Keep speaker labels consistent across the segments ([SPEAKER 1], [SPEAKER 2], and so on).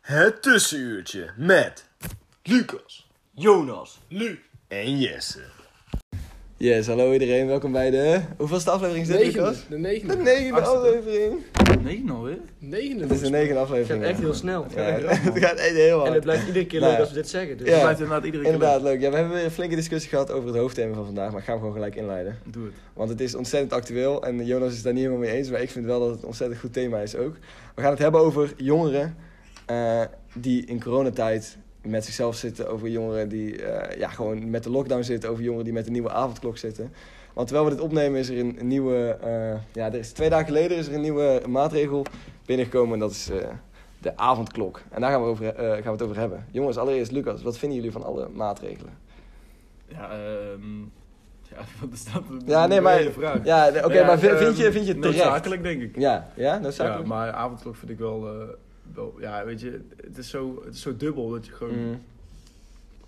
[SPEAKER 1] Het tussenuurtje met Lucas, Jonas, Lu en Jesse.
[SPEAKER 2] Yes, hallo iedereen, welkom bij de... Hoeveelste aflevering is dit, Lucas?
[SPEAKER 3] De negende.
[SPEAKER 2] De negende aflevering.
[SPEAKER 4] Nee, alweer?
[SPEAKER 3] Negende.
[SPEAKER 2] Het is de negende aflevering.
[SPEAKER 3] Echt heel snel. Het
[SPEAKER 2] ja.
[SPEAKER 3] gaat echt
[SPEAKER 2] Ja,
[SPEAKER 3] heel snel.
[SPEAKER 2] Het gaat echt heel hard.
[SPEAKER 3] En het blijft iedere keer
[SPEAKER 2] Nou
[SPEAKER 3] leuk
[SPEAKER 2] ja.
[SPEAKER 3] als we dit zeggen. Dus
[SPEAKER 2] Ja.
[SPEAKER 4] Het blijft inderdaad iedere keer
[SPEAKER 2] Inderdaad, leuk. Ja, we hebben weer een flinke discussie gehad over het hoofdthema van vandaag, maar ik ga hem gewoon gelijk inleiden.
[SPEAKER 4] leuk. Doe het.
[SPEAKER 2] Want het is ontzettend actueel en Jonas is daar niet helemaal mee eens, maar ik vind wel dat het een ontzettend goed thema is ook. We gaan het hebben over jongeren eh, die in coronatijd met zichzelf zitten, over jongeren die eh, ja, gewoon met de lockdown zitten, over jongeren die met de nieuwe avondklok zitten. Want terwijl we dit opnemen is er een, een nieuwe, eh, ja, er is twee dagen geleden is er een nieuwe maatregel binnengekomen en dat is eh, de avondklok. En daar gaan we, over, eh, gaan we het over hebben. Jongens, allereerst Lucas, wat vinden jullie van alle maatregelen?
[SPEAKER 4] Ja, ehm... Ja, wat is dat? een
[SPEAKER 2] Ja, nee, maar,
[SPEAKER 4] brede vraag.
[SPEAKER 2] ja, oké,
[SPEAKER 4] Ja,
[SPEAKER 2] maar vind, vind
[SPEAKER 4] ehm,
[SPEAKER 2] je, vind je het terecht?
[SPEAKER 4] Noodzakelijk, denk ik.
[SPEAKER 2] Ja, ja,
[SPEAKER 4] Ja,
[SPEAKER 2] noodzakelijk.
[SPEAKER 4] maar avondklok vind ik wel, eh, wel... Ja, weet je, het is zo, het is zo dubbel dat je gewoon...
[SPEAKER 2] Mm.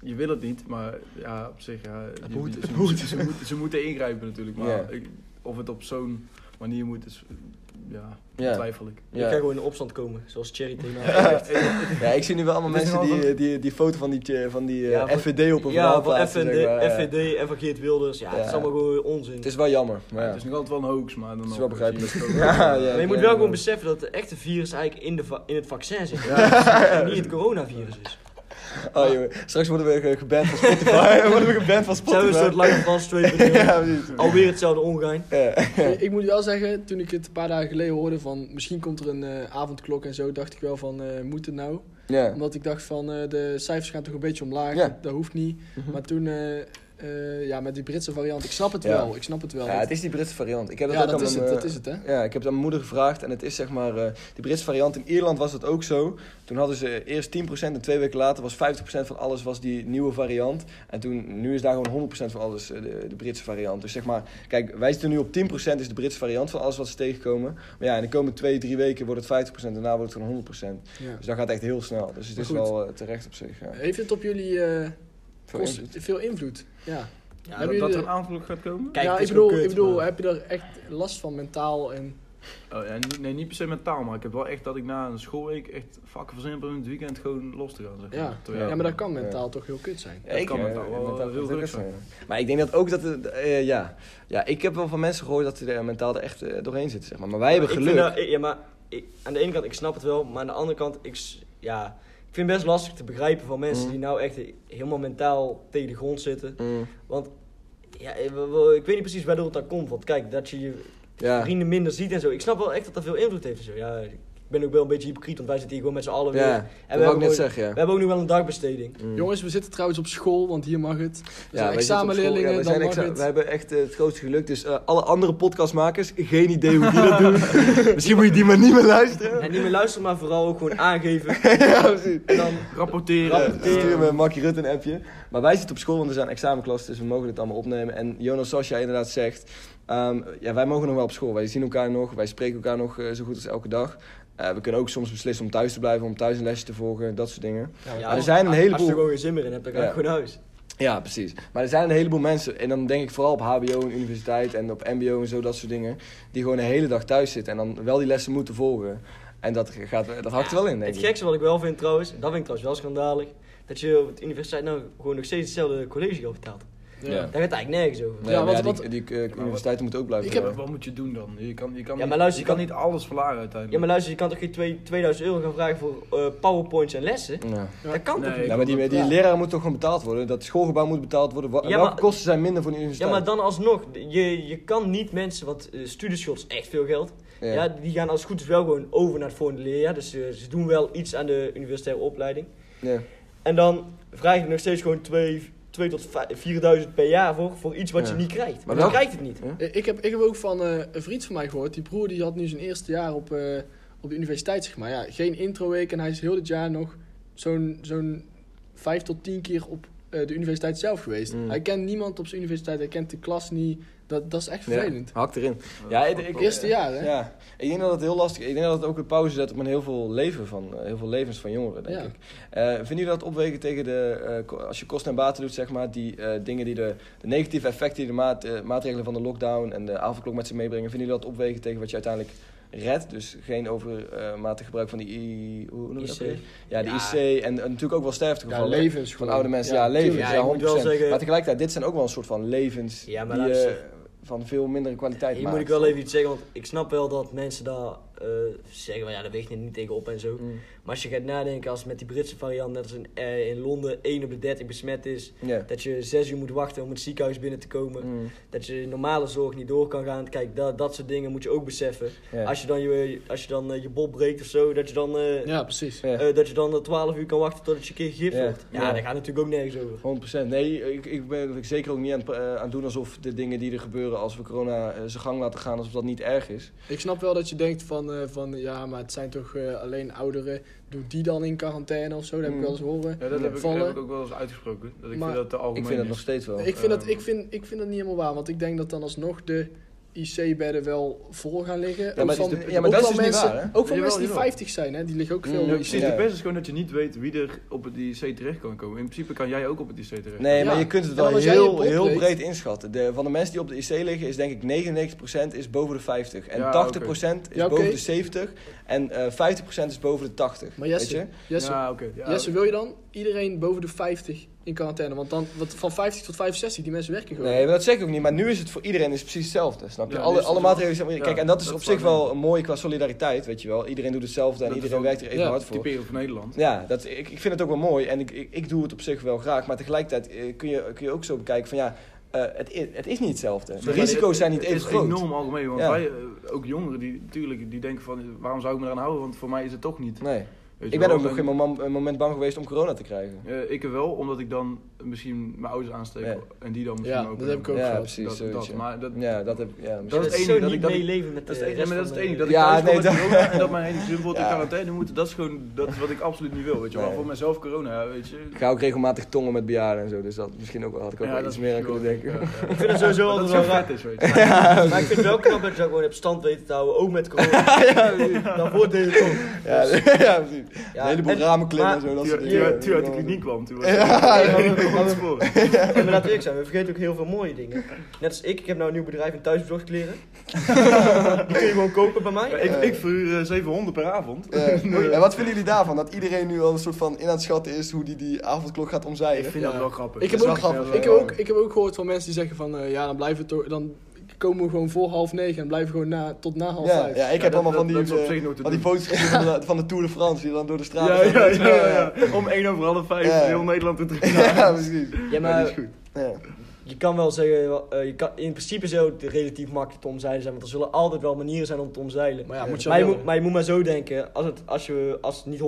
[SPEAKER 4] Je wil het niet, maar ja, op zich... Ja, je-
[SPEAKER 2] moet,
[SPEAKER 4] je-
[SPEAKER 2] het
[SPEAKER 4] ze,
[SPEAKER 2] moet.
[SPEAKER 4] Ze, moeten- ze moeten ingrijpen natuurlijk, maar
[SPEAKER 2] Ja.
[SPEAKER 4] ik- of het op zo'n manier moet, is... Ja,
[SPEAKER 2] Ja.
[SPEAKER 4] twijfel ik.
[SPEAKER 3] Je kan
[SPEAKER 2] Ja.
[SPEAKER 3] gewoon in de opstand komen, zoals Cherry thema.
[SPEAKER 2] ja, ik zie nu wel allemaal
[SPEAKER 4] Het is
[SPEAKER 2] mensen
[SPEAKER 4] wel
[SPEAKER 2] die, die, die foto van die, tje- van die eh,
[SPEAKER 3] Ja, van-
[SPEAKER 2] FVD op een
[SPEAKER 3] Ja,
[SPEAKER 2] verhaal
[SPEAKER 3] van
[SPEAKER 2] plaatsen, zeg maar,
[SPEAKER 3] FVD,
[SPEAKER 2] ja.
[SPEAKER 3] FVD en van Geert Wilders. Ja,
[SPEAKER 2] Ja.
[SPEAKER 3] het is allemaal gewoon onzin.
[SPEAKER 2] Het is wel jammer, maar ja.
[SPEAKER 4] Het is nog altijd wel een hoax, maar dan
[SPEAKER 2] is
[SPEAKER 4] nog
[SPEAKER 2] wel
[SPEAKER 4] zie je het
[SPEAKER 2] begrijpelijk.
[SPEAKER 4] ook.
[SPEAKER 2] Ja, ja.
[SPEAKER 3] Maar je moet
[SPEAKER 2] ja,
[SPEAKER 3] wel gewoon
[SPEAKER 2] ja.
[SPEAKER 3] beseffen dat het echte virus eigenlijk in, de va- in het vaccin zit.
[SPEAKER 2] Ja.
[SPEAKER 3] En niet het coronavirus is.
[SPEAKER 2] Oh, jongen. Straks worden we ge- geband van Spotify. worden we geband van
[SPEAKER 3] Zijn we
[SPEAKER 2] Spotify.
[SPEAKER 3] een soort lange vast
[SPEAKER 2] ja, precies.
[SPEAKER 3] Alweer hetzelfde ongein.
[SPEAKER 2] Ja.
[SPEAKER 5] Ik, ik moet wel zeggen, toen ik het een paar dagen geleden hoorde van misschien komt er een eh, avondklok en zo, dacht ik wel van eh, moet het nou?
[SPEAKER 2] Ja.
[SPEAKER 5] Omdat ik dacht van eh, de cijfers gaan toch een beetje omlaag,
[SPEAKER 2] Ja. Mhm.
[SPEAKER 5] dat, dat hoeft niet. Maar toen, eh, eh, ja, met die Britse variant, ik snap het
[SPEAKER 2] Ja.
[SPEAKER 5] wel, ik snap het wel.
[SPEAKER 2] Ja, het is die Britse variant. Ik heb dat
[SPEAKER 5] Ja,
[SPEAKER 2] ook
[SPEAKER 5] dat
[SPEAKER 2] aan
[SPEAKER 5] is
[SPEAKER 2] mijn,
[SPEAKER 5] het,
[SPEAKER 2] eh,
[SPEAKER 5] dat is het, hè?
[SPEAKER 2] Ja, ik heb het aan mijn moeder gevraagd en het is zeg maar, eh, die Britse variant. In Ierland was dat ook zo. Toen hadden ze eerst 10% en twee weken later was 50% van alles was die nieuwe variant. En toen, nu is daar gewoon 100% van alles eh, de, de Britse variant. Dus zeg maar, kijk, wij zitten nu op 10% is de Britse variant van alles wat ze tegenkomen. Maar ja, in de komende twee, drie weken wordt het 50% en daarna wordt het gewoon 100%.
[SPEAKER 5] Ja.
[SPEAKER 2] Dus dat gaat echt heel snel. Dus het
[SPEAKER 5] Maar
[SPEAKER 2] is
[SPEAKER 5] goed.
[SPEAKER 2] wel eh, terecht op zich. Ja.
[SPEAKER 5] Heeft het op jullie eh,
[SPEAKER 2] Veel
[SPEAKER 5] kost-
[SPEAKER 2] invloed.
[SPEAKER 5] veel invloed? Ja.
[SPEAKER 3] Ja,
[SPEAKER 5] Hebben
[SPEAKER 4] Dat, dat
[SPEAKER 5] jullie
[SPEAKER 4] er
[SPEAKER 5] de-
[SPEAKER 4] een aanvloek gaat komen?
[SPEAKER 3] Kijk,
[SPEAKER 5] ja,
[SPEAKER 3] het
[SPEAKER 5] ik
[SPEAKER 3] is gewoon
[SPEAKER 5] bedoel, ik
[SPEAKER 3] kut,
[SPEAKER 5] bedoel
[SPEAKER 3] maar-
[SPEAKER 5] heb je daar echt last van mentaal en...
[SPEAKER 4] Oh, ja, niet- nee, niet per se met taal, maar ik heb wel echt dat ik na een schoolweek echt vakken verzin in het weekend gewoon los te gaan. Zeg maar.
[SPEAKER 5] Ja.
[SPEAKER 4] Terwijl-
[SPEAKER 5] Ja, maar dat kan
[SPEAKER 2] Ja.
[SPEAKER 5] mentaal toch heel kut zijn.
[SPEAKER 2] Ja,
[SPEAKER 4] Dat
[SPEAKER 2] ik
[SPEAKER 4] kan
[SPEAKER 2] eh,
[SPEAKER 4] mentaal wel
[SPEAKER 2] mentaal
[SPEAKER 4] heel
[SPEAKER 2] kan het ook
[SPEAKER 4] druk zijn.
[SPEAKER 2] zijn. Maar ik denk dat ook dat... het, eh, ja. ja, ik heb wel van mensen gehoord dat ze er mentaal er echt eh, doorheen zitten. Zeg maar. maar wij hebben
[SPEAKER 3] Ik
[SPEAKER 2] geluk.
[SPEAKER 3] vind dat- ik- ja, maar ik- aan de ene kant, ik snap het wel, maar aan de andere kant, ik, s- ja, ik vind het best lastig te begrijpen van mensen
[SPEAKER 2] Mm.
[SPEAKER 3] die nou echt helemaal mentaal tegen de grond zitten.
[SPEAKER 2] Mm,
[SPEAKER 3] Want ja, ik we- we- ik weet niet precies waardoor het dan komt. Want kijk, dat je je
[SPEAKER 2] ja.
[SPEAKER 3] vrienden minder ziet en zo. Ik snap wel echt dat dat veel invloed heeft. en Zo. Ja, ik ben ook wel een beetje hypocriet, want wij zitten hier gewoon met z'n allen weer.
[SPEAKER 2] ja, dat wou ik
[SPEAKER 3] hebben
[SPEAKER 2] net
[SPEAKER 3] ook-
[SPEAKER 2] zeggen, ja.
[SPEAKER 3] We hebben ook nu wel een dagbesteding.
[SPEAKER 2] Mm.
[SPEAKER 5] Jongens, we zitten trouwens op school, want hier mag het. We
[SPEAKER 2] Ja,
[SPEAKER 5] zijn
[SPEAKER 2] wij zitten op school.
[SPEAKER 5] examenleerlingen,
[SPEAKER 2] Ja, we,
[SPEAKER 5] dan
[SPEAKER 2] zijn
[SPEAKER 5] mag
[SPEAKER 2] exa-
[SPEAKER 5] het.
[SPEAKER 2] we hebben echt eh, het grootste geluk. Dus eh, alle andere podcastmakers, geen idee hoe die dat doen. Misschien moet je die maar niet meer luisteren.
[SPEAKER 3] En niet meer luisteren, maar vooral ook gewoon aangeven.
[SPEAKER 2] ja, precies.
[SPEAKER 3] En dan,
[SPEAKER 4] Rapporteren.
[SPEAKER 2] Stuur me Markie Rutte een appje. Maar wij zitten op school, want er zijn examenklassen, dus we mogen dit allemaal opnemen. En Jonas, zoals jij inderdaad zegt, ehm, ja, wij mogen nog wel op school. Wij zien elkaar nog, wij spreken elkaar nog eh, zo goed als elke dag. Eh, we kunnen ook soms beslissen om thuis te blijven, om thuis een lesje te volgen, dat soort dingen.
[SPEAKER 3] ja,
[SPEAKER 2] er zijn een
[SPEAKER 3] als- Als
[SPEAKER 2] heleboel-
[SPEAKER 3] je er gewoon geen zin meer in hebt, dan ga je
[SPEAKER 2] Ja.
[SPEAKER 3] gewoon naar huis.
[SPEAKER 2] Ja, precies. Maar er zijn een heleboel mensen, en dan denk ik vooral op HBO en universiteit en op MBO en zo, dat soort dingen, die gewoon de hele dag thuis zitten en dan wel die lessen moeten volgen. En dat, gaat, dat hakt er wel in, denk
[SPEAKER 3] Het
[SPEAKER 2] ik.
[SPEAKER 3] gekste wat ik wel vind trouwens, en dat vind ik trouwens wel schandalig, dat je op de universiteit nou gewoon nog steeds hetzelfde college betaalt.
[SPEAKER 5] Ja.
[SPEAKER 1] Ja.
[SPEAKER 3] Daar gaat het eigenlijk nergens over.
[SPEAKER 2] Nee,
[SPEAKER 5] Ja,
[SPEAKER 2] maar
[SPEAKER 5] wat-
[SPEAKER 2] ja, die-
[SPEAKER 5] wat-
[SPEAKER 2] die eh, universiteiten moeten ook blijven.
[SPEAKER 5] Ik heb-
[SPEAKER 2] door.
[SPEAKER 4] Wat- Wat moet je doen dan? Je kan, je kan,
[SPEAKER 3] Ja,
[SPEAKER 4] niet-
[SPEAKER 3] maar luister,
[SPEAKER 4] je
[SPEAKER 3] je
[SPEAKER 4] kan niet alles verlagen
[SPEAKER 3] Ja,
[SPEAKER 4] uiteindelijk.
[SPEAKER 3] maar luister, je kan toch geen twee- 2000 euro gaan vragen voor eh, powerpoints en lessen?
[SPEAKER 2] Ja.
[SPEAKER 3] Dat kan
[SPEAKER 4] Nee.
[SPEAKER 3] toch niet?
[SPEAKER 2] Ja, maar die, die
[SPEAKER 5] Ja.
[SPEAKER 2] leraar moet toch gewoon betaald worden? Dat schoolgebouw moet betaald worden? Wa-
[SPEAKER 3] Ja,
[SPEAKER 2] welke
[SPEAKER 3] maar-
[SPEAKER 2] kosten zijn minder voor de
[SPEAKER 3] Ja,
[SPEAKER 2] universiteit?
[SPEAKER 3] maar dan alsnog, je, je kan niet mensen, want eh studieschuld is echt veel geld. Ja.
[SPEAKER 2] Ja.
[SPEAKER 3] die gaan als het goed is wel gewoon over naar het volgende leerjaar. Dus eh, ze doen wel iets aan de universitaire opleiding.
[SPEAKER 2] Ja.
[SPEAKER 3] En dan vraag je er nog steeds gewoon 2 tot vij- 4000 per jaar voor, voor iets wat
[SPEAKER 2] Ja.
[SPEAKER 3] je niet krijgt. Maar
[SPEAKER 2] Maar
[SPEAKER 3] dan
[SPEAKER 2] wel-
[SPEAKER 3] krijgt het niet.
[SPEAKER 5] Eh, Ik heb, ik heb ook van eh, een vriend van mij gehoord. Die broer die had nu zijn eerste jaar op, eh, op de universiteit, zeg maar. Ja, geen introweek en hij is heel dit jaar nog zo'n zo'n vijf tot tien keer op eh, de universiteit zelf geweest.
[SPEAKER 2] Mm.
[SPEAKER 5] Hij kent niemand op zijn universiteit, hij kent de klas niet. Dat, dat is echt vervelend.
[SPEAKER 2] Ja, hakt erin. Ja, ik, ik-
[SPEAKER 5] Eerste jaar, hè?
[SPEAKER 2] Ja, ik denk dat het heel lastig is. Ik denk dat het ook een pauze zet op een heel veel, leven van, eh, heel veel levens van jongeren, denk
[SPEAKER 5] Ja.
[SPEAKER 2] ik. Eh vinden jullie dat opwegen tegen de, eh, ko- als je kosten en baten doet, zeg maar, die eh, dingen die de, de negatieve effecten die de maat, eh, maatregelen van de lockdown en de avondklok met zich meebrengen, vinden jullie dat opwegen tegen wat je uiteindelijk redt? Dus geen overmatig gebruik van die I, hoe noem je dat
[SPEAKER 3] IC.
[SPEAKER 2] weer? Ja, de
[SPEAKER 3] Ja.
[SPEAKER 2] IC en, en natuurlijk ook wel
[SPEAKER 5] Ja,
[SPEAKER 2] sterftegevallen.
[SPEAKER 5] levens
[SPEAKER 2] van
[SPEAKER 5] gewoon.
[SPEAKER 2] oude mensen, ja,
[SPEAKER 5] tuurlijk.
[SPEAKER 2] levens,
[SPEAKER 3] Ja,
[SPEAKER 2] ja,
[SPEAKER 3] ik
[SPEAKER 2] 100%.
[SPEAKER 3] moet wel zeggen-
[SPEAKER 2] Maar tegelijkertijd, dit zijn ook wel een soort van levens
[SPEAKER 3] Ja, maar
[SPEAKER 2] die
[SPEAKER 3] luister.
[SPEAKER 2] eh, van veel mindere kwaliteit
[SPEAKER 3] Hier moet ik
[SPEAKER 2] maakt.
[SPEAKER 3] wel even iets zeggen, want ik snap wel dat mensen daar eh, zeggen, maar ja, daar weegt je niet tegen op en zo.
[SPEAKER 2] Mm.
[SPEAKER 3] Maar als je gaat nadenken, als met die Britse variant, net als in, eh, in Londen, 1 op de 30 besmet is,
[SPEAKER 2] Ja.
[SPEAKER 3] dat je 6 uur moet wachten om het ziekenhuis binnen te komen,
[SPEAKER 2] Mm.
[SPEAKER 3] dat je normale zorg niet door kan gaan. Kijk, dat, dat soort dingen moet je ook beseffen.
[SPEAKER 2] Ja.
[SPEAKER 3] Als je dan, je, als je, dan eh, je bol breekt of zo, dat je dan, eh,
[SPEAKER 5] Ja, precies.
[SPEAKER 2] Ja.
[SPEAKER 3] eh, dat je dan eh, 12 uur kan wachten totdat je een keer gegift
[SPEAKER 2] Ja.
[SPEAKER 3] wordt. Ja,
[SPEAKER 2] Ja.
[SPEAKER 3] daar gaat natuurlijk ook nergens over.
[SPEAKER 2] 100%. Nee, ik, ik ben er zeker ook niet aan, het pra- eh, aan het doen alsof de dingen die er gebeuren als we corona eh, zijn gang laten gaan, alsof dat niet erg is.
[SPEAKER 5] Ik snap wel dat je denkt van, eh, van ja, maar het zijn toch eh, alleen ouderen. Doe die dan in quarantaine of zo, dat heb ik
[SPEAKER 2] Mm.
[SPEAKER 5] wel eens horen.
[SPEAKER 4] Ja, dat heb ik, dat
[SPEAKER 5] Vallen.
[SPEAKER 4] heb ik ook wel eens uitgesproken. Dat ik
[SPEAKER 5] Maar
[SPEAKER 4] vind dat te algemeen
[SPEAKER 2] ik vind dat
[SPEAKER 4] is.
[SPEAKER 2] nog steeds wel.
[SPEAKER 5] Ik vind, dat,
[SPEAKER 4] Ehm.
[SPEAKER 5] ik, vind, ik vind dat niet helemaal waar, want ik denk dat dan alsnog de IC-bedden wel vol gaan liggen.
[SPEAKER 2] maar
[SPEAKER 5] Ook
[SPEAKER 2] het is
[SPEAKER 5] van-
[SPEAKER 2] de- ja, maar
[SPEAKER 5] ook
[SPEAKER 2] dat is
[SPEAKER 5] van
[SPEAKER 2] dus niet
[SPEAKER 5] mensen,
[SPEAKER 2] waar, hè? Mm,
[SPEAKER 5] Ook van
[SPEAKER 4] Jawel,
[SPEAKER 5] mensen die
[SPEAKER 4] jawel.
[SPEAKER 5] 50 zijn, hè? die liggen ook veel
[SPEAKER 4] Ja,
[SPEAKER 5] op de IC.
[SPEAKER 4] precies.
[SPEAKER 2] Ja.
[SPEAKER 4] Het beste is gewoon dat je niet weet wie er op het IC terecht kan komen. In principe kan jij ook op het IC terecht.
[SPEAKER 2] Nee, maar
[SPEAKER 5] Ja.
[SPEAKER 2] je kunt het
[SPEAKER 5] En dan
[SPEAKER 2] wel
[SPEAKER 5] als jij je
[SPEAKER 2] heel,
[SPEAKER 5] bol
[SPEAKER 2] heel
[SPEAKER 5] breekt-
[SPEAKER 2] breed inschatten. De, van de mensen die op de IC liggen is denk ik 99% is boven de 50. En
[SPEAKER 4] Ja,
[SPEAKER 2] 80%
[SPEAKER 4] oké.
[SPEAKER 2] is
[SPEAKER 5] Ja, oké.
[SPEAKER 2] boven de 70. En eh 50% is boven de 80.
[SPEAKER 5] Maar
[SPEAKER 2] weet je?
[SPEAKER 5] Jesse, Jesse,
[SPEAKER 4] Ja, oké. ja,
[SPEAKER 5] Jesse, wil je dan iedereen boven de 50 in quarantaine? Want dan want van 50 tot 65, die mensen werken gewoon.
[SPEAKER 2] Nee, maar dat zeg ik ook niet. Maar nu is het voor iedereen is precies hetzelfde. Snap je?
[SPEAKER 4] Ja, nu
[SPEAKER 2] alle
[SPEAKER 4] is het
[SPEAKER 2] alle
[SPEAKER 4] wel-
[SPEAKER 2] maatregelen zijn.
[SPEAKER 4] ja,
[SPEAKER 2] Kijk, en dat is
[SPEAKER 4] dat
[SPEAKER 2] op
[SPEAKER 4] is
[SPEAKER 2] zich
[SPEAKER 4] waar,
[SPEAKER 2] wel mooi qua solidariteit. Weet je wel. Iedereen doet hetzelfde en
[SPEAKER 4] dat is
[SPEAKER 2] iedereen
[SPEAKER 4] ook-
[SPEAKER 2] werkt er even
[SPEAKER 5] ja,
[SPEAKER 2] hard voor.
[SPEAKER 4] typerend voor Nederland.
[SPEAKER 2] Ja, dat, ik, ik vind het ook wel mooi en ik, ik, ik doe het op zich wel graag. Maar tegelijkertijd eh, kun, je, kun je ook zo bekijken van ja, eh, het, i- het is niet hetzelfde. De
[SPEAKER 4] Maar
[SPEAKER 2] risico's
[SPEAKER 4] het-
[SPEAKER 2] zijn niet even
[SPEAKER 4] Het is
[SPEAKER 2] groot.
[SPEAKER 4] enorm algemeen, want
[SPEAKER 2] Ja.
[SPEAKER 4] wij, eh, ook jongeren, die, natuurlijk, die denken van, eh, waarom zou ik me eraan houden, want voor mij is het toch niet.
[SPEAKER 2] Nee.
[SPEAKER 4] Weet je
[SPEAKER 2] Ik ben
[SPEAKER 4] wel,
[SPEAKER 2] ook nog
[SPEAKER 4] en-
[SPEAKER 2] geen moment, een moment bang geweest om corona te krijgen.
[SPEAKER 4] eh, Ik wel, omdat ik dan misschien mijn ouders aansteek
[SPEAKER 2] Ja.
[SPEAKER 4] en die dan misschien
[SPEAKER 5] Ja,
[SPEAKER 4] ook. eh,
[SPEAKER 5] dat heb ik ook
[SPEAKER 2] ja,
[SPEAKER 5] gehad.
[SPEAKER 2] precies.
[SPEAKER 4] Dat-
[SPEAKER 2] zoiets,
[SPEAKER 4] dat,
[SPEAKER 2] ja.
[SPEAKER 4] maar dat-
[SPEAKER 2] ja, dat heb ja,
[SPEAKER 4] Dat is
[SPEAKER 3] Dat
[SPEAKER 4] het
[SPEAKER 3] is
[SPEAKER 4] enige
[SPEAKER 3] zo
[SPEAKER 4] dat
[SPEAKER 3] niet
[SPEAKER 4] ik- dat ik-
[SPEAKER 3] meeleven met de
[SPEAKER 4] Dat is, het enige,
[SPEAKER 3] rest
[SPEAKER 4] maar dat is
[SPEAKER 3] van
[SPEAKER 4] het
[SPEAKER 3] de-
[SPEAKER 4] enige. Dat ik
[SPEAKER 2] Ja,
[SPEAKER 4] thuis kom
[SPEAKER 2] nee,
[SPEAKER 4] met
[SPEAKER 2] dat-
[SPEAKER 4] corona en dat mijn hele gezin bijvoorbeeld in
[SPEAKER 2] Ja.
[SPEAKER 4] quarantaine moet. Dat is gewoon dat is wat ik absoluut niet wil, weet je wel.
[SPEAKER 2] Nee.
[SPEAKER 4] Voor mezelf corona, weet je.
[SPEAKER 2] Ik ga ook regelmatig tongen met bejaarden en zo, dus dat misschien ook wel, had ik ook
[SPEAKER 4] Ja,
[SPEAKER 2] wel
[SPEAKER 4] dat
[SPEAKER 2] iets
[SPEAKER 4] is
[SPEAKER 2] meer aan kunnen
[SPEAKER 4] misschien
[SPEAKER 2] denken.
[SPEAKER 4] wel- ja, ja.
[SPEAKER 3] Ik vind het sowieso
[SPEAKER 4] Maar
[SPEAKER 3] altijd wel
[SPEAKER 4] Dat zo
[SPEAKER 3] raar.
[SPEAKER 4] vet is, weet je.
[SPEAKER 3] Maar ik vind het wel knap dat je dat gewoon op stand weet te houden, ook met corona. Dan wordt het toch.
[SPEAKER 2] Ja, ja, precies.
[SPEAKER 3] Ja,
[SPEAKER 2] een heleboel
[SPEAKER 3] en-
[SPEAKER 2] ramen klimmen
[SPEAKER 3] maar-
[SPEAKER 2] en zo. Dat soort
[SPEAKER 4] Toen
[SPEAKER 2] dingen.
[SPEAKER 4] je- toen je uit de kliniek kwam, toen was
[SPEAKER 3] En maar laten we eerlijk zijn, we vergeten ook heel veel mooie dingen. Net als ik, ik heb nou een nieuw bedrijf in thuisbezorgd kleren. Die kun je gewoon kopen bij mij.
[SPEAKER 4] ik, ik verhuur eh, 700 per avond.
[SPEAKER 2] Ja. En wat vinden jullie daarvan? Dat iedereen nu al een soort van in aan het schatten is hoe die die avondklok gaat omzeilen?
[SPEAKER 4] Ik vind
[SPEAKER 5] Ja.
[SPEAKER 4] dat wel grappig.
[SPEAKER 5] Ik heb,
[SPEAKER 2] Dat
[SPEAKER 5] ook,
[SPEAKER 2] is wel grappig,
[SPEAKER 5] ik, heb
[SPEAKER 2] ja.
[SPEAKER 5] ook, ik heb ook gehoord van mensen die zeggen van eh, ja, dan blijven we toch. Dan komen we gewoon voor half negen en blijven gewoon na, tot na half
[SPEAKER 2] Ja,
[SPEAKER 5] vijf.
[SPEAKER 2] ja, ik
[SPEAKER 4] Ja,
[SPEAKER 2] heb
[SPEAKER 4] dat-
[SPEAKER 2] allemaal van die,
[SPEAKER 4] dat- dat is op
[SPEAKER 2] eh,
[SPEAKER 4] zich nog te
[SPEAKER 2] van die
[SPEAKER 4] doen.
[SPEAKER 2] foto's gezien van de, van de Tour de France, die dan door de straat
[SPEAKER 4] Ja,
[SPEAKER 2] gaat.
[SPEAKER 4] ja, ja, ja, ja. Om 1 over half 5
[SPEAKER 2] Ja.
[SPEAKER 4] heel Nederland te drinken.
[SPEAKER 2] ja. Ja, precies.
[SPEAKER 3] Ja,
[SPEAKER 2] Ja, die
[SPEAKER 3] maar
[SPEAKER 2] is goed. Ja.
[SPEAKER 3] je kan wel zeggen, eh, je kan, in principe zou het relatief makkelijk te omzeilen zijn, want er zullen altijd wel manieren zijn om te omzeilen.
[SPEAKER 5] Maar ja, moet je
[SPEAKER 3] Maar je,
[SPEAKER 5] wel
[SPEAKER 3] moet, maar je moet maar zo denken, als het, als je, als het niet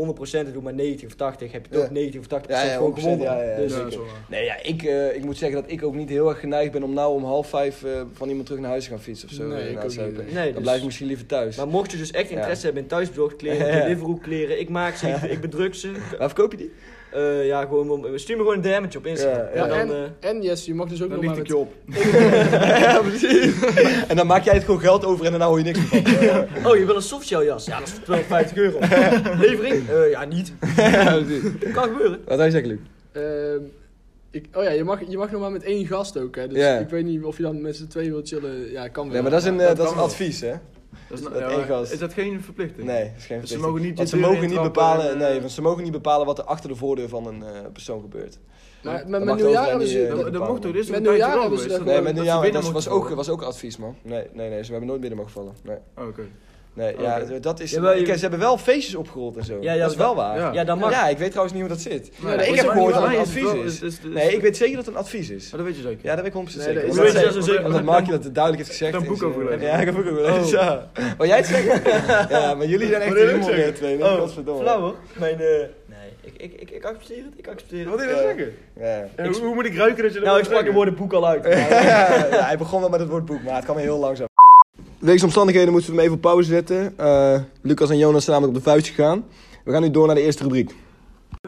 [SPEAKER 3] 100% doet, maar 90 of 80, heb je
[SPEAKER 2] Ja.
[SPEAKER 3] toch 90 of 80%
[SPEAKER 2] Ja, ja,
[SPEAKER 3] gewoon
[SPEAKER 2] 100%,
[SPEAKER 3] gewonnen.
[SPEAKER 2] ja, ja, ja.
[SPEAKER 3] Dus,
[SPEAKER 4] Ja,
[SPEAKER 2] zeker.
[SPEAKER 4] zo waar.
[SPEAKER 2] Nee, ja, ik, eh, ik moet zeggen dat ik ook niet heel erg geneigd ben om nou om half vijf eh, van iemand terug naar huis te gaan fietsen of zo.
[SPEAKER 5] Nee,
[SPEAKER 2] eh,
[SPEAKER 5] ik
[SPEAKER 2] na
[SPEAKER 5] ook
[SPEAKER 2] het zuipen.
[SPEAKER 5] niet,
[SPEAKER 3] nee. Nee,
[SPEAKER 2] Dan
[SPEAKER 3] dus-
[SPEAKER 2] blijf ik misschien liever thuis.
[SPEAKER 3] Maar mocht je dus echt interesse
[SPEAKER 2] Ja.
[SPEAKER 3] hebben in thuisbezorgd kleren,
[SPEAKER 2] Ja.
[SPEAKER 3] Deliveroo kleren, ik maak ze, ik, ik bedruk ze.
[SPEAKER 2] Waar verkoop je die?
[SPEAKER 3] Eh, ja, gewoon, eh, stuur me gewoon een DM'tje op Instagram.
[SPEAKER 2] Ja,
[SPEAKER 5] Ja,
[SPEAKER 3] En dan,
[SPEAKER 5] en,
[SPEAKER 3] eh,
[SPEAKER 5] en yes, je mag dus ook
[SPEAKER 4] Dan
[SPEAKER 5] nog maar
[SPEAKER 4] licht ik
[SPEAKER 5] met
[SPEAKER 4] je op.
[SPEAKER 2] ja, precies. en dan maak jij het gewoon geld over en daarna hoor je niks meer van.
[SPEAKER 3] Oh, je wil een softshelljas? Ja, dat is 250 euro. Levering? Eh, ja, niet.
[SPEAKER 2] ja, precies.
[SPEAKER 3] Kan gebeuren.
[SPEAKER 2] Wat zou je zeggen, Luc?
[SPEAKER 5] Ehm, ik, oh ja, je mag, je mag nog maar met één gast ook, hè. Dus
[SPEAKER 2] Ja.
[SPEAKER 5] ik weet niet of je dan met z'n tweeën wilt chillen. Ja, kan wel.
[SPEAKER 2] Nee, maar dat is een, eh,
[SPEAKER 4] dat
[SPEAKER 2] dat is een
[SPEAKER 4] kan wel.
[SPEAKER 2] advies, hè?
[SPEAKER 4] Dat is,
[SPEAKER 2] Dat
[SPEAKER 4] nou- ja,
[SPEAKER 2] één
[SPEAKER 4] maar
[SPEAKER 2] gast.
[SPEAKER 4] is dat geen verplichting?
[SPEAKER 2] Nee, dat is geen
[SPEAKER 4] Dus ze
[SPEAKER 2] verplichting.
[SPEAKER 4] mogen niet
[SPEAKER 2] Want
[SPEAKER 4] je
[SPEAKER 2] ze
[SPEAKER 4] deur
[SPEAKER 2] mogen niet
[SPEAKER 4] intrappen en,
[SPEAKER 2] bepalen,
[SPEAKER 4] eh,
[SPEAKER 2] nee, want ze mogen niet bepalen wat er achter de voordeur van een eh, persoon gebeurt.
[SPEAKER 5] Maar met
[SPEAKER 2] mag
[SPEAKER 5] mijn
[SPEAKER 2] wel
[SPEAKER 5] nieuwjaar
[SPEAKER 2] zijn
[SPEAKER 5] hebben
[SPEAKER 2] die,
[SPEAKER 5] ze...
[SPEAKER 2] eh,
[SPEAKER 4] Dat, dat mocht toch, dus dit is
[SPEAKER 5] Met
[SPEAKER 4] een tijdje
[SPEAKER 5] nieuwjaar
[SPEAKER 4] wel
[SPEAKER 5] hebben ze
[SPEAKER 4] geweest.
[SPEAKER 5] dat
[SPEAKER 2] Nee, dus
[SPEAKER 5] dat
[SPEAKER 2] met
[SPEAKER 4] ze
[SPEAKER 2] nieuwjaar
[SPEAKER 4] binnen
[SPEAKER 2] was, was,
[SPEAKER 4] moeten
[SPEAKER 2] ook,
[SPEAKER 4] komen.
[SPEAKER 2] was ook advies, man. Nee, nee, nee, ze hebben nooit binnen mogen vallen. Nee,
[SPEAKER 4] Oh, oké.
[SPEAKER 2] nee
[SPEAKER 4] Oké.
[SPEAKER 2] ja, dat- dat is...
[SPEAKER 6] Jawel, je-
[SPEAKER 2] ik- ze hebben wel feestjes opgerold en zo.
[SPEAKER 6] Ja, ja,
[SPEAKER 2] dat is wel waar.
[SPEAKER 4] ja.
[SPEAKER 6] Ja, dat mag.
[SPEAKER 2] Ja, ik weet trouwens niet hoe dat zit.
[SPEAKER 4] Maar
[SPEAKER 2] ik
[SPEAKER 4] is
[SPEAKER 2] heb
[SPEAKER 4] ook
[SPEAKER 2] gehoord
[SPEAKER 4] niet
[SPEAKER 2] dat
[SPEAKER 4] waar.
[SPEAKER 2] het
[SPEAKER 4] Nee,
[SPEAKER 2] advies
[SPEAKER 4] het het-
[SPEAKER 2] Nee,
[SPEAKER 4] het-
[SPEAKER 2] ik weet zeker dat het een advies is.
[SPEAKER 4] Maar dat weet je zeker.
[SPEAKER 2] Ja, dat weet ik 100% zeker.
[SPEAKER 5] Nee, dat is-
[SPEAKER 2] Want
[SPEAKER 5] Hoe
[SPEAKER 2] dat
[SPEAKER 5] weet
[SPEAKER 2] zei-
[SPEAKER 5] je
[SPEAKER 6] dat zo zeker?
[SPEAKER 2] want dat Markje dat het duidelijk heeft gezegd.
[SPEAKER 4] Ik heb een
[SPEAKER 2] is,
[SPEAKER 4] boek over
[SPEAKER 2] eh,
[SPEAKER 4] gelezen.
[SPEAKER 2] Ja, ik heb een boek over gelezen. Ja. Maar jij het zegt. Ja, maar jullie zijn echt
[SPEAKER 3] Wat wil ik
[SPEAKER 2] helemaal
[SPEAKER 3] zeggen?
[SPEAKER 2] weer twee.
[SPEAKER 3] Oh,
[SPEAKER 2] Godverdomme.
[SPEAKER 3] Flauw hoor. Mijn, eh, nee, ik, ik, ik, ik accepteer het, ik accepteer het.
[SPEAKER 1] wil je nou zeggen?
[SPEAKER 2] Ja.
[SPEAKER 1] En hoe, hoe moet ik ruiken dat je dat
[SPEAKER 3] Nou,
[SPEAKER 1] wil
[SPEAKER 3] ik sprak de
[SPEAKER 1] zeggen?
[SPEAKER 3] woorden boek al uit.
[SPEAKER 2] ja, hij begon wel met het woord boek, maar het kwam heel langzaam. Wegens omstandigheden moeten we hem even op pauze zetten. Eh, Lucas en Jonas zijn namelijk op de vuist gegaan. We gaan nu door naar de eerste rubriek.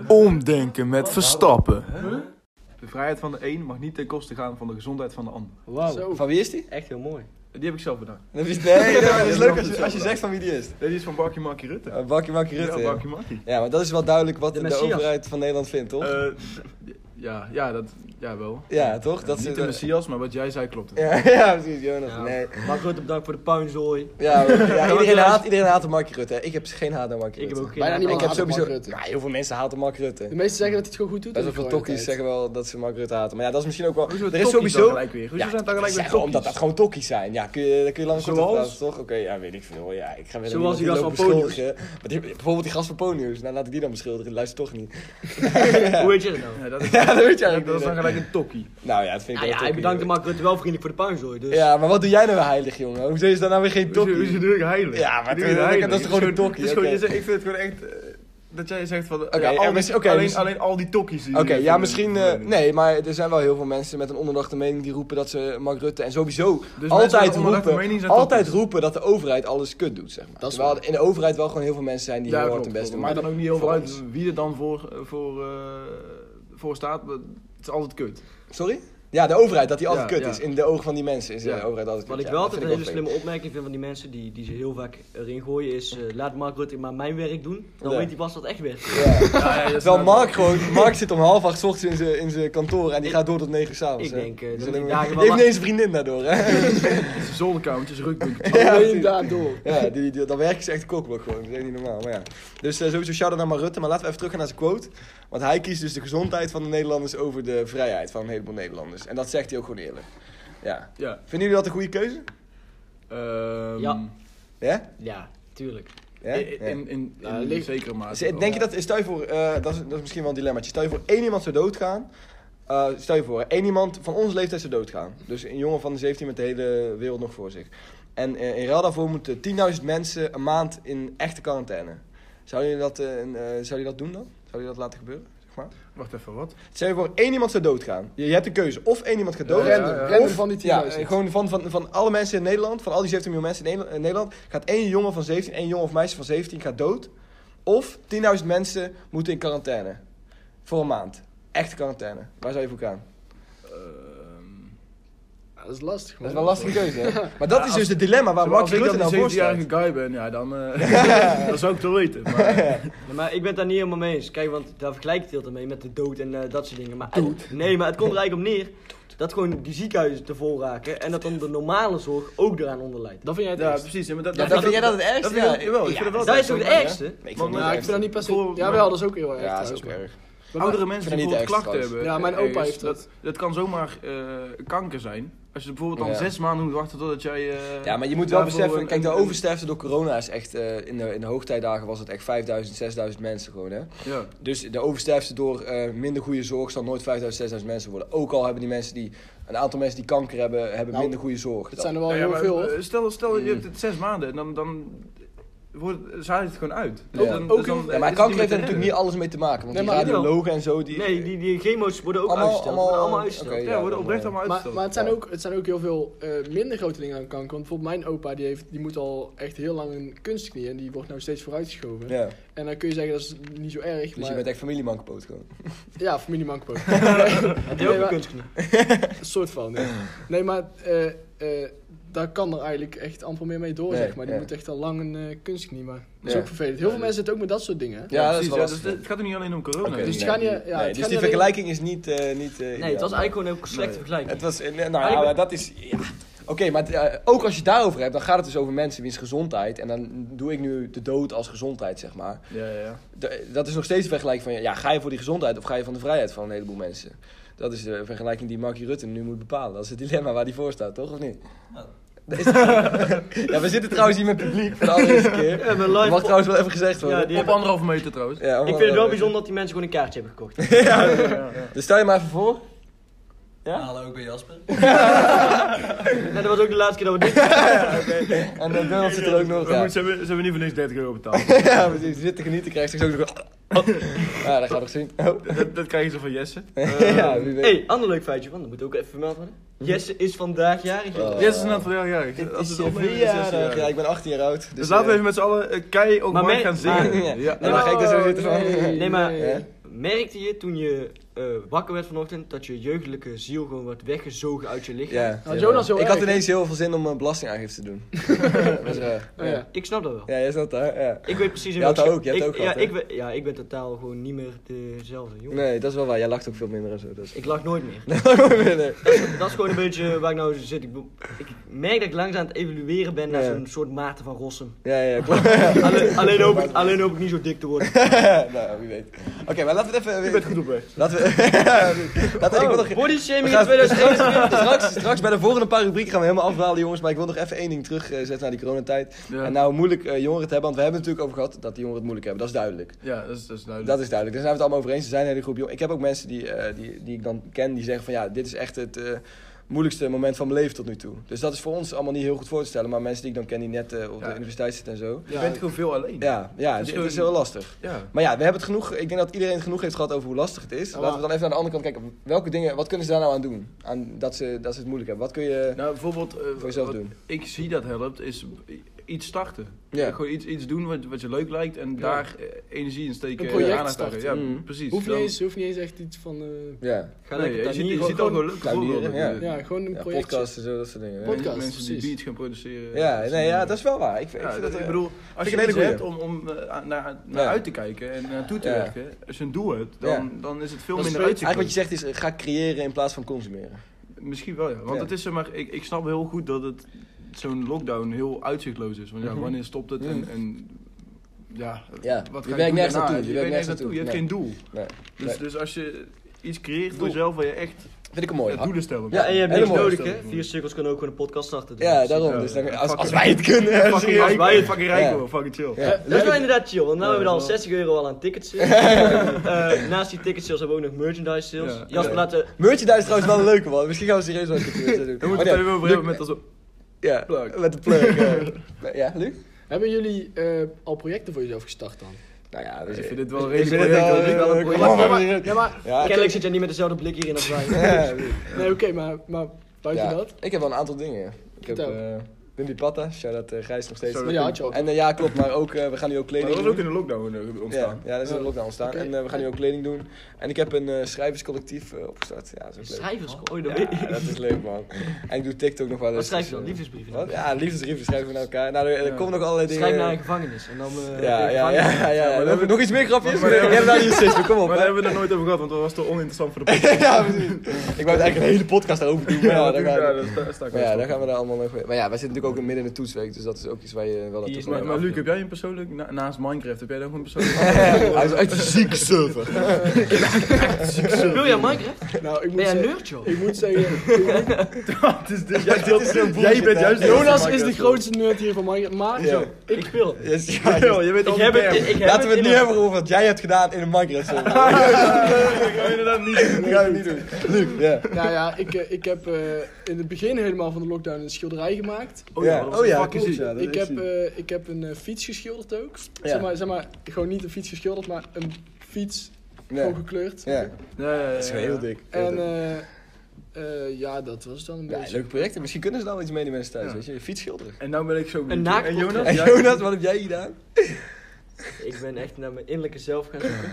[SPEAKER 1] Omdenken
[SPEAKER 2] Oh,
[SPEAKER 1] met Verstappen.
[SPEAKER 4] De vrijheid van de een mag niet ten koste gaan van de gezondheid van de ander.
[SPEAKER 3] Wauw,
[SPEAKER 5] Zo.
[SPEAKER 2] Van wie is die?
[SPEAKER 3] echt heel mooi.
[SPEAKER 4] Die heb ik zelf bedacht.
[SPEAKER 2] Nee, nee, maar dat is leuk als je, als je zegt van wie die is.
[SPEAKER 4] Nee, die is van Bakkie Makkie Rutte.
[SPEAKER 2] Eh, Bakkie Bakkie Rutte.
[SPEAKER 4] Ja,
[SPEAKER 2] Ja,
[SPEAKER 4] Bakkie Makkie.
[SPEAKER 2] Ja, maar dat is wel duidelijk wat
[SPEAKER 3] De
[SPEAKER 2] de,
[SPEAKER 3] Messias.
[SPEAKER 2] overheid van Nederland vindt, toch?
[SPEAKER 4] Eh, ja, ja, dat, ja, wel.
[SPEAKER 2] ja, toch? Dat
[SPEAKER 4] niet
[SPEAKER 2] is eh,
[SPEAKER 4] de Messias, maar wat jij zei klopt.
[SPEAKER 2] Ja, ja, precies, Jonas.
[SPEAKER 3] Ja.
[SPEAKER 2] Nee.
[SPEAKER 3] Maar Nou, Rutte, bedankt voor de puinzooi.
[SPEAKER 2] Ja, maar- ja, iedereen,
[SPEAKER 3] Ja,
[SPEAKER 2] haat, iedereen haat de Mark Rutte. hè. Ik heb geen haat aan Mark Rutte.
[SPEAKER 3] Ik heb ook geen...
[SPEAKER 5] Bijna
[SPEAKER 2] Ik
[SPEAKER 5] niemand
[SPEAKER 2] heb
[SPEAKER 5] haat de
[SPEAKER 2] sowieso...
[SPEAKER 5] Mark Rutte.
[SPEAKER 2] Ja, heel veel mensen haten Mark Rutte.
[SPEAKER 5] De meesten zeggen dat hij het gewoon goed doet.
[SPEAKER 2] Best wel
[SPEAKER 5] in de
[SPEAKER 2] veel tokkies
[SPEAKER 5] coronatijd.
[SPEAKER 2] zeggen wel dat ze Mark Rutte haten. Maar ja, dat is misschien ook wel...
[SPEAKER 4] Hoezo
[SPEAKER 2] Er
[SPEAKER 4] tokkies
[SPEAKER 2] is
[SPEAKER 4] dan
[SPEAKER 2] sowieso...
[SPEAKER 4] gelijk weer? Hoezo
[SPEAKER 2] Ja,
[SPEAKER 4] zijn het dan gelijk weer
[SPEAKER 2] zeggen omdat dat
[SPEAKER 4] tokkies?
[SPEAKER 2] gewoon tokkies zijn. Ja, kun je, daar kun je lang
[SPEAKER 3] Zoals?
[SPEAKER 2] over toch? Oké, ja, weet ik veel. Ja, ik ga weer
[SPEAKER 3] Zoals die
[SPEAKER 2] iemand
[SPEAKER 3] gast
[SPEAKER 2] lopen
[SPEAKER 3] van Ponius.
[SPEAKER 2] beschuldigen. Maar die- Bijvoorbeeld die gast van Ponius. Nou, laat ik die dan beschuldigen. Luister toch niet.
[SPEAKER 3] Hoe weet je dat nou?
[SPEAKER 4] Ja, dat is,
[SPEAKER 2] Ja, dat weet jij
[SPEAKER 4] dat is dan
[SPEAKER 2] niet.
[SPEAKER 4] gelijk een tokkie.
[SPEAKER 2] Nou ja, dat vind ik wel
[SPEAKER 3] Nou ja, ik
[SPEAKER 2] tokkie,
[SPEAKER 3] bedank de
[SPEAKER 2] hoor.
[SPEAKER 3] Mark Rutte wel vriendelijk voor de puinzooi, dus...
[SPEAKER 2] Ja, maar wat doe jij nou weer heilig, jongen? Hoezo is dat nou weer geen
[SPEAKER 4] Tokkie.
[SPEAKER 2] tokkie?
[SPEAKER 4] natuurlijk heilig.
[SPEAKER 2] Ja, maar
[SPEAKER 4] Doe
[SPEAKER 2] dat-
[SPEAKER 4] je heilig.
[SPEAKER 2] dat is gewoon een tokkie,
[SPEAKER 4] Het is gewoon-
[SPEAKER 2] oké.
[SPEAKER 4] je zegt- Ik vind het gewoon echt... eh, Dat jij zegt van... eh,
[SPEAKER 2] Oké,
[SPEAKER 4] ja, al
[SPEAKER 2] ja,
[SPEAKER 4] die-
[SPEAKER 2] misschien- oké,
[SPEAKER 4] alleen,
[SPEAKER 2] misschien-
[SPEAKER 4] alleen al die tokkies. die
[SPEAKER 2] Oké,
[SPEAKER 4] hier
[SPEAKER 2] ja,
[SPEAKER 4] voor-
[SPEAKER 2] misschien.
[SPEAKER 4] voor-
[SPEAKER 2] eh, nee, maar er zijn wel heel veel mensen met een onderdachte mening die roepen dat ze Mark Rutte en sowieso
[SPEAKER 4] Dus mensen
[SPEAKER 2] altijd,
[SPEAKER 4] met onderdachte mening
[SPEAKER 2] roepen,
[SPEAKER 4] zijn
[SPEAKER 2] altijd
[SPEAKER 4] tokkies.
[SPEAKER 2] roepen dat de overheid alles kut doet, zeg maar.
[SPEAKER 5] Dat is
[SPEAKER 2] Terwijl
[SPEAKER 5] waar.
[SPEAKER 2] in de overheid wel gewoon heel veel mensen zijn die heel hard
[SPEAKER 4] klopt,
[SPEAKER 2] hun best
[SPEAKER 4] klopt.
[SPEAKER 2] doen.
[SPEAKER 4] Maar dan ook niet heel
[SPEAKER 2] voor
[SPEAKER 4] veel
[SPEAKER 2] ons.
[SPEAKER 4] uit wie er dan voor, eh, voor, eh, voor staat. maar Het is altijd kut.
[SPEAKER 2] Sorry? Ja, de overheid, dat die altijd
[SPEAKER 4] Ja,
[SPEAKER 2] kut
[SPEAKER 4] ja.
[SPEAKER 2] is. In de ogen van die mensen is
[SPEAKER 4] Ja.
[SPEAKER 2] de overheid altijd kut.
[SPEAKER 3] Wat ik
[SPEAKER 2] ja,
[SPEAKER 3] wel
[SPEAKER 2] dat
[SPEAKER 3] altijd een
[SPEAKER 2] vind
[SPEAKER 3] hele
[SPEAKER 2] ik wel
[SPEAKER 3] slimme opmerking vind van die mensen die, die ze heel vaak erin gooien is... eh, laat Mark Rutte maar mijn werk doen, dan
[SPEAKER 2] Ja.
[SPEAKER 3] weet hij pas dat het echt werkt.
[SPEAKER 2] fake. Ja. Terwijl
[SPEAKER 4] Wel
[SPEAKER 2] Mark gewoon, Mark zit om half acht 's ochtends in zijn, in zijn kantoor en die gaat door tot negen uur s'avonds.
[SPEAKER 3] Ik denk, eh, dat
[SPEAKER 2] die
[SPEAKER 3] die
[SPEAKER 2] heeft
[SPEAKER 3] dagen wel
[SPEAKER 2] niet
[SPEAKER 3] lang-
[SPEAKER 2] eens een vriendin daardoor, hè?
[SPEAKER 4] Zolderkamertjes, rukbunkertjes.
[SPEAKER 2] Ja,
[SPEAKER 5] Alleen
[SPEAKER 2] precies.
[SPEAKER 5] daardoor.
[SPEAKER 2] Ja, die, die, dan werken ze echt de kokblok gewoon. Dat is echt niet normaal. Maar ja. Dus eh, sowieso shout-out naar Mark Rutte. Maar laten we even teruggaan naar zijn quote. Want hij kiest dus de gezondheid van de Nederlanders over de vrijheid van een heleboel Nederlanders. En dat zegt hij ook gewoon eerlijk. Ja.
[SPEAKER 4] Ja.
[SPEAKER 2] Vinden jullie dat een goede keuze?
[SPEAKER 4] Ehm,
[SPEAKER 3] Ja.
[SPEAKER 2] Ja?
[SPEAKER 3] Ja, tuurlijk.
[SPEAKER 2] Ja?
[SPEAKER 4] In,
[SPEAKER 2] Ja.
[SPEAKER 4] in, in,
[SPEAKER 5] Nou,
[SPEAKER 4] in
[SPEAKER 5] ligt-
[SPEAKER 4] zekere mate.
[SPEAKER 2] Dus, eh, Denk je dat, stel je voor, eh, dat, is, dat is misschien wel een dilemmaatje. Stel je voor één iemand zou doodgaan. Eh, stel je voor, hè, één iemand van onze leeftijd zou doodgaan. Dus een jongen van de 17 met de hele wereld nog voor zich. En eh, in ruil daarvoor moeten 10.000 mensen een maand in echte quarantaine. Zou je dat, eh, een, eh, zou je dat doen dan? Zou je dat laten gebeuren? Zeg maar?
[SPEAKER 4] Wacht even, wat?
[SPEAKER 2] Stel je voor, één iemand zou doodgaan. Je, je hebt een keuze. Of één iemand gaat dood.
[SPEAKER 4] Ja, ja, ja.
[SPEAKER 2] Of-
[SPEAKER 5] Random van die 10.000.
[SPEAKER 2] Ja, eh, gewoon van, van, van alle mensen in Nederland, van al die 17 miljoen mensen in Nederland- in Nederland, gaat één jongen van 17, één jongen of meisje van 17 gaat dood. Of 10.000 mensen moeten in quarantaine. Voor een maand. Echte quarantaine. Waar zou je voor gaan?
[SPEAKER 4] Ehm,
[SPEAKER 5] Ja, dat is lastig,
[SPEAKER 2] Dat
[SPEAKER 5] man.
[SPEAKER 2] is wel een lastige keuze, hè? Maar dat
[SPEAKER 4] Ja,
[SPEAKER 2] is
[SPEAKER 4] als-
[SPEAKER 2] dus het dilemma waar
[SPEAKER 4] zeg maar,
[SPEAKER 2] Mark
[SPEAKER 4] als ik
[SPEAKER 2] Rutte
[SPEAKER 4] dan
[SPEAKER 2] nou voor
[SPEAKER 4] een
[SPEAKER 2] staat.
[SPEAKER 4] 17-jarige guy ben, ja, dan, eh dan zou ik het wel weten. Maar, eh,
[SPEAKER 3] Nee, maar ik ben het daar niet helemaal mee eens. Kijk, want daar vergelijk je het heel te mee met de dood en eh, dat soort dingen. Maar, nee, maar het komt er eigenlijk op neer dat gewoon die ziekenhuizen te vol raken en dat dan de normale zorg ook eraan onder leidt.
[SPEAKER 5] Dat vind jij het
[SPEAKER 4] ja,
[SPEAKER 5] eerst.
[SPEAKER 4] precies. Ja, maar dat,
[SPEAKER 2] Ja, dat vind jij dat het
[SPEAKER 4] dat
[SPEAKER 2] ergste?
[SPEAKER 4] vind ik
[SPEAKER 2] Ja,
[SPEAKER 4] ook- jawel, ik vind het wel
[SPEAKER 3] dat
[SPEAKER 4] het
[SPEAKER 3] is ook de
[SPEAKER 4] ergste, maar-
[SPEAKER 3] ergste.
[SPEAKER 2] Ik vind
[SPEAKER 4] Want- maar
[SPEAKER 2] het
[SPEAKER 5] Ja, ik vind
[SPEAKER 2] ergste.
[SPEAKER 5] dat niet per se...
[SPEAKER 4] Voor-
[SPEAKER 5] Jawel, dat is ook heel erg.
[SPEAKER 2] dus- Ja, dat is
[SPEAKER 5] trouwens,
[SPEAKER 2] ook
[SPEAKER 5] maar-
[SPEAKER 2] erg.
[SPEAKER 5] maar-
[SPEAKER 4] Oudere mensen
[SPEAKER 2] vind
[SPEAKER 4] die
[SPEAKER 2] het niet
[SPEAKER 4] bijvoorbeeld
[SPEAKER 2] erg,
[SPEAKER 4] klachten
[SPEAKER 2] trouwens.
[SPEAKER 4] hebben.
[SPEAKER 5] Ja, mijn
[SPEAKER 4] ergens,
[SPEAKER 5] opa heeft
[SPEAKER 4] dat. Dat kan zomaar eh, kanker zijn. Als je bijvoorbeeld dan
[SPEAKER 2] Ja.
[SPEAKER 4] zes maanden moet wachten totdat jij... eh,
[SPEAKER 2] Ja, maar je moet wel
[SPEAKER 4] daarvoor
[SPEAKER 2] beseffen,
[SPEAKER 4] een-
[SPEAKER 2] kijk, de
[SPEAKER 4] een-
[SPEAKER 2] oversterfte door corona is echt, eh, in, de, in de hoogtijdagen was het echt 5000, 6000 mensen gewoon, hè.
[SPEAKER 4] Ja.
[SPEAKER 2] Dus de oversterfte door eh, minder goede zorg zal nooit 5000, 6000 mensen worden. Ook al hebben die mensen die, een aantal mensen die kanker hebben, hebben
[SPEAKER 5] Nou,
[SPEAKER 2] minder goede zorg.
[SPEAKER 5] Dat
[SPEAKER 2] Dan-
[SPEAKER 5] zijn er wel
[SPEAKER 4] Nou ja,
[SPEAKER 5] Oh, heel
[SPEAKER 4] maar,
[SPEAKER 5] veel, hoor.
[SPEAKER 4] eh, Stel, stel
[SPEAKER 2] Mm.
[SPEAKER 4] je hebt het zes maanden, dan, dan wordt, zaait het gewoon uit.
[SPEAKER 2] Ook-
[SPEAKER 4] dan,
[SPEAKER 5] ook
[SPEAKER 4] dan-
[SPEAKER 5] in-
[SPEAKER 2] ja, maar
[SPEAKER 4] is het
[SPEAKER 2] kanker
[SPEAKER 4] meer
[SPEAKER 2] heeft
[SPEAKER 4] te
[SPEAKER 2] er natuurlijk niet
[SPEAKER 4] redden.
[SPEAKER 2] alles mee te maken. Want
[SPEAKER 5] Nee,
[SPEAKER 2] die
[SPEAKER 5] maar-
[SPEAKER 2] radiologen en zo, die...
[SPEAKER 3] Nee, die, die chemo's worden ook
[SPEAKER 2] Allemaal-
[SPEAKER 3] uitgesteld.
[SPEAKER 2] allemaal-
[SPEAKER 3] Worden allemaal uitgesteld.
[SPEAKER 2] oké.
[SPEAKER 4] Ja, worden
[SPEAKER 2] Ja,
[SPEAKER 4] oprecht
[SPEAKER 2] dan,
[SPEAKER 4] allemaal
[SPEAKER 5] Maar,
[SPEAKER 4] uitgesteld.
[SPEAKER 5] maar het, zijn
[SPEAKER 2] Ja.
[SPEAKER 5] ook, het zijn ook heel veel eh, minder grote dingen aan kanker. Want bijvoorbeeld mijn opa, die, heeft, die moet al echt heel lang een kunstknie. En die wordt nou steeds vooruitgeschoven.
[SPEAKER 2] Ja,
[SPEAKER 5] En dan kun je zeggen, dat is niet zo erg.
[SPEAKER 2] dus
[SPEAKER 5] maar,
[SPEAKER 2] je bent echt familieman kapot gewoon.
[SPEAKER 5] Ja, familiemankpoot.
[SPEAKER 3] Heb je
[SPEAKER 5] Nee,
[SPEAKER 3] ook een
[SPEAKER 5] maar-
[SPEAKER 3] kunstknie?
[SPEAKER 5] Een soort van, nee. Nee, maar eh, eh, daar kan er eigenlijk echt amper meer mee door,
[SPEAKER 2] Nee,
[SPEAKER 5] zeg maar. Die
[SPEAKER 2] ja.
[SPEAKER 5] moet echt al lang een eh, kunstknie, maar dat is
[SPEAKER 2] Ja.
[SPEAKER 5] ook vervelend. Heel veel mensen zitten ook met dat soort dingen, hè.
[SPEAKER 2] Ja, dat is
[SPEAKER 4] precies,
[SPEAKER 2] wel
[SPEAKER 4] dus
[SPEAKER 2] lastig.
[SPEAKER 4] het gaat er niet alleen om corona.
[SPEAKER 2] Oké,
[SPEAKER 5] Dus het
[SPEAKER 4] Nee.
[SPEAKER 5] gaat niet- ja, het
[SPEAKER 2] nee,
[SPEAKER 5] gaat
[SPEAKER 2] dus
[SPEAKER 5] niet
[SPEAKER 2] die
[SPEAKER 5] alleen-
[SPEAKER 2] vergelijking is niet... eh, niet eh,
[SPEAKER 3] Nee,
[SPEAKER 2] ideaal.
[SPEAKER 3] het was eigenlijk gewoon een heel slechte
[SPEAKER 4] Nee.
[SPEAKER 3] vergelijking.
[SPEAKER 2] Het was... eh, nou ja,
[SPEAKER 3] Eigenlijk-
[SPEAKER 2] maar dat is... Ja. Oké, maar het, eh, ook als je het daarover hebt, dan gaat het dus over mensen wiens gezondheid. En dan doe ik nu de dood als gezondheid, zeg maar.
[SPEAKER 4] Ja, ja, ja.
[SPEAKER 2] De- dat is nog steeds de vergelijking van, ja, ga je voor die gezondheid of ga je van de vrijheid van een heleboel mensen? Dat is de vergelijking die Markie Rutte nu moet bepalen. Dat is het dilemma waar hij voor staat, toch? Of niet?
[SPEAKER 3] Oh.
[SPEAKER 2] ja, we zitten trouwens hier met publiek voor de allereerste keer.
[SPEAKER 3] Ja, mijn
[SPEAKER 2] Dat mag
[SPEAKER 3] live
[SPEAKER 2] trouwens wel even gezegd worden.
[SPEAKER 3] Ja, die
[SPEAKER 4] Op
[SPEAKER 3] hebben-
[SPEAKER 4] anderhalve meter trouwens.
[SPEAKER 2] Ja,
[SPEAKER 3] Ik vind het wel bijzonder dat die mensen gewoon een kaartje hebben gekocht.
[SPEAKER 2] Dus stel je maar even voor.
[SPEAKER 6] Hallo, ik ben Jasper.
[SPEAKER 3] En dat was ook de laatste keer dat we dit deden.
[SPEAKER 2] En eh, Donald zit er ook nog.
[SPEAKER 4] We
[SPEAKER 2] Ja,
[SPEAKER 4] moeten- Ze hebben, ze hebben niet voor niks 30 euro betaald.
[SPEAKER 2] ja precies. Die zit te genieten, krijgt straks ook nog.
[SPEAKER 3] Oh.
[SPEAKER 2] Ja, dat gaat nog zien. Oh.
[SPEAKER 4] dat, dat krijgen ze van Jesse.
[SPEAKER 3] Eh,
[SPEAKER 2] Ja, wie weet.
[SPEAKER 3] Hé, ander leuk feitje, want dat moet ook even vermeld worden. Jesse is vandaag jarig. jongen.
[SPEAKER 4] Jesse is net vandaag jarig.
[SPEAKER 2] Het
[SPEAKER 4] Als
[SPEAKER 2] is
[SPEAKER 4] het
[SPEAKER 2] je
[SPEAKER 4] opnemen is Jesse
[SPEAKER 2] verjaardag.
[SPEAKER 4] jarig.
[SPEAKER 2] Ja, ik ben 18 jaar oud. Dus,
[SPEAKER 4] Dus laten we even met z'n allen eh, kei ook
[SPEAKER 3] Maar
[SPEAKER 4] mooi
[SPEAKER 3] me-
[SPEAKER 4] gaan zingen.
[SPEAKER 2] Ja.
[SPEAKER 4] Ja.
[SPEAKER 2] En dan ga ik daar zo zitten van.
[SPEAKER 3] Nee, maar
[SPEAKER 2] Ja.
[SPEAKER 3] merkte je toen je eh, wakker werd vanochtend dat je jeugdelijke ziel gewoon werd weggezogen uit je lichaam?
[SPEAKER 2] Ja.
[SPEAKER 5] Nou, Jonas heel
[SPEAKER 2] ik had
[SPEAKER 5] erg,
[SPEAKER 2] ineens heel veel zin om een belastingaangifte te doen. Dat is raar.
[SPEAKER 5] Oh, ja.
[SPEAKER 3] Ik snap dat wel.
[SPEAKER 2] Ja, jij snapt dat, hè? ja.
[SPEAKER 3] Ik weet precies in
[SPEAKER 2] Je had
[SPEAKER 3] welke-
[SPEAKER 2] dat ook, je had
[SPEAKER 3] ik,
[SPEAKER 2] ook
[SPEAKER 3] ja,
[SPEAKER 2] gehad, hè?
[SPEAKER 3] ik, ben- ja, ik ben totaal gewoon niet meer dezelfde jongen.
[SPEAKER 2] Nee, dat is wel waar. Jij lacht ook veel minder en zo. dus- Dat is...
[SPEAKER 3] Ik lach nooit meer.
[SPEAKER 2] Nee.
[SPEAKER 3] Dat is gewoon een beetje waar ik nou zit. Ik, bedoel, ik merk dat ik langzaam aan het evolueren ben naar
[SPEAKER 2] Ja.
[SPEAKER 3] zo'n soort mate van rossum.
[SPEAKER 2] Ja, ja, klopt. Ja,
[SPEAKER 3] Alleen, alleen, hoop ik, alleen hoop ik niet zo dik te worden.
[SPEAKER 2] nou, wie weet. Oké, maar laten we het even...
[SPEAKER 4] Je bent goed op weg.
[SPEAKER 2] Laten we... laten we... Ik wil nog...
[SPEAKER 3] Oh, Body shaming
[SPEAKER 2] We
[SPEAKER 3] in
[SPEAKER 2] gaan-
[SPEAKER 3] 2021.
[SPEAKER 2] straks, straks bij de volgende paar rubrieken gaan we helemaal afdwalen, jongens. Maar ik wil nog even één ding terugzetten naar die coronatijd.
[SPEAKER 4] Ja.
[SPEAKER 2] En nou, hoe moeilijk eh, jongeren het hebben. Want we hebben het natuurlijk over gehad dat die jongeren het moeilijk hebben. Dat is duidelijk.
[SPEAKER 4] Ja, dat is, dat is duidelijk.
[SPEAKER 2] Dat is duidelijk. Daar zijn we het allemaal over eens. Er zijn een hele groep jongeren. Ik heb ook mensen die, eh, die, die ik dan ken die zeggen van ja, dit is echt het eh, moeilijkste moment van mijn leven tot nu toe. Dus dat is voor ons allemaal niet heel goed voor te stellen. Maar mensen die ik dan ken die net eh, op
[SPEAKER 4] Ja.
[SPEAKER 2] de universiteit zitten en zo.
[SPEAKER 4] Je bent gewoon veel alleen.
[SPEAKER 2] Ja, ja
[SPEAKER 4] is
[SPEAKER 2] dit
[SPEAKER 4] gewoon-
[SPEAKER 2] is heel lastig.
[SPEAKER 4] Ja.
[SPEAKER 2] Maar ja, we hebben het genoeg. Ik denk dat iedereen het genoeg heeft gehad over hoe lastig het is. Laten we dan even naar de andere kant kijken. Welke dingen, wat kunnen ze daar nou aan doen? Aan dat, ze, dat ze het moeilijk hebben. Wat kun je
[SPEAKER 4] Nou, bijvoorbeeld, eh,
[SPEAKER 2] voor jezelf
[SPEAKER 4] wat
[SPEAKER 2] doen?
[SPEAKER 4] ik zie dat helpt, is iets starten.
[SPEAKER 2] Ja.
[SPEAKER 4] Gewoon iets, iets doen wat, wat je leuk lijkt en daar eh, energie in steken.
[SPEAKER 5] Een project
[SPEAKER 4] en aandacht aan- Ja,
[SPEAKER 5] starten.
[SPEAKER 2] Mm.
[SPEAKER 4] precies.
[SPEAKER 5] Hoeft niet,
[SPEAKER 4] Dan-
[SPEAKER 5] eens, hoeft niet eens echt iets van... eh,
[SPEAKER 2] Ja,
[SPEAKER 3] Ga
[SPEAKER 4] Nee,
[SPEAKER 3] lekker
[SPEAKER 4] je ziet,
[SPEAKER 3] tuinieren.
[SPEAKER 4] je ziet al gewoon leuke
[SPEAKER 2] tuinieren,
[SPEAKER 4] voorbeelden.
[SPEAKER 2] ja.
[SPEAKER 4] Mensen-
[SPEAKER 5] ja, gewoon een
[SPEAKER 2] ja
[SPEAKER 5] project.
[SPEAKER 2] podcasts en zo, dat soort dingen.
[SPEAKER 5] Podcast,
[SPEAKER 4] mensen die
[SPEAKER 5] precies.
[SPEAKER 4] beats gaan produceren.
[SPEAKER 2] Ja,
[SPEAKER 4] Dat
[SPEAKER 2] nee,
[SPEAKER 4] soort
[SPEAKER 2] ja,
[SPEAKER 4] dingen.
[SPEAKER 2] dat is wel waar. Ik, vind- ik
[SPEAKER 4] Ja,
[SPEAKER 2] vind
[SPEAKER 4] dat,
[SPEAKER 2] dat,
[SPEAKER 4] ik
[SPEAKER 2] eh,
[SPEAKER 4] bedoel, als
[SPEAKER 2] ik
[SPEAKER 4] je
[SPEAKER 2] een
[SPEAKER 4] iets
[SPEAKER 2] hele
[SPEAKER 4] hebt om,
[SPEAKER 2] goeie.
[SPEAKER 4] om eh, aan- naar, naar
[SPEAKER 2] Ja.
[SPEAKER 4] uit te kijken en naartoe te
[SPEAKER 2] Ja.
[SPEAKER 4] werken, als je een doel hebt, dan,
[SPEAKER 2] Ja.
[SPEAKER 4] dan is het veel
[SPEAKER 5] Dat is
[SPEAKER 4] minder uit te
[SPEAKER 2] Eigenlijk wat je
[SPEAKER 4] komen.
[SPEAKER 2] zegt is, eh, ga creëren in plaats van consumeren.
[SPEAKER 4] Misschien wel, ja. Want
[SPEAKER 2] Ja.
[SPEAKER 4] het is zeg maar, ik, ik snap heel goed dat het zo'n lockdown heel uitzichtloos is. Want ja,
[SPEAKER 2] Mhm.
[SPEAKER 4] wanneer stopt het en,
[SPEAKER 2] Mhm.
[SPEAKER 4] en ja,
[SPEAKER 2] werkt
[SPEAKER 4] wat
[SPEAKER 2] nergens
[SPEAKER 4] ga je
[SPEAKER 2] naartoe, je
[SPEAKER 4] doen daarna?
[SPEAKER 2] werkt nergens
[SPEAKER 4] Je werkt nergens naartoe, je hebt geen
[SPEAKER 2] naartoe,
[SPEAKER 4] doel.
[SPEAKER 2] Nee.
[SPEAKER 4] Dus,
[SPEAKER 2] Nee.
[SPEAKER 4] dus als je iets creëert voor
[SPEAKER 2] Doel.
[SPEAKER 4] jezelf waar je echt
[SPEAKER 2] Vind ik hem mooi.
[SPEAKER 4] eh, doelen stelt.
[SPEAKER 2] Ja,
[SPEAKER 3] En je hebt niks
[SPEAKER 2] Hele mooie
[SPEAKER 3] nodig, hè?
[SPEAKER 4] stellen.
[SPEAKER 3] Vier cirkels kunnen ook gewoon een podcast starten. dus
[SPEAKER 2] Ja,
[SPEAKER 3] dat is-
[SPEAKER 2] daarom.
[SPEAKER 4] Ja,
[SPEAKER 2] Dus dan,
[SPEAKER 4] ja,
[SPEAKER 2] als, als
[SPEAKER 4] fucking-
[SPEAKER 2] wij het kunnen. hè,
[SPEAKER 4] fucking
[SPEAKER 2] serieus.
[SPEAKER 4] rijk, wij het fucking rijk
[SPEAKER 2] Ja.
[SPEAKER 4] worden, fucking chill.
[SPEAKER 2] Ja.
[SPEAKER 3] Dat is wel inderdaad chill, want nu hebben we er al
[SPEAKER 4] wel.
[SPEAKER 3] 60 euro al aan tickets. Eh, naast die ticket sales hebben we ook nog merchandise sales. eh,
[SPEAKER 4] Ja.
[SPEAKER 3] Jasper,
[SPEAKER 2] Ja.
[SPEAKER 3] laten
[SPEAKER 2] Merchandise is trouwens wel een leuke man. Misschien gaan we serieus wat cultuur doen.
[SPEAKER 4] Daar moeten we
[SPEAKER 2] Maar
[SPEAKER 4] het even over
[SPEAKER 2] Luc-
[SPEAKER 4] hebben met als
[SPEAKER 2] Ja,
[SPEAKER 4] plug.
[SPEAKER 2] met de plug. ja. Ja, Luc?
[SPEAKER 5] Hebben jullie eh, al projecten voor jezelf gestart dan?
[SPEAKER 2] Nou ja,
[SPEAKER 4] Ik
[SPEAKER 2] dus
[SPEAKER 4] vind dit wel
[SPEAKER 2] Ik
[SPEAKER 4] redelijk
[SPEAKER 2] vind het wel,
[SPEAKER 4] project, hoor.
[SPEAKER 2] eh,
[SPEAKER 4] Dit is
[SPEAKER 2] kom
[SPEAKER 4] wel
[SPEAKER 2] op,
[SPEAKER 4] een project.
[SPEAKER 2] man.
[SPEAKER 5] Ja, maar...
[SPEAKER 2] Ja, ik-
[SPEAKER 3] Kennelijk zit jij niet met dezelfde blik hierin als wij.
[SPEAKER 2] ja,
[SPEAKER 5] Nee, oké, maar, maar buiten
[SPEAKER 2] ja.
[SPEAKER 5] dat?
[SPEAKER 2] Ik heb wel een aantal dingen. Ik heb
[SPEAKER 5] Vertel.
[SPEAKER 2] eh, Wimby Patta, shout-out eh, Gijs nog steeds.
[SPEAKER 4] Shout-out.
[SPEAKER 5] Maar ja, had je al.
[SPEAKER 2] En eh, ja, klopt, maar ook, eh, we gaan nu ook
[SPEAKER 4] Maar
[SPEAKER 2] kleding
[SPEAKER 4] dat was
[SPEAKER 2] doen.
[SPEAKER 4] ook in de lockdown eh,
[SPEAKER 2] Ja,
[SPEAKER 4] ontstaan.
[SPEAKER 2] ja, dat is een
[SPEAKER 5] Ja.
[SPEAKER 2] lockdown ontstaan.
[SPEAKER 5] Oké.
[SPEAKER 2] En eh, we gaan nu ook kleding doen. En ik heb een eh, schrijverscollectief eh, opgestart. Ja, dat is ook leuk.
[SPEAKER 3] Schrijvers, oh, dat weet
[SPEAKER 2] Ja,
[SPEAKER 3] ik.
[SPEAKER 2] dat is leuk, man. En ik doe TikTok nog wel eens.
[SPEAKER 3] Wat schrijf je dan?
[SPEAKER 2] dus, eh,
[SPEAKER 3] Liefdesbrieven?
[SPEAKER 2] Wat? Ja, liefdesbrieven schrijven we naar elkaar. Nou, er, er
[SPEAKER 4] Ja.
[SPEAKER 2] komen nog allerlei dingen.
[SPEAKER 3] Schrijf naar een gevangenis en dan... eh,
[SPEAKER 2] ja, ja, ja, ja, ja.
[SPEAKER 4] maar
[SPEAKER 2] Nog-
[SPEAKER 4] dat-
[SPEAKER 2] Nog iets meer grapjes?
[SPEAKER 4] Maar- maar-
[SPEAKER 2] ik heb daar niet zitten, kom op.
[SPEAKER 4] Maar daar
[SPEAKER 2] hè.
[SPEAKER 4] hebben we het er nooit over gehad, want dat was te oninteressant voor de podcast.
[SPEAKER 2] ja, precies. Ik wou het eigenlijk een hele podcast daarover doen. Maar ja,
[SPEAKER 4] Ja,
[SPEAKER 2] daar
[SPEAKER 4] dat-
[SPEAKER 2] gaan
[SPEAKER 4] ja,
[SPEAKER 2] we.
[SPEAKER 4] dat sta- sta
[SPEAKER 2] Maar
[SPEAKER 4] ik wel
[SPEAKER 2] ja,
[SPEAKER 4] voor.
[SPEAKER 2] daar gaan we daar allemaal nog weer. Maar ja, wij zitten natuurlijk ook in midden in de toetsweek, dus dat is ook iets waar je wel aan
[SPEAKER 3] Die
[SPEAKER 2] toe
[SPEAKER 3] is
[SPEAKER 4] Maar, maar Luc, heb jij een persoonlijk, na- naast Minecraft, heb jij dan gewoon een persoonlijk...
[SPEAKER 2] Hij is uit de zieke server.
[SPEAKER 3] Wil jij Minecraft?
[SPEAKER 5] Nou, ik moet
[SPEAKER 3] Ben jij een
[SPEAKER 5] zeggen...
[SPEAKER 3] nerd, joh?
[SPEAKER 5] Ik moet zeggen,
[SPEAKER 4] Het is dit,
[SPEAKER 2] Ja, dit is zo'n bullshit,
[SPEAKER 4] jij bent
[SPEAKER 2] hè.
[SPEAKER 4] juist
[SPEAKER 5] Jonas is de grootste nerd hier van Minecraft. Maar
[SPEAKER 2] Ja.
[SPEAKER 5] zo,
[SPEAKER 3] Ik wil. het.
[SPEAKER 2] Yes, ja, yes.
[SPEAKER 4] Ja, je weet
[SPEAKER 3] Ik
[SPEAKER 4] al
[SPEAKER 3] heb
[SPEAKER 4] die
[SPEAKER 3] het,
[SPEAKER 4] termen.
[SPEAKER 3] ik heb
[SPEAKER 2] Laten we het
[SPEAKER 3] in
[SPEAKER 2] nu
[SPEAKER 3] een-
[SPEAKER 2] hebben over wat jij hebt gedaan in een Minecraft server. Dat
[SPEAKER 4] Ik ga inderdaad niet.
[SPEAKER 2] gaan we niet doen. Luc, ja.
[SPEAKER 5] nou ja, ik, eh, ik heb eh, in het begin helemaal van de lockdown een schilderij gemaakt.
[SPEAKER 4] Oh ja, dat was een fucking
[SPEAKER 2] klopt,
[SPEAKER 4] ziek.
[SPEAKER 2] ja, dat
[SPEAKER 5] Ik
[SPEAKER 2] is
[SPEAKER 5] heb,
[SPEAKER 2] ziek.
[SPEAKER 5] eh, ik heb een eh, fiets geschilderd ook. Zeg, maar, zeg maar, gewoon niet een fiets geschilderd, maar een fiets
[SPEAKER 2] Ja.
[SPEAKER 5] gewoon gekleurd.
[SPEAKER 2] Ja,
[SPEAKER 4] Ja, ja, ja,
[SPEAKER 2] dat is gewoon heel dik.
[SPEAKER 5] En eh, eh, ja, dat was het dan een
[SPEAKER 2] ja,
[SPEAKER 3] dus-
[SPEAKER 5] beetje.
[SPEAKER 2] leuke projecten. Misschien kunnen ze dan wel iets mee die mensen thuis,
[SPEAKER 4] Ja.
[SPEAKER 2] weet je. Je fiets schilderen.
[SPEAKER 4] En nou ben ik zo benieuwd.
[SPEAKER 3] naakt
[SPEAKER 4] En Jonas?
[SPEAKER 2] En
[SPEAKER 4] jij-
[SPEAKER 2] Jonas, wat heb jij gedaan?
[SPEAKER 3] Ik ben echt naar mijn innerlijke zelf gaan zoeken.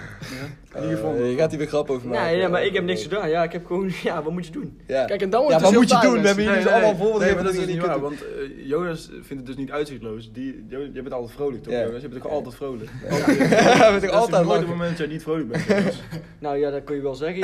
[SPEAKER 2] Eh, je gaat hier weer grap over maken.
[SPEAKER 3] Nee, nee, maar ik heb niks gedaan. Ja, ik heb gewoon, ja, wat moet je doen?
[SPEAKER 2] Ja.
[SPEAKER 5] Kijk, en dan wordt
[SPEAKER 2] Ja,
[SPEAKER 5] het
[SPEAKER 2] wat
[SPEAKER 5] dus
[SPEAKER 2] moet je
[SPEAKER 5] heel
[SPEAKER 2] doen?
[SPEAKER 5] taai,
[SPEAKER 2] We hebben
[SPEAKER 5] mensen.
[SPEAKER 2] jullie dus allemaal voorbeelden
[SPEAKER 4] nee,
[SPEAKER 2] gegeven
[SPEAKER 4] maar dat
[SPEAKER 2] jullie
[SPEAKER 4] is niet waar,
[SPEAKER 2] kunnen
[SPEAKER 4] want eh, Jonas vindt het dus niet uitzichtloos. Die, Jo- je bent altijd vrolijk, toch?
[SPEAKER 2] Ja.
[SPEAKER 4] Jonas? Je bent toch altijd vrolijk?
[SPEAKER 2] doen. Ja, we
[SPEAKER 4] Er
[SPEAKER 2] zijn
[SPEAKER 4] is
[SPEAKER 2] altijd
[SPEAKER 4] nooit een
[SPEAKER 2] lachen.
[SPEAKER 4] moment dat je niet vrolijk bent. Jonas.
[SPEAKER 3] Nou ja, dat kun je wel zeggen.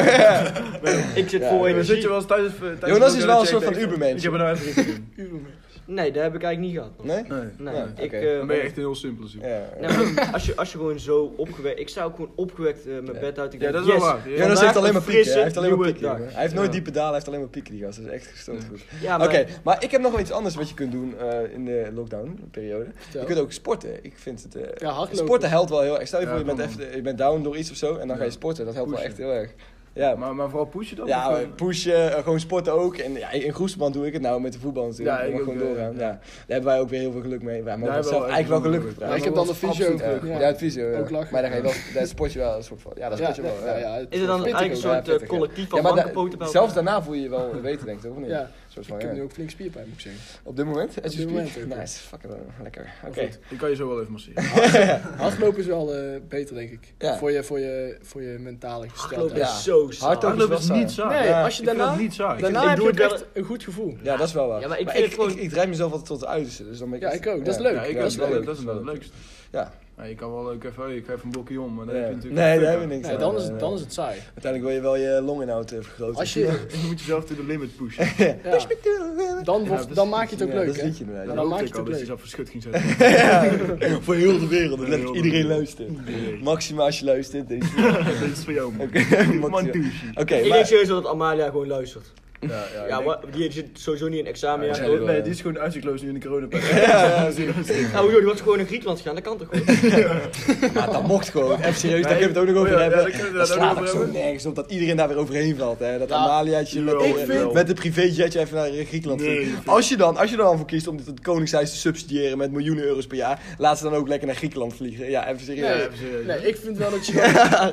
[SPEAKER 3] Ik zit
[SPEAKER 2] Ja,
[SPEAKER 3] vol
[SPEAKER 4] Dan
[SPEAKER 3] energie.
[SPEAKER 4] zit je wel eens thuis... eh, thuis
[SPEAKER 2] Jonas is
[SPEAKER 4] en
[SPEAKER 2] wel een
[SPEAKER 4] checkt
[SPEAKER 2] soort van
[SPEAKER 4] echt,
[SPEAKER 2] Ubermensch.
[SPEAKER 4] Ik heb er nou even iets in.
[SPEAKER 3] Nee, dat heb ik eigenlijk niet gehad. man.
[SPEAKER 2] Nee?
[SPEAKER 4] Nee.
[SPEAKER 3] Nee,
[SPEAKER 2] Ja,
[SPEAKER 3] ik,
[SPEAKER 2] oké.
[SPEAKER 3] eh,
[SPEAKER 4] Dan ben je echt een heel simpele zoek.
[SPEAKER 2] Ja.
[SPEAKER 3] Nee, maar als, je, als je gewoon zo opgewekt... Ik sta ook gewoon opgewekt eh, mijn bed uit. Ik
[SPEAKER 4] Ja,
[SPEAKER 3] denk,
[SPEAKER 4] dat is wel
[SPEAKER 3] yes.
[SPEAKER 4] waar. Ja.
[SPEAKER 2] Jonas
[SPEAKER 3] Vandaag
[SPEAKER 2] heeft alleen maar pieken.
[SPEAKER 3] een
[SPEAKER 2] hè? Hij
[SPEAKER 3] frisse,
[SPEAKER 2] heeft alleen maar
[SPEAKER 3] nieuwe
[SPEAKER 2] pieken. jongen.
[SPEAKER 3] dag.
[SPEAKER 2] Hij heeft nooit
[SPEAKER 4] Ja.
[SPEAKER 2] diepe dalen, hij heeft alleen maar pieken die gast. Dat is echt gestoord goed.
[SPEAKER 3] Ja,
[SPEAKER 2] Oké,
[SPEAKER 3] maar
[SPEAKER 2] maar ik heb nog wel iets anders wat je kunt doen eh, in de lockdown-periode. Je kunt ook sporten. Ik vind het. eh,
[SPEAKER 5] Ja, hardlopen.
[SPEAKER 2] sporten helpt wel heel erg. Stel je
[SPEAKER 4] Ja,
[SPEAKER 2] voor, je bent,
[SPEAKER 4] kan
[SPEAKER 2] even, je bent down door iets of zo en dan ga je sporten. Dat helpt
[SPEAKER 4] Pushen.
[SPEAKER 2] wel echt heel erg. Ja,
[SPEAKER 4] Maar, maar vooral pushen dan?
[SPEAKER 2] ja
[SPEAKER 4] Of, eh,
[SPEAKER 2] pushen, eh, gewoon sporten ook. En ja, in Groesman doe ik het nou met de voetbal natuurlijk.
[SPEAKER 4] Ja,
[SPEAKER 2] Ja,
[SPEAKER 4] ik ook,
[SPEAKER 2] gewoon
[SPEAKER 4] eh,
[SPEAKER 2] doorgaan.
[SPEAKER 4] ja.
[SPEAKER 2] Ja. Daar hebben wij ook weer heel veel geluk mee. Wij mogen
[SPEAKER 4] Daar
[SPEAKER 2] het
[SPEAKER 4] hebben
[SPEAKER 2] zelf
[SPEAKER 4] we
[SPEAKER 2] eigenlijk wel
[SPEAKER 4] echt
[SPEAKER 2] geluk
[SPEAKER 4] geluk.
[SPEAKER 5] Maar ik
[SPEAKER 2] gebruiken.
[SPEAKER 5] heb dan de fysio.
[SPEAKER 4] absoluut,
[SPEAKER 2] Ja,
[SPEAKER 5] Ja.
[SPEAKER 2] ja, het visio.
[SPEAKER 5] Ook lachen.
[SPEAKER 2] Maar dan ga je wel, daar sport je wel een soort van. Ja, dat sport je wel. ja.
[SPEAKER 5] ja, het
[SPEAKER 3] is het dan
[SPEAKER 5] pittig
[SPEAKER 3] eigenlijk een
[SPEAKER 5] ook.
[SPEAKER 2] ja,
[SPEAKER 3] soort eh,
[SPEAKER 2] pittig, ja.
[SPEAKER 3] collectief
[SPEAKER 2] Ja,
[SPEAKER 3] van
[SPEAKER 2] maar da-
[SPEAKER 3] bankenpoten bij
[SPEAKER 2] zelfs
[SPEAKER 3] elkaar?
[SPEAKER 2] daarna voel je je wel beter, denk ik, toch? Of niet?
[SPEAKER 5] Ja,
[SPEAKER 2] Soort van,
[SPEAKER 5] ik heb
[SPEAKER 2] ja.
[SPEAKER 5] nu ook flink spierpijn, moet ik zeggen.
[SPEAKER 2] Op dit moment? As
[SPEAKER 5] Op
[SPEAKER 2] you
[SPEAKER 5] dit
[SPEAKER 2] speak?
[SPEAKER 5] moment ook, ja.
[SPEAKER 2] Nice, fucking eh, lekker. Oké.
[SPEAKER 4] Ik kan je zo wel even masseren.
[SPEAKER 5] Hardlopen is wel eh, beter, denk ik.
[SPEAKER 2] Ja.
[SPEAKER 5] Voor, je, voor, je, voor je mentale
[SPEAKER 3] Hardlopen
[SPEAKER 5] gesteldheid.
[SPEAKER 2] Ja.
[SPEAKER 3] is zo saai.
[SPEAKER 2] Hardlopen-
[SPEAKER 4] Hardlopen is niet saai.
[SPEAKER 5] Nee,
[SPEAKER 2] Ja,
[SPEAKER 5] als je
[SPEAKER 4] Ik vind
[SPEAKER 5] daarna...
[SPEAKER 4] dat niet saai.
[SPEAKER 5] Daarna
[SPEAKER 3] Ik
[SPEAKER 5] heb
[SPEAKER 3] doe
[SPEAKER 5] je ook
[SPEAKER 3] het wel-
[SPEAKER 5] echt een goed gevoel.
[SPEAKER 2] Ja, dat is wel waar.
[SPEAKER 3] Ja, maar ik
[SPEAKER 2] Maar
[SPEAKER 3] vind
[SPEAKER 2] ik,
[SPEAKER 3] het gewoon-
[SPEAKER 2] ik, ik drijf mezelf altijd tot de uiterste, dus dan ben ik
[SPEAKER 5] Ja,
[SPEAKER 2] echt-
[SPEAKER 5] ik ook. Dat is leuk.
[SPEAKER 4] Ja, ik
[SPEAKER 2] dat is
[SPEAKER 4] dat,
[SPEAKER 2] leuk.
[SPEAKER 4] dat is wel het leukste.
[SPEAKER 2] Ja.
[SPEAKER 4] Ja, je kan wel leuk even, hey, ik ga even een blokje om, maar dan
[SPEAKER 2] Ja.
[SPEAKER 4] heb je natuurlijk...
[SPEAKER 2] Nee, daar hebben we niks
[SPEAKER 5] Nee,
[SPEAKER 2] aan.
[SPEAKER 5] dan, is
[SPEAKER 2] Nee,
[SPEAKER 5] het,
[SPEAKER 2] nee.
[SPEAKER 5] dan is het saai.
[SPEAKER 2] Uiteindelijk wil je wel je longinhoud eh, vergroten.
[SPEAKER 5] Als je,
[SPEAKER 4] Je moet jezelf to the limit pushen.
[SPEAKER 5] ja, dan, wordt,
[SPEAKER 4] dat is-
[SPEAKER 5] dan maak je het ook
[SPEAKER 2] Ja,
[SPEAKER 5] leuk,
[SPEAKER 2] Dat is
[SPEAKER 5] hè?
[SPEAKER 2] liedje inderdaad.
[SPEAKER 5] Dan
[SPEAKER 4] Dat
[SPEAKER 5] maak
[SPEAKER 4] hoopte
[SPEAKER 5] je
[SPEAKER 4] ik
[SPEAKER 5] het
[SPEAKER 4] al,
[SPEAKER 5] ook
[SPEAKER 4] dat je
[SPEAKER 5] leuk.
[SPEAKER 4] zelf verschut ging zetten.
[SPEAKER 2] Ja. Voor heel de wereld.
[SPEAKER 4] Voor
[SPEAKER 2] Dat
[SPEAKER 4] heel de
[SPEAKER 2] iedereen
[SPEAKER 4] wereld.
[SPEAKER 2] luistert. Maxima als je luistert. deze-
[SPEAKER 4] Dit is voor jou, man.
[SPEAKER 2] Maxima.
[SPEAKER 4] Man
[SPEAKER 2] Oké,
[SPEAKER 4] douche.
[SPEAKER 3] Ik denk
[SPEAKER 2] maar...
[SPEAKER 3] serieus dat Amalia gewoon luistert.
[SPEAKER 4] Ja,
[SPEAKER 3] Ja, maar die zit sowieso niet in examen.
[SPEAKER 2] Ja,
[SPEAKER 3] Ja,
[SPEAKER 2] die
[SPEAKER 3] gewoon-
[SPEAKER 2] zijn
[SPEAKER 4] Nee, die is gewoon uitzichtloos nu in de coronaperiode.
[SPEAKER 2] Ja, ja,
[SPEAKER 3] Nou, joh, die was gewoon naar Griekenland gegaan, dat kan toch gewoon?
[SPEAKER 2] maar Nou, dat mocht gewoon. Even serieus, daar
[SPEAKER 4] Nee,
[SPEAKER 2] kunnen we het ook nog over
[SPEAKER 4] oh ja, ja, daar
[SPEAKER 2] hebben.
[SPEAKER 4] kunnen we
[SPEAKER 2] dat
[SPEAKER 4] het ook
[SPEAKER 2] slaat ook
[SPEAKER 4] nog
[SPEAKER 2] zo
[SPEAKER 4] over
[SPEAKER 2] nergens op dat iedereen daar weer overheen valt. Hè? Dat Amaliaatje met,
[SPEAKER 4] jawel,
[SPEAKER 2] de-
[SPEAKER 4] jawel.
[SPEAKER 2] met de privéjetje even naar Griekenland
[SPEAKER 4] Nee,
[SPEAKER 2] vliegt. Als je dan, als je er dan voor kiest om dit het Koningshuis te subsidiëren met miljoenen euro's per jaar, laat ze dan ook lekker naar Griekenland vliegen. Ja, even serieus.
[SPEAKER 5] Nee,
[SPEAKER 4] even serieus.
[SPEAKER 5] nee, ik vind wel dat je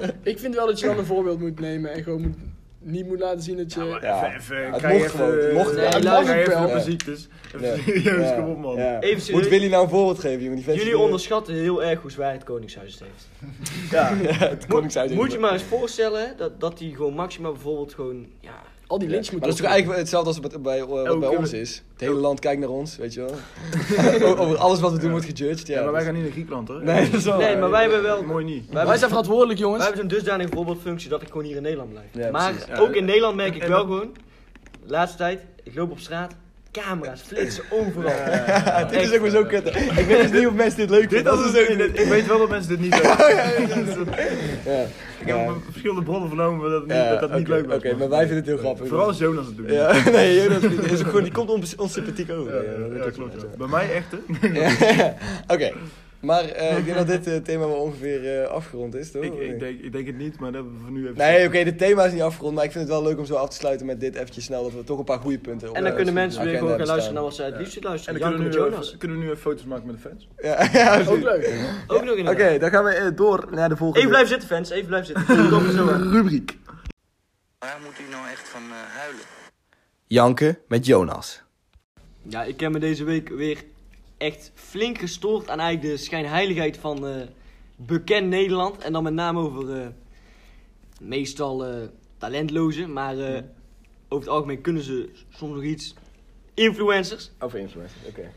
[SPEAKER 5] dan, ik vind wel dat je dan een voorbeeld moet nemen en gewoon moet, niet moet laten zien dat je...
[SPEAKER 2] Ja.
[SPEAKER 4] Even, even,
[SPEAKER 2] Het
[SPEAKER 4] krijg
[SPEAKER 2] mocht
[SPEAKER 4] even-
[SPEAKER 2] gewoon, het mocht
[SPEAKER 4] Nee,
[SPEAKER 5] wel. Het
[SPEAKER 4] krijg
[SPEAKER 5] mag ook
[SPEAKER 4] even
[SPEAKER 5] wel.
[SPEAKER 4] op mijn
[SPEAKER 2] Ja.
[SPEAKER 4] ziektes. Even
[SPEAKER 2] Ja.
[SPEAKER 4] serieus,
[SPEAKER 2] Ja,
[SPEAKER 4] kom op, man.
[SPEAKER 2] ja.
[SPEAKER 3] Even serieus.
[SPEAKER 2] Moet Willy nou een voorbeeld geven, jongen? Die vent
[SPEAKER 3] Jullie
[SPEAKER 2] is, eh,
[SPEAKER 3] onderschatten heel erg hoe zwaar het Koningshuis het heeft.
[SPEAKER 2] Ja, het Koningshuis.
[SPEAKER 3] Moet je maar eens voorstellen dat, dat die gewoon maximaal bijvoorbeeld gewoon, ja...
[SPEAKER 5] Al die lintjes
[SPEAKER 2] Maar
[SPEAKER 5] moeten
[SPEAKER 2] dat is toch eigenlijk hetzelfde als wat bij, eh, wat bij
[SPEAKER 4] Elke-
[SPEAKER 2] ons is. Het hele land kijkt naar ons, weet je wel. O- Over alles wat we doen wordt gejudged. Ja,
[SPEAKER 4] Ja, maar
[SPEAKER 2] dat
[SPEAKER 4] wij gaan niet naar Griekenland, hoor.
[SPEAKER 2] is- Nee, dat is wel
[SPEAKER 3] Nee,
[SPEAKER 2] waar,
[SPEAKER 3] maar
[SPEAKER 2] ja.
[SPEAKER 3] wij hebben wel...
[SPEAKER 4] Mooi niet.
[SPEAKER 3] Wij
[SPEAKER 5] Wij
[SPEAKER 3] hebben,
[SPEAKER 5] zijn verantwoordelijk,
[SPEAKER 3] wij
[SPEAKER 5] jongens.
[SPEAKER 3] hebben zo'n dusdanige voorbeeldfunctie dat ik gewoon hier in Nederland blijf.
[SPEAKER 2] Ja,
[SPEAKER 3] maar
[SPEAKER 2] precies.
[SPEAKER 4] Ja,
[SPEAKER 3] ook in
[SPEAKER 4] en-
[SPEAKER 3] Nederland merk ik
[SPEAKER 4] en-
[SPEAKER 3] wel gewoon, de laatste tijd, ik loop op straat, camera's flitsen overal.
[SPEAKER 2] Dit is ook weer zo kut. hè. Ik weet dus niet of mensen dit leuk vinden.
[SPEAKER 4] Dit als
[SPEAKER 2] Dat
[SPEAKER 3] dus
[SPEAKER 2] is ook
[SPEAKER 4] het, ik weet wel dat mensen dit niet leuk vinden.
[SPEAKER 2] Ja.
[SPEAKER 4] Ik heb op verschillende bronnen vernomen dat het niet,
[SPEAKER 2] Ja,
[SPEAKER 4] dat dat niet
[SPEAKER 2] oké,
[SPEAKER 4] leuk was.
[SPEAKER 2] Oké,
[SPEAKER 4] man.
[SPEAKER 2] maar wij vinden het heel grappig. dus-
[SPEAKER 4] Vooral als Jonas het doet.
[SPEAKER 2] Ja, nee, joh, dat is ook gewoon, die komt ons onsympathiek over.
[SPEAKER 4] Ja,
[SPEAKER 2] Ja, dat
[SPEAKER 4] ja,
[SPEAKER 2] weet ik
[SPEAKER 4] klopt.
[SPEAKER 2] wel.
[SPEAKER 4] ja. Bij mij echt, hè?
[SPEAKER 2] Ja. Oké, maar eh, ik denk dat dit eh, thema wel ongeveer eh, afgerond is, toch?
[SPEAKER 4] Ik, ik, denk, ik denk het niet, maar dat hebben we voor nu even...
[SPEAKER 2] Nee, oké, dit thema is niet afgerond, maar ik vind het wel leuk om zo af te sluiten met dit eventjes snel, dat we toch een paar goede punten op eh,
[SPEAKER 3] En dan kunnen mensen weer
[SPEAKER 2] agenda
[SPEAKER 3] gewoon gaan
[SPEAKER 2] hebben
[SPEAKER 3] luisteren
[SPEAKER 2] staan.
[SPEAKER 3] naar wat ze het liefst
[SPEAKER 4] En
[SPEAKER 3] luisteren.
[SPEAKER 4] dan kunnen
[SPEAKER 3] Janken
[SPEAKER 4] we,
[SPEAKER 3] met
[SPEAKER 4] nu
[SPEAKER 3] Jonas.
[SPEAKER 4] even, kunnen we nu even foto's maken met de fans.
[SPEAKER 2] Ja, ja, precies.
[SPEAKER 5] Ook leuk.
[SPEAKER 3] Ook nog in
[SPEAKER 2] Oké, dan gaan we eh, door naar de volgende
[SPEAKER 3] Even blijven zitten, fans. Even blijven zitten. We komen zo aan.
[SPEAKER 2] rubriek.
[SPEAKER 7] Waar moet u nou echt van eh, huilen?
[SPEAKER 2] Janken met Jonas.
[SPEAKER 3] Ja, ik heb me deze week weer echt flink gestoord aan eigenlijk de schijnheiligheid van eh, bekend Nederland. En dan met name over eh, meestal eh talentlozen, maar eh, over het algemeen kunnen ze soms nog iets. Influencers.
[SPEAKER 2] Over influencer, oké.
[SPEAKER 3] En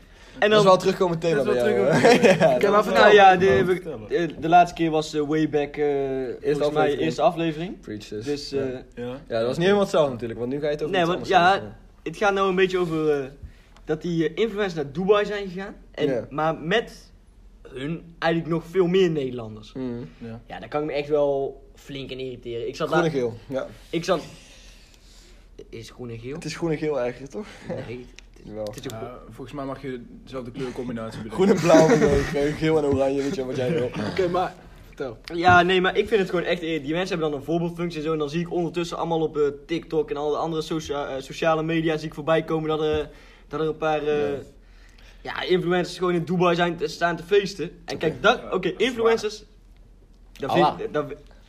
[SPEAKER 2] Dat is
[SPEAKER 3] dan,
[SPEAKER 2] wel een terugkomend thema bij
[SPEAKER 4] Dat is
[SPEAKER 2] jou.
[SPEAKER 4] wel
[SPEAKER 2] hè? ja,
[SPEAKER 3] Ja,
[SPEAKER 2] dat-
[SPEAKER 3] maar vertel. ja, de, we-
[SPEAKER 4] vertellen.
[SPEAKER 3] de, de laatste keer was eh, way back, eh volgens mij
[SPEAKER 2] aflevering.
[SPEAKER 3] eerste aflevering.
[SPEAKER 2] Preach this.
[SPEAKER 3] Dus
[SPEAKER 2] ja.
[SPEAKER 3] eh,
[SPEAKER 4] Ja.
[SPEAKER 2] Ja, dat was niet helemaal hetzelfde natuurlijk, want nu ga je het over
[SPEAKER 3] Nee,
[SPEAKER 2] iets
[SPEAKER 3] want-
[SPEAKER 2] anders
[SPEAKER 3] ja,
[SPEAKER 2] hebben.
[SPEAKER 3] het gaat nou een beetje over eh, dat die eh, influencers naar Dubai zijn gegaan. En,
[SPEAKER 2] Ja.
[SPEAKER 3] Maar met hun eigenlijk nog veel meer Nederlanders.
[SPEAKER 2] Mm.
[SPEAKER 3] Ja, daar kan ik me echt wel flink aan irriteren. Ik zat
[SPEAKER 2] Groen en
[SPEAKER 3] laat-
[SPEAKER 2] geel, ja.
[SPEAKER 3] Ik zat... Is groen en geel?
[SPEAKER 2] Het is groen en geel eigenlijk, toch?
[SPEAKER 3] Nee,
[SPEAKER 2] Wel.
[SPEAKER 3] het is ook
[SPEAKER 2] Eh,
[SPEAKER 4] Ja, volgens mij mag je dezelfde kleurcombinatie bedenken.
[SPEAKER 2] Groen en blauw, en rood, geel en oranje, weet je wat jij wil.
[SPEAKER 5] Oké, maar... Vertel.
[SPEAKER 3] Ja, nee, maar ik vind het gewoon echt... eh, Die mensen hebben dan een voorbeeldfunctie en zo. En dan zie ik ondertussen allemaal op eh, TikTok en alle andere socia- eh, sociale media zie ik voorbij komen dat er, dat er een paar... eh, ja, influencers gewoon in Dubai zijn, te- staan te feesten. En kijk, dat... Oké, influencers... Dat
[SPEAKER 2] Allah.
[SPEAKER 3] vind, ik- dat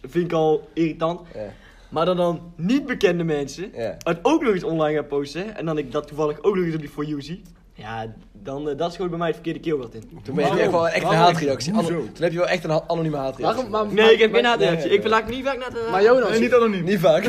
[SPEAKER 3] vind ik al irritant.
[SPEAKER 2] Ja,
[SPEAKER 3] Maar dan dan niet bekende mensen...
[SPEAKER 2] ja.
[SPEAKER 3] Het ook nog eens online gaan posten. hè, En dan ik dat toevallig ook nog eens op die For You zie. Ja, dan, eh, dat schoot bij mij het verkeerde keelgat in.
[SPEAKER 2] Toen ben je echt wel echt een
[SPEAKER 4] Waarom?
[SPEAKER 2] haatreactie. Anno-
[SPEAKER 4] Hoezo?
[SPEAKER 2] toen heb je wel echt een ha- anonieme haatreactie.
[SPEAKER 5] Waarom, maar,
[SPEAKER 3] Nee, ik heb geen
[SPEAKER 5] maar,
[SPEAKER 3] nadenken.
[SPEAKER 2] nee, eh,
[SPEAKER 3] ik verlaat me niet vaak naar de...
[SPEAKER 5] maar Jonas,
[SPEAKER 4] En niet anoniem.
[SPEAKER 2] Niet vaak.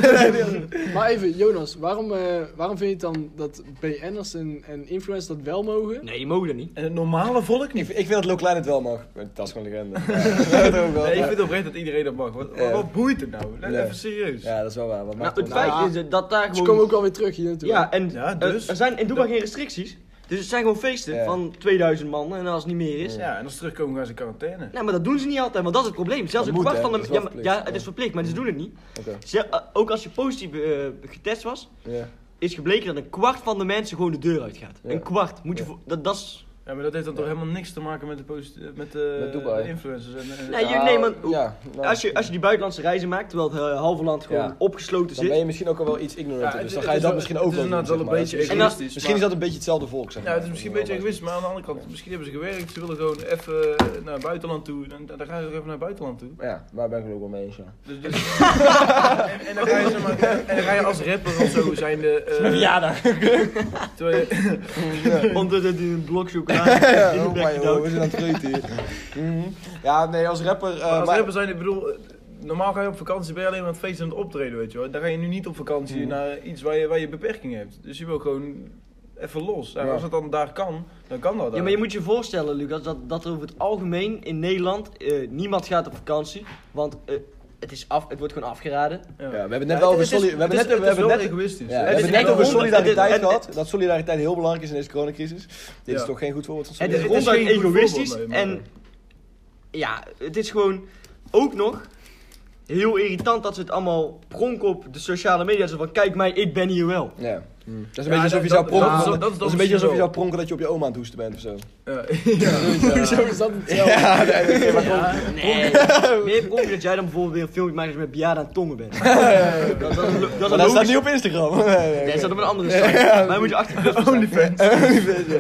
[SPEAKER 5] maar even, Jonas, waarom, eh, waarom vind je dan dat BN'ers en, en influencers dat wel mogen?
[SPEAKER 3] Nee, die mogen dat niet.
[SPEAKER 4] En het normale volk niet.
[SPEAKER 2] ik, ik vind dat Low Klein het wel mag. Dat is gewoon legende. Ja, dat ook wel.
[SPEAKER 4] Nee, ik vind oprecht dat iedereen dat mag. Wat,
[SPEAKER 2] Ja.
[SPEAKER 4] wat boeit het nou? Let
[SPEAKER 2] Ja.
[SPEAKER 4] even serieus.
[SPEAKER 2] Ja, dat is wel waar. Wat maakt
[SPEAKER 3] Nou, het
[SPEAKER 2] het nou?
[SPEAKER 3] feit is eh, dat daar
[SPEAKER 5] Ze
[SPEAKER 3] gewoon...
[SPEAKER 5] komen ook alweer terug hier natuurlijk.
[SPEAKER 3] Ja, en
[SPEAKER 4] Ja,
[SPEAKER 3] eh,
[SPEAKER 4] dus?
[SPEAKER 3] er zijn in Dubai geen restricties. Dus het zijn gewoon feesten
[SPEAKER 2] Ja.
[SPEAKER 3] van 2000 man en als het niet meer is.
[SPEAKER 4] Ja, en als ze terugkomen gaan ze in quarantaine.
[SPEAKER 3] Nou, maar dat doen ze niet altijd, want dat is het probleem. Zelfs
[SPEAKER 2] Dat
[SPEAKER 3] een
[SPEAKER 2] moet,
[SPEAKER 3] kwart
[SPEAKER 2] hè?
[SPEAKER 3] van de...
[SPEAKER 2] Dat is wel
[SPEAKER 3] ja, maar-
[SPEAKER 2] verplicht.
[SPEAKER 3] ja, het is verplicht, maar ze doen het niet.
[SPEAKER 2] Oké.
[SPEAKER 3] Ze- eh, ook als je positief eh, getest was,
[SPEAKER 2] Ja.
[SPEAKER 3] is gebleken dat een kwart van de mensen gewoon de deur uitgaat.
[SPEAKER 2] Ja.
[SPEAKER 3] Een kwart. Moet je voor- dat, dat is...
[SPEAKER 4] Ja, maar dat heeft dan toch helemaal niks te maken met de, posit- met de,
[SPEAKER 2] Met Dubai.
[SPEAKER 4] de influencers. En, eh, en-
[SPEAKER 3] Nee, je- nee, maar-
[SPEAKER 2] Ja, nou,
[SPEAKER 3] Als je, als je die buitenlandse reizen maakt, terwijl het eh, halve land gewoon
[SPEAKER 2] Ja.
[SPEAKER 3] opgesloten
[SPEAKER 2] dan
[SPEAKER 3] zit.
[SPEAKER 2] ben je misschien ook al wel iets ignorant. dus
[SPEAKER 4] Ja, het-
[SPEAKER 2] dan
[SPEAKER 4] het
[SPEAKER 2] ga je
[SPEAKER 4] is
[SPEAKER 2] dat
[SPEAKER 4] wel-
[SPEAKER 2] misschien
[SPEAKER 4] het
[SPEAKER 2] ook
[SPEAKER 4] is
[SPEAKER 2] wel doen,
[SPEAKER 4] inderdaad wel
[SPEAKER 2] zeg
[SPEAKER 4] een
[SPEAKER 2] maar.
[SPEAKER 4] beetje
[SPEAKER 2] Dat is-
[SPEAKER 3] En dat-
[SPEAKER 4] egoïstisch.
[SPEAKER 2] Misschien is
[SPEAKER 4] maar-
[SPEAKER 2] dat een beetje hetzelfde volk, zeg maar.
[SPEAKER 4] Ja, het is misschien een beetje
[SPEAKER 2] wel
[SPEAKER 4] egoïstisch, maar aan de andere kant, misschien hebben ze gewerkt, ze willen gewoon even eh, naar het buitenland toe. En dan dan gaan ze ook even naar het buitenland toe.
[SPEAKER 2] Ja, maar ben ik het ook wel mee eens, ja.
[SPEAKER 4] Dus, dus- en, en dan ga je, zeg maar, en dan ga je als rapper of zo zijn de. eh,
[SPEAKER 2] verjaardag.
[SPEAKER 4] terwijl je-
[SPEAKER 3] Ondertussen die een blok zoeken. in de
[SPEAKER 2] Oh, maar
[SPEAKER 3] bek
[SPEAKER 2] joh, we
[SPEAKER 3] gedouwd.
[SPEAKER 2] zijn aan het vreten hier. Mhm. Ja, nee, als rapper... eh,
[SPEAKER 4] als
[SPEAKER 2] maar-
[SPEAKER 4] rapper zijn, ik bedoel, eh, normaal ga je op vakantie, ben je alleen maar aan het feesten en aan het optreden, weet je wel. Dan ga je nu niet op vakantie naar iets waar je, waar je beperkingen hebt. Dus je wil gewoon even los. En
[SPEAKER 2] Ja.
[SPEAKER 4] als het dan daar kan, dan kan dat.
[SPEAKER 3] Ja, maar je moet je voorstellen, Lucas, dat, dat er over het algemeen in Nederland eh, niemand gaat op vakantie. Want eh, het, is af, het wordt gewoon afgeraden.
[SPEAKER 2] Ja, we hebben het
[SPEAKER 4] Ja,
[SPEAKER 2] net wel over
[SPEAKER 4] het is-
[SPEAKER 2] soli- we hebben
[SPEAKER 4] het
[SPEAKER 2] net-
[SPEAKER 4] is-
[SPEAKER 2] we
[SPEAKER 4] het is
[SPEAKER 2] hebben
[SPEAKER 4] wel
[SPEAKER 2] net-
[SPEAKER 4] egoïstisch.
[SPEAKER 2] Ja, we
[SPEAKER 4] Het
[SPEAKER 2] hebben
[SPEAKER 4] is
[SPEAKER 2] het net
[SPEAKER 4] echt
[SPEAKER 2] over
[SPEAKER 4] wel-
[SPEAKER 3] honderd-
[SPEAKER 2] solidariteit
[SPEAKER 3] het is-
[SPEAKER 2] gehad. Dat solidariteit heel belangrijk is in deze coronacrisis. Dit is
[SPEAKER 4] Ja.
[SPEAKER 2] toch geen goed voorbeeld van
[SPEAKER 3] Het is
[SPEAKER 4] dit
[SPEAKER 2] solidariteit?
[SPEAKER 4] is
[SPEAKER 3] ronduit
[SPEAKER 4] geen goed
[SPEAKER 3] egoïstisch
[SPEAKER 4] voorbeeld, nee, maar-
[SPEAKER 3] en ja, het is gewoon ook nog heel irritant dat ze het allemaal pronken op de sociale media. Zo van, kijk mij, ik ben hier wel.
[SPEAKER 2] Ja. Dat is een
[SPEAKER 4] Mm. Ja,
[SPEAKER 2] beetje alsof je
[SPEAKER 4] dat-
[SPEAKER 2] zou
[SPEAKER 4] dat-
[SPEAKER 2] pronken.
[SPEAKER 4] dat-
[SPEAKER 2] van-
[SPEAKER 4] dat- dat
[SPEAKER 2] Dat
[SPEAKER 4] is
[SPEAKER 2] is een
[SPEAKER 4] dan
[SPEAKER 2] beetje alsof je
[SPEAKER 4] misschien
[SPEAKER 2] zou pronken dat je op je oma aan het hoesten bent of zo.
[SPEAKER 5] Hoezo is dat hetzelfde?
[SPEAKER 2] Ja, nee, nee, maar gewoon-
[SPEAKER 3] Nee, meer pronken dat jij dan bijvoorbeeld weer een filmpje maakt als je met bejaarden aan het tongen bent. Dat- Dat is een lo- dat is
[SPEAKER 2] Maar dat
[SPEAKER 3] een
[SPEAKER 2] staat
[SPEAKER 3] logisch.
[SPEAKER 2] niet op Instagram. Nee, nee,
[SPEAKER 3] Nee,
[SPEAKER 2] oké.
[SPEAKER 3] dat staat op een andere site. Maar dan moet je 18 plus zijn.
[SPEAKER 2] Olivet, ja.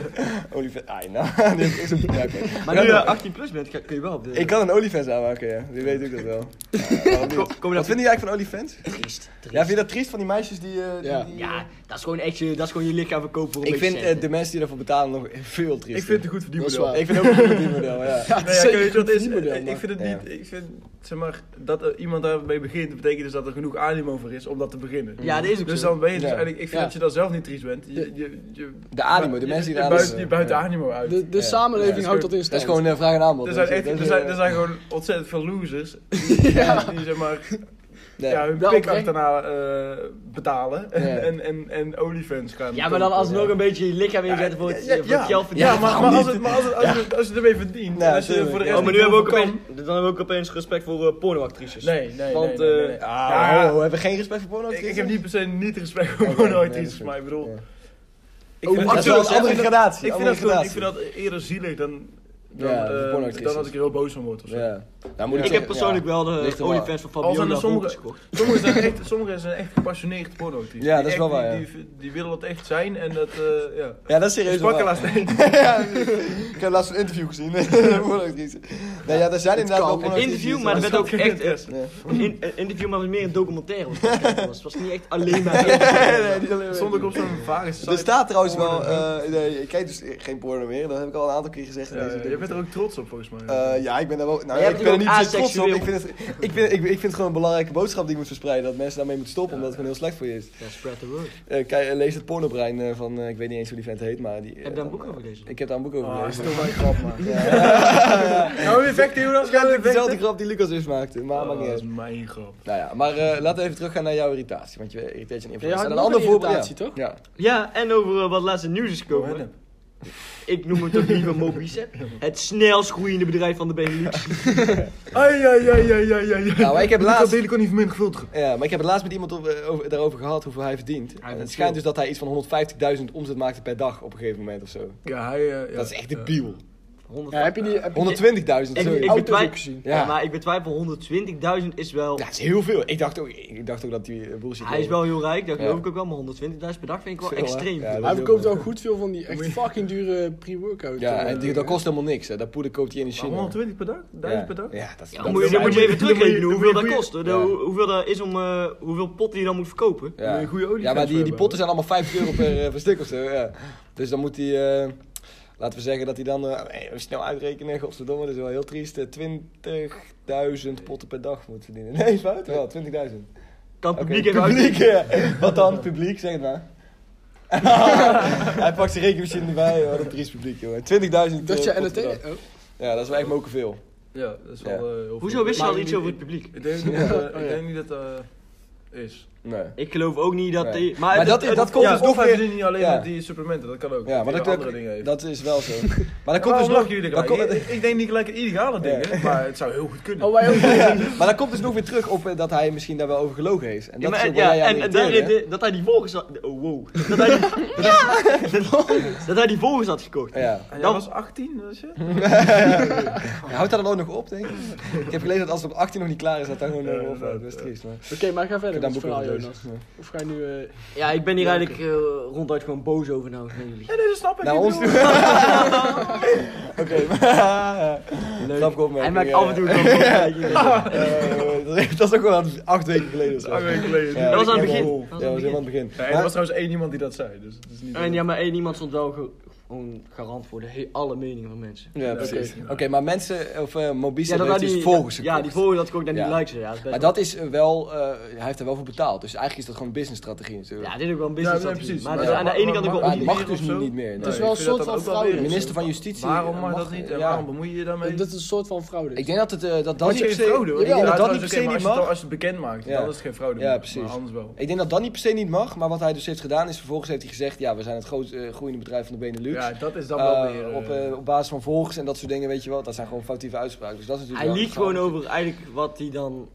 [SPEAKER 2] Olivet, ai nou. Die heb ik echt zo- ja, oké.
[SPEAKER 3] Maar nu je 18 plus bent, ga- kun je wel op de...
[SPEAKER 2] Ik kan een Olifants aanmaken, ja. Wie weet ook dat wel. Ja, waarom niet?
[SPEAKER 3] Kom- kom je
[SPEAKER 2] Wat
[SPEAKER 3] dat
[SPEAKER 2] vind je eigenlijk van Olifants?
[SPEAKER 3] triest,
[SPEAKER 2] Ja,
[SPEAKER 3] triest.
[SPEAKER 2] vind je dat triest van die meisjes die... eh, die-
[SPEAKER 5] Ja.
[SPEAKER 2] die-
[SPEAKER 3] Ja, dat is gewoon echt je, dat is gewoon je lichaam verkopen voor een
[SPEAKER 2] Ik
[SPEAKER 3] beetje
[SPEAKER 2] vind
[SPEAKER 3] cent.
[SPEAKER 2] eh, de mensen die daarvoor betalen nog veel triester.
[SPEAKER 4] Ik vind het een goed
[SPEAKER 5] Dat is
[SPEAKER 4] verdienmodel.
[SPEAKER 5] waar.
[SPEAKER 2] Ik vind ook een goed model, ja.
[SPEAKER 4] Nee, ja,
[SPEAKER 5] Zeker
[SPEAKER 4] kijk, weet je wat het is?
[SPEAKER 5] verdienmodel,
[SPEAKER 4] Eh,
[SPEAKER 5] maar-
[SPEAKER 4] ik vind het
[SPEAKER 2] Ja.
[SPEAKER 4] niet, ik vind, zeg maar, dat er iemand daarmee begint, betekent dus dat er genoeg animo voor is om dat te beginnen.
[SPEAKER 3] Ja, dat is ook
[SPEAKER 4] Dus
[SPEAKER 3] zo.
[SPEAKER 4] dan ben je dus
[SPEAKER 2] Ja.
[SPEAKER 4] eigenlijk, ik vind
[SPEAKER 5] Ja.
[SPEAKER 4] dat je daar zelf niet triest bent. Je, je, je,
[SPEAKER 2] De animo, de mensen die
[SPEAKER 4] je
[SPEAKER 2] daar
[SPEAKER 4] buiten, je buiten animo uit.
[SPEAKER 5] De, de
[SPEAKER 2] Ja.
[SPEAKER 5] samenleving
[SPEAKER 4] Ja,
[SPEAKER 5] houdt dat in stand.
[SPEAKER 2] Dat is gewoon eh, vraag en aanbod.
[SPEAKER 4] er
[SPEAKER 2] weet je.
[SPEAKER 4] zijn, echt,
[SPEAKER 2] Dat is,
[SPEAKER 4] er, zijn,
[SPEAKER 2] eh,
[SPEAKER 4] er zijn gewoon ontzettend veel losers die, die zeg maar
[SPEAKER 2] nee.
[SPEAKER 4] ja, hun
[SPEAKER 5] Wel
[SPEAKER 4] pik
[SPEAKER 5] oprecht.
[SPEAKER 4] achterna eh, betalen en,
[SPEAKER 2] Ja.
[SPEAKER 4] en, en, en OnlyFans gaan.
[SPEAKER 3] Ja, maar dan alsnog een beetje je lichaam inzetten voor het,
[SPEAKER 4] Ja,
[SPEAKER 3] voor het geld verdienen.
[SPEAKER 4] ja, maar, maar als, het, maar als, het, als, je, als je ermee verdient,
[SPEAKER 2] Ja,
[SPEAKER 4] en als je
[SPEAKER 2] tuurlijk,
[SPEAKER 4] voor de
[SPEAKER 2] ja.
[SPEAKER 4] rest
[SPEAKER 3] Oh, maar nu
[SPEAKER 4] niet
[SPEAKER 3] hebben we ook
[SPEAKER 4] veel
[SPEAKER 3] opeens, dan hebben we ook opeens respect voor eh, pornoactrices.
[SPEAKER 4] Nee, nee,
[SPEAKER 3] Want,
[SPEAKER 4] nee, nee,
[SPEAKER 3] eh,
[SPEAKER 4] nee.
[SPEAKER 2] Ah,
[SPEAKER 4] Ja,
[SPEAKER 2] ho, ho, hebben we geen respect voor porno?
[SPEAKER 4] Ik, ik heb niet per se niet respect voor
[SPEAKER 2] Oké, nee, dat
[SPEAKER 4] pornoactrices,
[SPEAKER 2] is
[SPEAKER 4] maar ik bedoel...
[SPEAKER 2] Ja.
[SPEAKER 4] Ik
[SPEAKER 5] Over
[SPEAKER 4] vind
[SPEAKER 2] Dat
[SPEAKER 4] dat
[SPEAKER 2] is wel een
[SPEAKER 4] zelfs-
[SPEAKER 2] andere
[SPEAKER 4] ik vind dat-
[SPEAKER 2] gradatie.
[SPEAKER 4] ik vind
[SPEAKER 2] andere
[SPEAKER 4] dat gewoon- Ik
[SPEAKER 2] gradatie.
[SPEAKER 4] vind dat eerder zielig dan... Dan,
[SPEAKER 2] Ja,
[SPEAKER 4] eh,
[SPEAKER 2] pornoactrices.
[SPEAKER 4] dan als ik er heel boos van word of zo.
[SPEAKER 2] Ja. Nou, moet
[SPEAKER 3] Ik heb persoonlijk
[SPEAKER 2] ja.
[SPEAKER 3] wel de
[SPEAKER 2] Ligt er wel.
[SPEAKER 3] OnlyFans van
[SPEAKER 4] Al zijn
[SPEAKER 3] Fabiola
[SPEAKER 4] er sommige-
[SPEAKER 3] Volkers gekocht.
[SPEAKER 4] Sommigen, zijn echt, sommigen zijn echt gepassioneerd pornoactrices.
[SPEAKER 2] Ja,
[SPEAKER 4] Die
[SPEAKER 2] dat is
[SPEAKER 4] echt-
[SPEAKER 2] wel waar,
[SPEAKER 4] Die, die, die willen dat echt zijn en dat... eh ja.
[SPEAKER 2] Ja, dat is serieus.
[SPEAKER 4] Dus pak er
[SPEAKER 2] wel.
[SPEAKER 4] laatst een.
[SPEAKER 2] Ja, ik heb laatst een interview gezien. Pornoactrice. nee, ja, er zijn inderdaad
[SPEAKER 5] kan.
[SPEAKER 2] wel
[SPEAKER 5] Een
[SPEAKER 3] Een
[SPEAKER 2] pornoactrices
[SPEAKER 3] interview,
[SPEAKER 2] die-
[SPEAKER 3] maar dat werd ook echt eh,
[SPEAKER 4] interesse.
[SPEAKER 3] een in- een interview, maar het was meer een documentaire. wat ik aan het kijken was. Het was niet echt alleen maar...
[SPEAKER 2] Nee, die alleen maar-
[SPEAKER 4] Stond ik op zo'n vage site.
[SPEAKER 2] Er staat trouwens wel...
[SPEAKER 4] Porno.
[SPEAKER 2] eh, nee, ik kijk dus geen porno meer. Dat heb ik al een aantal keer gezegd. in
[SPEAKER 4] Ja,
[SPEAKER 2] deze
[SPEAKER 4] ja, je bent er ook trots op volgens mij. Ah,
[SPEAKER 2] Eh, ja, ik ben daar wel. Nou,
[SPEAKER 3] jij
[SPEAKER 2] ik
[SPEAKER 3] bent
[SPEAKER 2] ben er
[SPEAKER 3] ook
[SPEAKER 2] niet zo trots op.
[SPEAKER 3] asexueel.
[SPEAKER 2] Ik vind, het, ik, vind, ik, ik vind het gewoon een belangrijke boodschap die ik moet verspreiden. Dat mensen daarmee moeten stoppen, omdat het gewoon heel slecht voor je is.
[SPEAKER 3] Ja, spread the word.
[SPEAKER 2] Eh, kijk, eh, lees het pornobrein eh, van, eh, ik weet niet eens hoe die vent heet, maar die... eh,
[SPEAKER 3] Heb je daar een boek over gelezen?
[SPEAKER 2] Ik heb daar een boek over
[SPEAKER 4] Ah,
[SPEAKER 2] gelezen.
[SPEAKER 4] stil mijn grap, man.
[SPEAKER 2] Ja, ja, ja.
[SPEAKER 4] Gaan we weer vechten, Jonas?
[SPEAKER 2] Dat is
[SPEAKER 4] Gaan we
[SPEAKER 2] eigenlijk
[SPEAKER 4] weer
[SPEAKER 2] dezelfde
[SPEAKER 4] vechten?
[SPEAKER 2] grap die Lucas dus maakte, maar maakt niet
[SPEAKER 4] dat
[SPEAKER 2] uit.
[SPEAKER 4] is mijn grap.
[SPEAKER 2] Nou ja, maar eh, laten we even teruggaan naar jouw irritatie, want je irriteert je aan
[SPEAKER 5] Ja, je
[SPEAKER 2] influencer.
[SPEAKER 5] had
[SPEAKER 2] En
[SPEAKER 5] nog een
[SPEAKER 2] voorbeeld-
[SPEAKER 5] irritatie, toch?
[SPEAKER 2] Ja.
[SPEAKER 3] Ja, en over eh, wat laatste nieuws is
[SPEAKER 4] Oh,
[SPEAKER 3] gekomen. Ik noem het toch liever Mobicep. Het snelst groeiende bedrijf van de Benelux.
[SPEAKER 4] Ai, ai, ai, ai, ai, ai.
[SPEAKER 2] Nou, maar ik heb
[SPEAKER 4] Dat
[SPEAKER 2] laatst...
[SPEAKER 4] deel ik ook niet van minder gevuld.
[SPEAKER 2] Ja, maar ik heb het laatst met iemand over, over- daarover gehad hoeveel hij verdient. en het
[SPEAKER 3] verdient
[SPEAKER 2] schijnt dus dat hij iets van 150.000 omzet maakte per dag op een gegeven moment of zo.
[SPEAKER 4] Ja, hij... eh, ja,
[SPEAKER 2] dat is echt
[SPEAKER 4] ja.
[SPEAKER 2] debiel.
[SPEAKER 3] 100
[SPEAKER 5] Ja, heb je die, heb je die
[SPEAKER 2] 120.000,
[SPEAKER 3] Ik-
[SPEAKER 2] sorry.
[SPEAKER 3] ik-
[SPEAKER 2] Ja,
[SPEAKER 5] auto's
[SPEAKER 3] betwij-
[SPEAKER 5] ook gezien?
[SPEAKER 3] Ja, maar ik betwijfel 120.000 is wel.
[SPEAKER 2] dat is heel veel. Ik dacht ook, ik dacht ook dat die eh, bullshit
[SPEAKER 3] hij is wel heel rijk, dat
[SPEAKER 2] Ja.
[SPEAKER 3] geloof ik ook wel, maar 120.000 per dag vind ik wel
[SPEAKER 2] Veel, hè? Ja,
[SPEAKER 3] extreem veel.
[SPEAKER 2] dat-
[SPEAKER 5] Hij verkoopt ook goed veel van die echt fucking dure pre-workout.
[SPEAKER 2] Ja,
[SPEAKER 5] eh,
[SPEAKER 2] en die, dat kost helemaal niks. Hè. Dat poeder koopt hij in de
[SPEAKER 4] Maar
[SPEAKER 2] China.
[SPEAKER 4] 120 per dag? 1000 per dag?
[SPEAKER 2] Ja, ja dat is...
[SPEAKER 3] Ja,
[SPEAKER 2] dat
[SPEAKER 3] moet je,
[SPEAKER 2] is
[SPEAKER 3] dan moet
[SPEAKER 2] eigenlijk-
[SPEAKER 3] je even terugrekenen
[SPEAKER 4] dan moet
[SPEAKER 3] hoeveel
[SPEAKER 4] je
[SPEAKER 3] dat
[SPEAKER 4] goeie-
[SPEAKER 3] kost. hè. De-
[SPEAKER 2] Ja.
[SPEAKER 3] hoe- hoeveel dat is om eh, hoeveel potten je dan moet verkopen.
[SPEAKER 2] Ja.
[SPEAKER 4] Moet je een goede olifant
[SPEAKER 2] Ja, maar die, die
[SPEAKER 4] hebben.
[SPEAKER 2] potten zijn allemaal 50 euro per, eh, per stuk of zo. Ja. Dus dan moet hij, eh, laten we zeggen dat hij dan, eh, even snel uitrekenen, godverdomme, dat is wel heel triest, eh, 20.000 potten per dag moet verdienen. Nee, fout? Wel, 20.000.
[SPEAKER 3] Kan het
[SPEAKER 2] Oké,
[SPEAKER 3] publiek even uit.
[SPEAKER 2] publiek, ja. Wat dan? Publiek, zeg het maar. Hij pakt zijn rekenmachine erbij, joh. wat een triest publiek, joh. 20.000
[SPEAKER 5] Dat
[SPEAKER 2] eh,
[SPEAKER 5] je
[SPEAKER 2] potten per
[SPEAKER 5] NLT...
[SPEAKER 2] dag.
[SPEAKER 5] Oh.
[SPEAKER 2] Ja, dat is wel echt mokken veel.
[SPEAKER 4] Ja, dat is wel
[SPEAKER 2] Ja.
[SPEAKER 4] eh, heel veel.
[SPEAKER 3] Hoezo wist je
[SPEAKER 4] Maar
[SPEAKER 3] al iets
[SPEAKER 4] ik-
[SPEAKER 3] over het publiek?
[SPEAKER 4] Ik denk, niet dat, eh, ik denk niet dat dat eh, is.
[SPEAKER 2] Nee.
[SPEAKER 3] Ik geloof ook niet dat.
[SPEAKER 2] Nee.
[SPEAKER 3] die-
[SPEAKER 2] Maar
[SPEAKER 3] het-
[SPEAKER 2] dat-
[SPEAKER 3] het-
[SPEAKER 2] dat komt
[SPEAKER 4] ja,
[SPEAKER 2] dus
[SPEAKER 4] of
[SPEAKER 2] nog
[SPEAKER 4] hij
[SPEAKER 2] weer-
[SPEAKER 4] verdient niet alleen
[SPEAKER 2] ja.
[SPEAKER 4] met die supplementen, dat kan ook.
[SPEAKER 2] Ja, maar dat,
[SPEAKER 4] dat hij andere dingen
[SPEAKER 2] dat,
[SPEAKER 4] heeft.
[SPEAKER 2] dat is wel zo. Maar dat komt
[SPEAKER 4] Waarom
[SPEAKER 2] dus nog...
[SPEAKER 4] lachen jullie
[SPEAKER 2] dat
[SPEAKER 4] gelijk?
[SPEAKER 2] komt-
[SPEAKER 4] Ik, ik denk niet gelijk illegale dingen, maar het zou heel goed kunnen.
[SPEAKER 5] Oh, wij ook.
[SPEAKER 2] Maar dat komt dus nog weer terug op eh, dat hij misschien daar wel over gelogen heeft. En
[SPEAKER 3] Ja,
[SPEAKER 2] dat
[SPEAKER 3] maar-
[SPEAKER 2] is ook
[SPEAKER 3] ja,
[SPEAKER 2] waar jij aan
[SPEAKER 3] en, en
[SPEAKER 2] irriteert,
[SPEAKER 3] daarin
[SPEAKER 2] hè?
[SPEAKER 3] de- dat hij die volgers had. Oh wow. Dat hij die, dat, dat hij die volgers had gekocht.
[SPEAKER 2] Ja.
[SPEAKER 4] En jij
[SPEAKER 3] Dan-
[SPEAKER 4] was 18, was je?
[SPEAKER 2] Ja, houdt dat dan ook nog op, denk ik? ik heb gelezen dat als het op 18 nog niet klaar is, dat dan gewoon eh, ophoudt. Dat is triest, maar...
[SPEAKER 5] Oké, maar ga verder
[SPEAKER 2] Dan
[SPEAKER 5] met het verhaal,
[SPEAKER 2] boeken we dus.
[SPEAKER 5] Jonas. Of ga je nu... eh,
[SPEAKER 3] Ja, ik ben hier eigenlijk eh, ronduit gewoon boos over nou. van jullie.
[SPEAKER 4] Nee, nee, dat snap ik
[SPEAKER 2] Naar
[SPEAKER 4] niet.
[SPEAKER 2] ons
[SPEAKER 4] ik
[SPEAKER 2] toe.
[SPEAKER 4] bedoel-
[SPEAKER 2] Oké, maar... Snap ik opmerking,
[SPEAKER 3] Hij maakt
[SPEAKER 2] eh, ja.
[SPEAKER 3] af en toe een opmerking.
[SPEAKER 2] Eh, dat is- dat is ook wel acht weken geleden of zo.
[SPEAKER 4] Acht weken geleden.
[SPEAKER 2] Ja,
[SPEAKER 3] Dat was aan het
[SPEAKER 2] helemaal-
[SPEAKER 3] begin.
[SPEAKER 2] Ja, dat was helemaal aan het begin.
[SPEAKER 4] Nee, er was trouwens één iemand die dat zei, dus het is niet...
[SPEAKER 3] En ja, maar één iemand stond wel ge- gewoon garant voor de he- alle meningen van mensen.
[SPEAKER 2] Ja, precies.
[SPEAKER 4] precies.
[SPEAKER 2] Oké, maar mensen, of eh Mobisa
[SPEAKER 3] dat
[SPEAKER 2] heeft
[SPEAKER 3] hij-
[SPEAKER 2] dus volgers
[SPEAKER 3] Ja, die
[SPEAKER 2] gekocht.
[SPEAKER 3] volgers had ik ook naar die
[SPEAKER 2] Ja.
[SPEAKER 3] likes. Ja, dat is best
[SPEAKER 2] Maar dat is eh, wel, eh, hij heeft er wel voor betaald. Dus eigenlijk is dat gewoon een businessstrategie
[SPEAKER 3] wel-
[SPEAKER 2] natuurlijk.
[SPEAKER 3] ja, dit is ook wel een
[SPEAKER 4] Ja,
[SPEAKER 3] business.
[SPEAKER 4] nee,
[SPEAKER 3] strategie.
[SPEAKER 4] precies.
[SPEAKER 3] Maar,
[SPEAKER 4] Maar
[SPEAKER 3] dat is
[SPEAKER 4] ja,
[SPEAKER 3] aan de ene
[SPEAKER 4] maar-
[SPEAKER 3] kant ook wel
[SPEAKER 4] maar-
[SPEAKER 2] maar het
[SPEAKER 3] onterecht.
[SPEAKER 2] mag dus
[SPEAKER 4] of zo?
[SPEAKER 2] niet meer.
[SPEAKER 4] Nee,
[SPEAKER 2] nee.
[SPEAKER 5] is wel
[SPEAKER 4] ik vind
[SPEAKER 5] een soort
[SPEAKER 4] dat dat
[SPEAKER 5] van
[SPEAKER 4] ook wel
[SPEAKER 5] fraude.
[SPEAKER 4] weer is.
[SPEAKER 2] Minister van Justitie.
[SPEAKER 4] Waarom
[SPEAKER 2] eh,
[SPEAKER 4] mag dat niet en
[SPEAKER 2] ja.
[SPEAKER 4] waarom bemoei je je daarmee?
[SPEAKER 5] Dat is een soort van fraude.
[SPEAKER 2] Ik denk dat het, eh, dat, dat
[SPEAKER 4] Dat is
[SPEAKER 2] niet per
[SPEAKER 4] geen
[SPEAKER 2] se,
[SPEAKER 4] fraude, hoor.
[SPEAKER 2] ik denk dat dat
[SPEAKER 4] trouwens,
[SPEAKER 2] niet per se
[SPEAKER 4] oké, maar
[SPEAKER 2] niet
[SPEAKER 4] als je het-
[SPEAKER 2] mag.
[SPEAKER 4] Als je het bekend maakt,
[SPEAKER 2] Ja.
[SPEAKER 4] dan is het geen fraude
[SPEAKER 2] Ja,
[SPEAKER 4] meer,
[SPEAKER 2] precies.
[SPEAKER 4] maar anders wel.
[SPEAKER 2] Ik denk dat dat niet per se niet mag, maar wat hij dus heeft gedaan is vervolgens heeft hij gezegd, ja, we zijn het groot, eh, groeiende bedrijf van de Benelux.
[SPEAKER 4] Ja, dat is dan wel
[SPEAKER 2] Eh,
[SPEAKER 4] weer... eh,
[SPEAKER 2] op, eh, op basis van volgers en dat soort dingen, weet je wel. Dat zijn gewoon foutieve uitspraken. Dus dat is natuurlijk
[SPEAKER 3] Hij
[SPEAKER 2] wel
[SPEAKER 3] liet gewoon
[SPEAKER 2] interessant.
[SPEAKER 3] over eigenlijk wat hij dan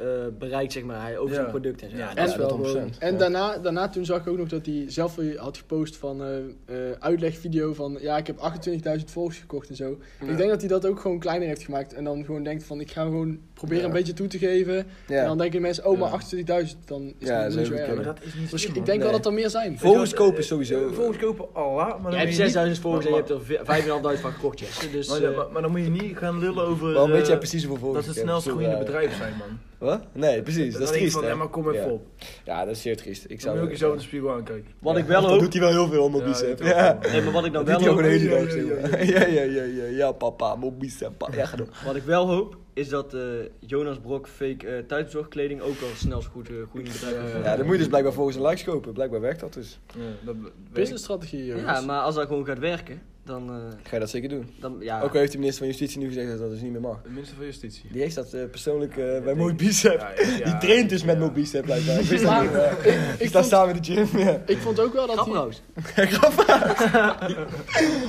[SPEAKER 3] eh, bereikt, zeg maar, hij- over
[SPEAKER 4] Ja.
[SPEAKER 3] zijn product en zo.
[SPEAKER 4] Ja,
[SPEAKER 3] Ja,
[SPEAKER 4] dat
[SPEAKER 5] is wel
[SPEAKER 2] dat
[SPEAKER 5] gewoon.
[SPEAKER 2] 100%,
[SPEAKER 5] En
[SPEAKER 2] ja.
[SPEAKER 5] daarna, daarna toen zag ik ook nog dat hij zelf weer had gepost van eh, eh, uitlegvideo van ja, ik heb 28.000 volgers gekocht en zo. Ik denk dat hij dat ook gewoon kleiner heeft gemaakt en dan gewoon denkt van ik ga gewoon proberen
[SPEAKER 2] Ja.
[SPEAKER 5] een beetje toe te geven. En dan denken mensen, oh maar 28.000, dan is
[SPEAKER 2] Ja, Dus
[SPEAKER 5] het
[SPEAKER 2] dat is
[SPEAKER 5] niet
[SPEAKER 2] ook
[SPEAKER 5] zo
[SPEAKER 2] oké.
[SPEAKER 5] erg.
[SPEAKER 4] Ja, maar dat is niet
[SPEAKER 5] Misschien,
[SPEAKER 4] slim,
[SPEAKER 5] ik
[SPEAKER 4] man.
[SPEAKER 5] denk wel dat er meer zijn.
[SPEAKER 2] Volgers
[SPEAKER 4] Weet je wat,
[SPEAKER 2] kopen is sowieso.
[SPEAKER 4] Eh, Volgers kopen Allah, maar
[SPEAKER 3] Jij
[SPEAKER 4] dan moet
[SPEAKER 3] hebt
[SPEAKER 4] je niet-
[SPEAKER 3] 6000 volgers en je
[SPEAKER 4] maar-
[SPEAKER 3] hebt er vi- 5.500 van gekocht, Jesse. Dus,
[SPEAKER 4] Maar,
[SPEAKER 3] eh,
[SPEAKER 4] maar, maar dan moet je niet gaan lullen over...
[SPEAKER 2] Waarom weet
[SPEAKER 4] eh,
[SPEAKER 2] jij precies hoeveel volgers
[SPEAKER 4] Dat ze het
[SPEAKER 2] ik heb?
[SPEAKER 4] snelst
[SPEAKER 2] Ik bedoel,
[SPEAKER 4] groeiende
[SPEAKER 2] eh,
[SPEAKER 4] bedrijf zijn, man.
[SPEAKER 2] Wat? Nee, precies. Dat
[SPEAKER 4] Dan
[SPEAKER 2] is
[SPEAKER 4] denk ik
[SPEAKER 2] triest,
[SPEAKER 4] van,
[SPEAKER 2] hè?
[SPEAKER 4] ja, maar kom even
[SPEAKER 2] ja.
[SPEAKER 4] op.
[SPEAKER 2] Ja, dat is zeer triest. Ik
[SPEAKER 4] Dan
[SPEAKER 2] zou...
[SPEAKER 4] moet je ook jezelf in de spiegel aankijken.
[SPEAKER 3] wat ik
[SPEAKER 2] Ja,
[SPEAKER 3] wel
[SPEAKER 2] dat
[SPEAKER 3] hoop...
[SPEAKER 2] doet hij wel heel veel om op
[SPEAKER 4] Ja,
[SPEAKER 2] bicep.
[SPEAKER 4] dat weet ik
[SPEAKER 2] Ja.
[SPEAKER 4] wel, man.
[SPEAKER 3] Nee, maar wat ik dan
[SPEAKER 2] Dat
[SPEAKER 3] wel
[SPEAKER 2] doet hij ook
[SPEAKER 3] hoop,
[SPEAKER 2] een hele dag. zeg maar. Ja, ja, ja, ja. Ja, papa. Mobisa. pa- Ja, ga door.
[SPEAKER 3] wat ik wel hoop, is dat eh, Jonas Brok fake eh thuiszorgkleding ook al snel goed eh, goed in bedrijf heeft.
[SPEAKER 2] Ja, dan moet je dus blijkbaar volgens een likes kopen. Blijkbaar werkt dat dus.
[SPEAKER 4] Ja, dat weet ik.
[SPEAKER 5] Businessstrategie, jongens.
[SPEAKER 3] Ja, maar als dat gewoon gaat werken, dan... eh,
[SPEAKER 2] Ga je dat zeker doen?
[SPEAKER 3] dan ja.
[SPEAKER 2] Ook al heeft de minister van Justitie nu gezegd dat dat dus niet meer mag.
[SPEAKER 4] De minister van Justitie.
[SPEAKER 2] Die heeft dat eh, persoonlijk eh, bij Mooi Bicep.
[SPEAKER 4] Ja, ja,
[SPEAKER 2] Die traint dus met
[SPEAKER 4] ja.
[SPEAKER 2] Mooi Bicep blijkbaar. Ik wist dat
[SPEAKER 5] Maar
[SPEAKER 2] niet. maar Die
[SPEAKER 5] ik,
[SPEAKER 2] staat
[SPEAKER 5] vond,
[SPEAKER 2] samen in de gym. ja.
[SPEAKER 5] ik vond ook wel dat
[SPEAKER 3] Grap
[SPEAKER 5] hij...
[SPEAKER 3] trouwens.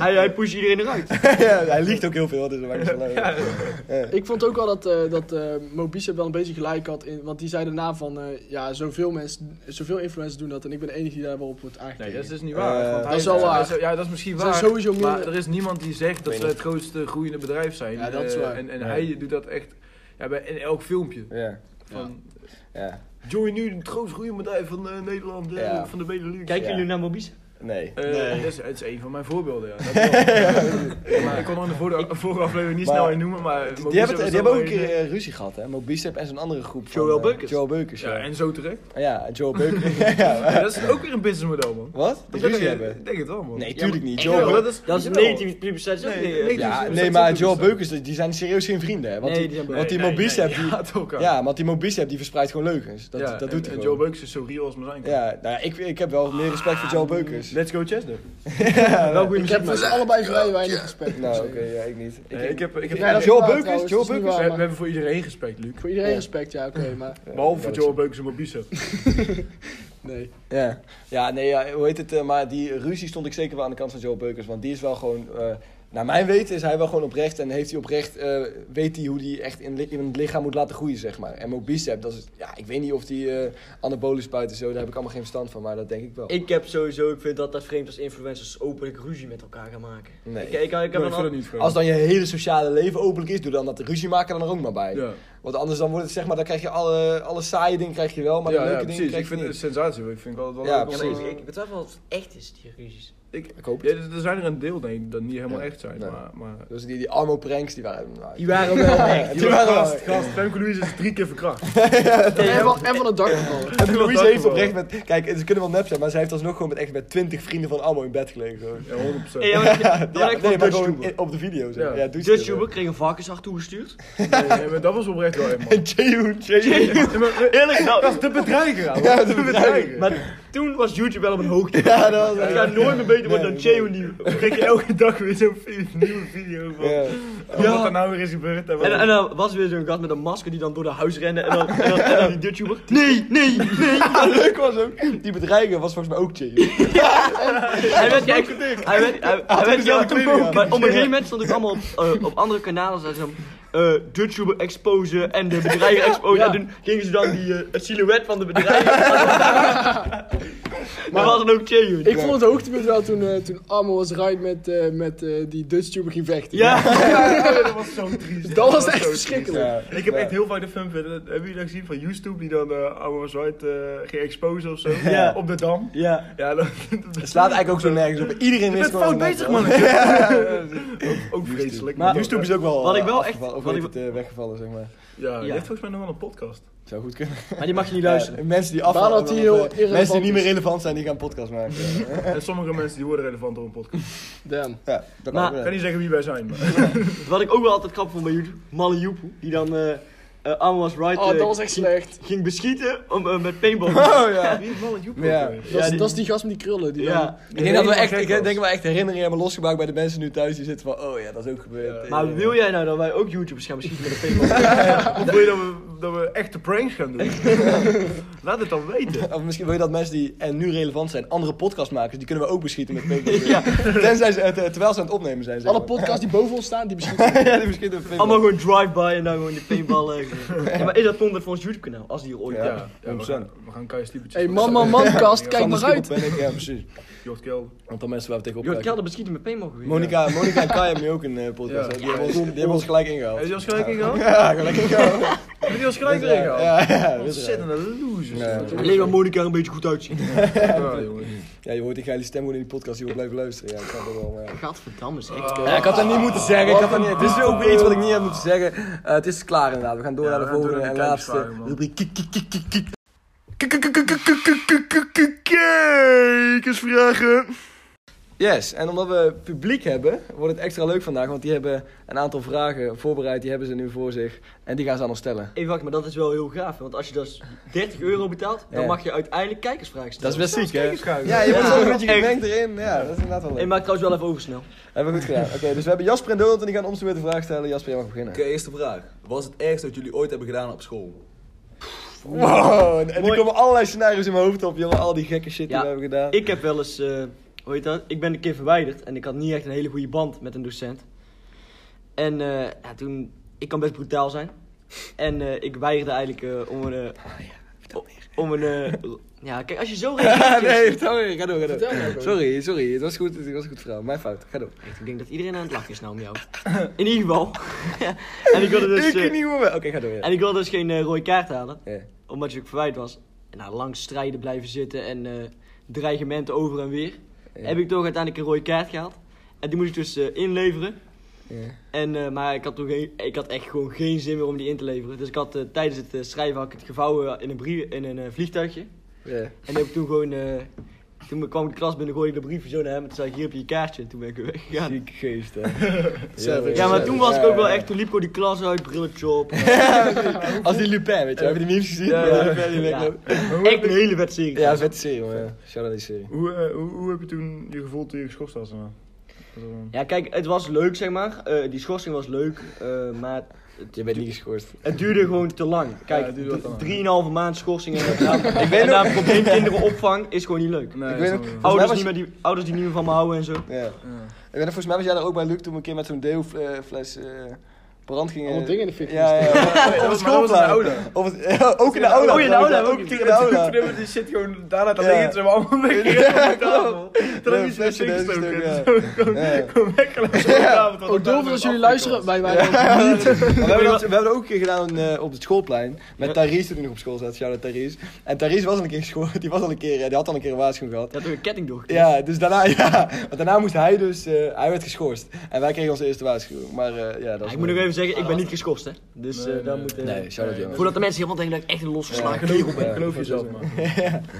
[SPEAKER 3] Hij, hij pusht iedereen eruit.
[SPEAKER 2] Ja, hij liegt ook heel veel, dus dat maakt niet zo lang. uit.
[SPEAKER 5] Ik vond ook wel dat, eh dat eh Mo Bicep wel een beetje gelijk had. In, want die zei daarna van, eh, ja, zoveel mensen, zoveel influencers doen dat. En ik ben de enige die daar wel op wordt
[SPEAKER 4] Nee,
[SPEAKER 5] aangekeken.
[SPEAKER 4] dat is dus niet waar.
[SPEAKER 2] Eh,
[SPEAKER 4] want hij
[SPEAKER 5] dat is wel waar.
[SPEAKER 4] hij is- Ja, dat is misschien
[SPEAKER 5] Er zijn
[SPEAKER 4] waar.
[SPEAKER 5] sowieso meer-
[SPEAKER 4] Maar er is niemand die zegt dat
[SPEAKER 2] weet
[SPEAKER 4] ze het grootste groeiende bedrijf zijn.
[SPEAKER 5] Ja, dat is
[SPEAKER 4] Eh,
[SPEAKER 5] waar.
[SPEAKER 4] En, en
[SPEAKER 2] Ja.
[SPEAKER 4] hij doet dat echt ja, bij, in elk filmpje.
[SPEAKER 2] Ja,
[SPEAKER 4] Van,
[SPEAKER 2] ja.
[SPEAKER 4] join nu het grootste groeiende bedrijf van eh, Nederland, eh,
[SPEAKER 2] Ja.
[SPEAKER 4] van de Benelux.
[SPEAKER 3] Kijken
[SPEAKER 2] Ja.
[SPEAKER 3] jullie naar Mobisa?
[SPEAKER 2] Nee.
[SPEAKER 4] Eh, dat is, het is een van mijn voorbeelden, ja. Dat wel. maar ik kon er in de vorige, vorige aflevering niet
[SPEAKER 2] Maar-
[SPEAKER 4] snel in noemen, maar... Mobisa
[SPEAKER 2] Die hebben,
[SPEAKER 4] was
[SPEAKER 2] het- die
[SPEAKER 4] wel
[SPEAKER 2] hebben ook een
[SPEAKER 4] een-
[SPEAKER 2] keer eh, ruzie gehad, hè? Mo Bicep en zo'n andere groep. van,
[SPEAKER 3] Joël
[SPEAKER 2] eh,
[SPEAKER 3] Beukers.
[SPEAKER 2] Joël Beukers, ja.
[SPEAKER 4] Ja, en zo terecht.
[SPEAKER 2] Ah Ja, en Joël Beukers. ja, ja.
[SPEAKER 4] Ja, dat is ook weer een businessmodel, man.
[SPEAKER 2] Wat? Die
[SPEAKER 4] Ik denk-
[SPEAKER 2] ruzie hebben?
[SPEAKER 4] Ik denk het wel, man.
[SPEAKER 2] Nee, tuurlijk niet.
[SPEAKER 4] Ja,
[SPEAKER 2] Joël
[SPEAKER 4] maar
[SPEAKER 2] Beukers.
[SPEAKER 4] dat is...
[SPEAKER 3] Dat is
[SPEAKER 4] jawel.
[SPEAKER 3] 19 publiciteit. is ook
[SPEAKER 4] Nee,
[SPEAKER 3] niet, eh,
[SPEAKER 4] nee,
[SPEAKER 2] Ja,
[SPEAKER 4] dat dus
[SPEAKER 2] nee,
[SPEAKER 4] is
[SPEAKER 2] maar
[SPEAKER 4] ook
[SPEAKER 2] Joel
[SPEAKER 4] zo.
[SPEAKER 2] Beukers, die zijn serieus geen vrienden, hè? Want
[SPEAKER 3] Nee,
[SPEAKER 2] die,
[SPEAKER 3] die zijn
[SPEAKER 2] want die Mo Bicep, die,
[SPEAKER 4] Ja, het ook aan.
[SPEAKER 2] ja, want die Mo Bicep, die verspreidt gewoon leugens. Dat,
[SPEAKER 4] Ja,
[SPEAKER 2] dat
[SPEAKER 4] en-
[SPEAKER 2] doet hij gewoon.
[SPEAKER 4] En Joe Beukers is zo real als maar zijn kan.
[SPEAKER 2] ja, nou, ja, ik, ik heb wel meer respect voor Joel Beukers.
[SPEAKER 4] Let's go Chester.
[SPEAKER 5] Ik heb voor ze allebei vrij weinig respect.
[SPEAKER 2] Nou, oké, ja, ik niet. Ik,
[SPEAKER 4] Nee, ik heb, ik heb,
[SPEAKER 5] Ja, dat is
[SPEAKER 2] Joel
[SPEAKER 5] waar
[SPEAKER 2] Beukers,
[SPEAKER 5] trouwens,
[SPEAKER 2] Joel
[SPEAKER 5] dat is
[SPEAKER 2] Beukers.
[SPEAKER 5] niet
[SPEAKER 4] we,
[SPEAKER 5] waar,
[SPEAKER 4] we
[SPEAKER 5] maar
[SPEAKER 4] hebben voor iedereen respect, Luc.
[SPEAKER 5] Voor iedereen respect, ja, oké, maar
[SPEAKER 4] Behalve voor
[SPEAKER 2] dat
[SPEAKER 4] Joe Beukers en Mobisa.
[SPEAKER 5] nee.
[SPEAKER 2] Ja, ja nee, ja, hoe heet het? eh, maar die ruzie stond ik zeker wel aan de kant van Joe Beukers. Want die is wel gewoon eh, Naar mijn weten is hij wel gewoon oprecht en heeft hij oprecht, eh, weet hij hoe hij echt in, li- in het lichaam moet laten groeien, zeg maar. En mijn bicep, dat is, ja, ik weet niet of die eh anabolen spuit en zo, daar heb ik allemaal geen verstand van, maar dat denk ik wel.
[SPEAKER 3] Ik heb sowieso, ik vind dat dat vreemd als influencers openlijk ruzie met elkaar gaan maken.
[SPEAKER 2] Nee.
[SPEAKER 3] Ik, ik, ik heb
[SPEAKER 4] Nee,
[SPEAKER 3] een
[SPEAKER 4] ik vind het
[SPEAKER 3] an-
[SPEAKER 4] niet gewoon.
[SPEAKER 2] Als dan je hele sociale leven openlijk is, doe dan dat ruzie maken er dan ook maar bij.
[SPEAKER 4] Ja,
[SPEAKER 2] Want anders dan wordt het zeg maar, dan krijg je alle, alle saaie dingen krijg je wel, maar de
[SPEAKER 4] ja, ja,
[SPEAKER 2] leuke dingen
[SPEAKER 4] precies.
[SPEAKER 2] krijg
[SPEAKER 4] Ik
[SPEAKER 2] je
[SPEAKER 4] vind het een
[SPEAKER 2] niet.
[SPEAKER 4] sensatie. Ik vind altijd wel
[SPEAKER 2] Ja,
[SPEAKER 4] leuk om-
[SPEAKER 3] Ja, maar
[SPEAKER 2] precies.
[SPEAKER 3] ik, ik betwijfel of het echt is, die ruzies.
[SPEAKER 4] Ik,
[SPEAKER 2] Ik hoop
[SPEAKER 4] ja,
[SPEAKER 2] het.
[SPEAKER 4] er er zijn er een deel nee, dat niet helemaal
[SPEAKER 2] Ja,
[SPEAKER 4] echt zijn,
[SPEAKER 2] nee.
[SPEAKER 4] maar... maar
[SPEAKER 2] Dus die, die armo pranks, die waren... nou,
[SPEAKER 3] Die waren wel echt.
[SPEAKER 2] die waren wel-
[SPEAKER 4] Gast, Femke Louise is drie keer verkracht.
[SPEAKER 5] En van, en van het dak gevallen.
[SPEAKER 2] En Louise
[SPEAKER 4] Louise
[SPEAKER 2] heeft
[SPEAKER 4] heeft
[SPEAKER 2] oprecht met... Kijk, ze kunnen wel nep zijn, maar ze heeft alsnog gewoon met echt met twintig vrienden van Armo in bed gelegen. Gewoon.
[SPEAKER 4] Ja, 100%.
[SPEAKER 3] Hey, ja, maar- maar ik
[SPEAKER 2] Ja, nee,
[SPEAKER 3] vond
[SPEAKER 2] maar
[SPEAKER 3] Dutch
[SPEAKER 2] gewoon
[SPEAKER 3] Uber.
[SPEAKER 2] in- op de video. Zeg.
[SPEAKER 4] Ja.
[SPEAKER 2] Ja, doe
[SPEAKER 3] Dutch Uber kreeg een varkenshart toegestuurd.
[SPEAKER 4] Nee, nee, maar dat was oprecht wel echt, man.
[SPEAKER 2] En Jaehoon, Jaehoon.
[SPEAKER 4] Ja, maar-
[SPEAKER 3] Eerlijk, nou,
[SPEAKER 4] Dat is de bedreiger, ouwe.
[SPEAKER 2] Ja,
[SPEAKER 4] Dat
[SPEAKER 2] de
[SPEAKER 4] is de
[SPEAKER 2] bedreiger.
[SPEAKER 4] bedreiger.
[SPEAKER 3] maar toen was YouTube wel op een hoogte.
[SPEAKER 2] Ja, dat was
[SPEAKER 3] Het gaat nooit meer beter worden
[SPEAKER 2] Nee,
[SPEAKER 3] dan Cheo nieuw.
[SPEAKER 4] Dan krijg je elke dag weer zo'n vi- nieuwe video van
[SPEAKER 2] Ja.
[SPEAKER 4] ja. wat er nou weer is gebeurd. En wat-
[SPEAKER 3] En, en dan was er weer zo'n gast met een masker die dan door de huis rende en dan, en dan, en dan die YouTuber. Nee, nee, nee.
[SPEAKER 2] Leuk was ook, die bedreiger was volgens mij ook Jaehoon.
[SPEAKER 3] Hij werd echt, hij werd, hij, hij werd ja,
[SPEAKER 2] dezelfde kleding
[SPEAKER 3] maar op een gegeven moment stond ik allemaal op, eh, op andere kanalen zoals dan eh YouTuber exposen en de bedreiger exposen. En toen gingen ze dan die eh, het silhouet van de bedreiger. maar was dan ook Cheo.
[SPEAKER 5] Ik vond het hoogtepunt wel toen, eh, toen Armo was right met, eh, met eh, die Dutch tuber ging vechten.
[SPEAKER 3] Ja,
[SPEAKER 4] dat was zo triest.
[SPEAKER 5] Dat was
[SPEAKER 4] zo
[SPEAKER 5] echt
[SPEAKER 4] triest.
[SPEAKER 5] verschrikkelijk.
[SPEAKER 4] Ik heb echt heel vaak de filmpje, hebben jullie dat gezien van YouTube, die dan eh Oude Was Right eh, ging exposen of zo,
[SPEAKER 3] Ja.
[SPEAKER 4] op de Dam.
[SPEAKER 3] ja.
[SPEAKER 4] Ja, dat,
[SPEAKER 2] Het slaat eigenlijk ook zo nergens op. Iedereen
[SPEAKER 4] bent
[SPEAKER 2] wist gewoon... eh,
[SPEAKER 4] fout
[SPEAKER 2] net,
[SPEAKER 4] bezig,
[SPEAKER 2] hoor.
[SPEAKER 4] man. ook, ook vreselijk.
[SPEAKER 3] Maar-
[SPEAKER 2] YouTube is ook wel...
[SPEAKER 3] Wat ik
[SPEAKER 2] eh,
[SPEAKER 3] wel echt-
[SPEAKER 2] afgevallen- Of
[SPEAKER 3] wat
[SPEAKER 2] heet
[SPEAKER 3] ik-
[SPEAKER 2] het, eh, weggevallen, zeg maar.
[SPEAKER 4] Ja, je
[SPEAKER 3] Ja.
[SPEAKER 4] hebt volgens mij nog wel een podcast.
[SPEAKER 2] Zou goed kunnen.
[SPEAKER 3] Maar die mag je niet luisteren.
[SPEAKER 2] Ja, mensen die afvallen.
[SPEAKER 5] Waar dat die heel
[SPEAKER 2] of, eh, mensen die
[SPEAKER 5] irrelevant
[SPEAKER 2] niet meer
[SPEAKER 5] is.
[SPEAKER 2] relevant zijn, die gaan podcast maken. Ja,
[SPEAKER 4] En sommige mensen die worden relevant door een podcast.
[SPEAKER 5] Damn.
[SPEAKER 2] ja dat kan
[SPEAKER 3] Maar-
[SPEAKER 4] Ik
[SPEAKER 2] ook
[SPEAKER 4] kan
[SPEAKER 2] wel.
[SPEAKER 4] niet zeggen wie wij zijn, maar...
[SPEAKER 3] Wat ik ook wel altijd grappig vond bij YouTube, Malle Joepoe, die dan eh eh, Arme was right
[SPEAKER 5] Oh,
[SPEAKER 3] eh,
[SPEAKER 5] dat was echt
[SPEAKER 3] ging,
[SPEAKER 5] slecht.
[SPEAKER 3] ging beschieten om, eh, met paintball.
[SPEAKER 2] Oh ja.
[SPEAKER 4] Wie is Malle Joep
[SPEAKER 2] Ja.
[SPEAKER 4] ook weer?
[SPEAKER 5] Dat is,
[SPEAKER 3] die-
[SPEAKER 5] dat is die gast met die krullen. Die dan-
[SPEAKER 3] ja.
[SPEAKER 2] Ik denk dat we
[SPEAKER 4] Helemaal
[SPEAKER 2] echt,
[SPEAKER 4] gek
[SPEAKER 2] ik
[SPEAKER 4] was.
[SPEAKER 2] denk wel echt herinneringen hebben losgemaakt bij de mensen nu thuis die zitten van, oh ja, dat is ook gebeurd.
[SPEAKER 3] Maar wil jij nou dat wij ook YouTubers gaan beschieten met een paintball?
[SPEAKER 4] Of wil je dat we, dat we echte pranks gaan doen? Laat het dan weten.
[SPEAKER 2] Of misschien wil je dat mensen die en nu relevant zijn, andere podcastmakers, die kunnen we ook beschieten met paintball.
[SPEAKER 3] Ja.
[SPEAKER 2] Tenzij ze, eh, te- terwijl ze aan het opnemen zijn. zeg
[SPEAKER 5] Alle
[SPEAKER 2] maar.
[SPEAKER 5] podcasts die boven ons staan, die beschieten.
[SPEAKER 2] ja, die beschieten met paintball.
[SPEAKER 3] Allemaal gewoon drive-by en dan gewoon die paintball. eh, gewoon. Ja, maar is dat onder voor ons YouTube-kanaal? Als die er ooit
[SPEAKER 2] Ja.
[SPEAKER 3] komt.
[SPEAKER 4] Ja, ja, we, gaan, we gaan Kai Stiepertjes...
[SPEAKER 5] hey, man, man, man, kast, kijk
[SPEAKER 2] Sander
[SPEAKER 5] maar uit.
[SPEAKER 2] Schiphol ben ik, ja, precies.
[SPEAKER 4] Jort Kel.
[SPEAKER 2] Want dan mensen waar we tegenop
[SPEAKER 3] Joh, ik had
[SPEAKER 2] kijken.
[SPEAKER 3] dat beschieten met paintball geweest.
[SPEAKER 2] Monika Monika en Kai hebben nu ook een eh, podcast.
[SPEAKER 4] Ja.
[SPEAKER 2] hè. Die, hebben ons, die hebben ons gelijk ingehaald.
[SPEAKER 4] Heb je ons gelijk ingehaald?
[SPEAKER 2] Ja, gelijk ingehaald.
[SPEAKER 4] Heb je ons gelijk Oh, erin gehaald?
[SPEAKER 2] Ja, ja, dat is raar.
[SPEAKER 4] Ontzettende losers.
[SPEAKER 2] Ja.
[SPEAKER 4] Ja,
[SPEAKER 3] Alleen maar Monika er een beetje goed uitzien.
[SPEAKER 4] jongen.
[SPEAKER 2] Ja, je hoort die geile stem gewoon in die podcast, die wil blijven luisteren. Ja, ik snap dat wel, maar ja.
[SPEAKER 3] Gadverdamme zeg.
[SPEAKER 4] Ah.
[SPEAKER 2] Ja, ik had dat niet moeten zeggen. Ik had dat niet, dit is ook weer iets wat ik niet heb moeten zeggen. Eh, het is klaar inderdaad. We gaan door
[SPEAKER 4] Ja,
[SPEAKER 2] naar de
[SPEAKER 4] we gaan
[SPEAKER 2] volgende
[SPEAKER 4] door
[SPEAKER 2] en
[SPEAKER 4] naar de
[SPEAKER 2] laatste
[SPEAKER 4] kijkersvragen, man.
[SPEAKER 2] rubriek. Kiek, kiek, kiek, kiek, kiek.
[SPEAKER 4] Kijkersvragen.
[SPEAKER 2] Yes, en omdat we publiek hebben, wordt het extra leuk vandaag. Want die hebben een aantal vragen voorbereid. Die hebben ze nu voor zich. En die gaan ze aan ons stellen.
[SPEAKER 3] Even wacht, maar dat is wel heel gaaf. Want als je dus 30 euro betaalt, dan
[SPEAKER 2] Ja.
[SPEAKER 3] mag je uiteindelijk kijkersvragen
[SPEAKER 2] Dat
[SPEAKER 3] stellen.
[SPEAKER 2] is best ziek, hè?
[SPEAKER 4] Kijkersvragen.
[SPEAKER 2] Ja, je wordt
[SPEAKER 3] Ja.
[SPEAKER 2] zo een beetje
[SPEAKER 3] Echt.
[SPEAKER 2] gemengd erin. Ja, dat is inderdaad wel
[SPEAKER 3] Ik
[SPEAKER 2] leuk.
[SPEAKER 3] maak trouwens wel even oversnel.
[SPEAKER 2] Hebben we goed gedaan. Oké, dus we hebben Jasper en Donald en die gaan om de beurt een vraag stellen. Jasper, jij mag beginnen.
[SPEAKER 6] Oké, eerste vraag. Wat is het ergste wat jullie ooit hebben gedaan op school?
[SPEAKER 2] Wow, en er komen allerlei scenario's in mijn hoofd op, jongen. Al die gekke shit die
[SPEAKER 3] Ja.
[SPEAKER 2] we hebben gedaan.
[SPEAKER 3] Ik heb wel eens, eh, hoe heet dat? Ik ben een keer verwijderd en ik had niet echt een hele goede band met een docent. En eh, ja, toen, ik kan best brutaal zijn. En eh, ik weigerde eigenlijk eh, om een. eh,
[SPEAKER 2] Ah,
[SPEAKER 3] o- om een. eh, ja, kijk, als je zo reageert.
[SPEAKER 2] nee, sorry, ga door, ga door.
[SPEAKER 5] Vertel nou gewoon.
[SPEAKER 2] Sorry, sorry, het was goed, het was een goed verhaal. Mijn fout, ga door.
[SPEAKER 3] Ik denk dat iedereen aan het lachen is nou om jou. In ieder geval. en ik wilde dus.
[SPEAKER 2] ik
[SPEAKER 3] eh,
[SPEAKER 2] niet hoe we... Oké, ga door, ja.
[SPEAKER 3] En ik wilde dus geen eh, rode kaart halen.
[SPEAKER 2] Ja.
[SPEAKER 3] Omdat je ook verwijt was. En na lang strijden blijven zitten en eh, dreigementen over en weer.
[SPEAKER 2] Ja.
[SPEAKER 3] Heb ik toch uiteindelijk een rode kaart gehaald. En die moest ik dus eh, inleveren.
[SPEAKER 2] Ja.
[SPEAKER 3] En, eh, maar ik had, toen geen, ik had echt gewoon geen zin meer om die in te leveren. Dus ik had eh, tijdens het eh, schrijven had ik het gevouwen in een, brief, in een eh, vliegtuigje. En
[SPEAKER 2] Ja.
[SPEAKER 3] die heb ik toen gewoon... eh, toen kwam ik de klas binnen, gooide ik de brief zo naar hem. En toen zei ik, hier heb je je kaartje. En toen ben ik weer weggegaan.
[SPEAKER 2] Zieke geest, hè.
[SPEAKER 5] Savage.
[SPEAKER 3] Ja, maar toen was ik ook wel
[SPEAKER 2] Ja.
[SPEAKER 3] echt... Toen liep ik gewoon die klas uit, brilletje op.
[SPEAKER 2] Als die Lupin, weet je wel. Heb je die memes gezien?
[SPEAKER 4] Ja,
[SPEAKER 2] Ja,
[SPEAKER 4] ja.
[SPEAKER 2] Lupin die
[SPEAKER 3] Ja.
[SPEAKER 2] wegloopt.
[SPEAKER 3] Echt een hele wedstrijd.
[SPEAKER 2] Ja, vette serie, jongen. ja. Shout out die serie.
[SPEAKER 4] Hoe, eh, hoe, hoe heb je toen je gevoel toen je geschorst was? daarna? Dat was wel-
[SPEAKER 3] Ja, kijk, het was leuk, zeg maar. Eh, die schorsing was leuk, eh, maar het-
[SPEAKER 2] Je bent niet geschorst.
[SPEAKER 3] Het duurde gewoon te lang.
[SPEAKER 4] Ja,
[SPEAKER 3] Kijk,
[SPEAKER 4] het duurde wel te lang.
[SPEAKER 3] 3,5 maand schorsing en daarna- en daarna probleemkinderenopvang is gewoon niet leuk.
[SPEAKER 4] Nee,
[SPEAKER 2] Ik weet
[SPEAKER 4] snap
[SPEAKER 2] ook-
[SPEAKER 4] wel.
[SPEAKER 3] Ouders,
[SPEAKER 2] was-
[SPEAKER 3] niet meer die, ouders die niet meer van me houden en zo.
[SPEAKER 2] Ja. Ik
[SPEAKER 4] Ja.
[SPEAKER 2] weet nog, volgens mij was jij daar ook bij Luc toen we een keer met zo'n deelfles eh brand gingen.
[SPEAKER 5] Allemaal dingen in de fik
[SPEAKER 2] Ja, ja, ja.
[SPEAKER 4] Maar dat
[SPEAKER 2] Op het
[SPEAKER 4] was- maar dat was in de
[SPEAKER 2] schoolplein.
[SPEAKER 4] aula.
[SPEAKER 2] Op het, ja, ook in de aula.
[SPEAKER 4] Oh, in de
[SPEAKER 2] trouwens,
[SPEAKER 4] aula,
[SPEAKER 2] ja, Ook tegen de aula.
[SPEAKER 4] Toen hebben we die shit gewoon daarna te
[SPEAKER 2] Ja.
[SPEAKER 4] liggen, ze hebben allemaal weggelegd op de tafel. Toen
[SPEAKER 2] Ja,
[SPEAKER 4] hebben we
[SPEAKER 2] flesje
[SPEAKER 4] iets in de
[SPEAKER 2] erin
[SPEAKER 4] gestoken.
[SPEAKER 2] gestoken,
[SPEAKER 4] Zo, Gewoon
[SPEAKER 2] Ja.
[SPEAKER 4] gewoon weggelegd op de tafel. tot
[SPEAKER 5] Ook
[SPEAKER 4] het
[SPEAKER 5] Dolphins,
[SPEAKER 4] daar
[SPEAKER 5] als
[SPEAKER 4] afgekomen
[SPEAKER 5] jullie luisteren,
[SPEAKER 4] was.
[SPEAKER 5] wij waren ook-
[SPEAKER 2] Maar we, hebben dat, we hebben dat ook een keer gedaan eh, op het schoolplein. Met Therese toen ik nog op school zat. Shout out Therese. En Therese was al een keer geschoold. Die, was al een keer, eh, die had al een keer een waarschuwing gehad.
[SPEAKER 3] Je had toch een ketting door.
[SPEAKER 2] Ja, dus daarna, ja. Want daarna moest hij dus, eh, hij werd geschorst. En wij kregen onze eerste waarschuwing. Maar eh, ja, dat is
[SPEAKER 3] ik moet nog even zeggen, ik ben niet geschorst hè. Dus eh,
[SPEAKER 4] Nee,
[SPEAKER 3] daar
[SPEAKER 4] nee,
[SPEAKER 3] moet... eh,
[SPEAKER 2] Nee, shout out jongens.
[SPEAKER 3] Voordat de mensen helemaal denken dat ik echt een losgeslagen
[SPEAKER 4] Geloof-
[SPEAKER 3] kerel ben.
[SPEAKER 4] Geloof jezelf, man.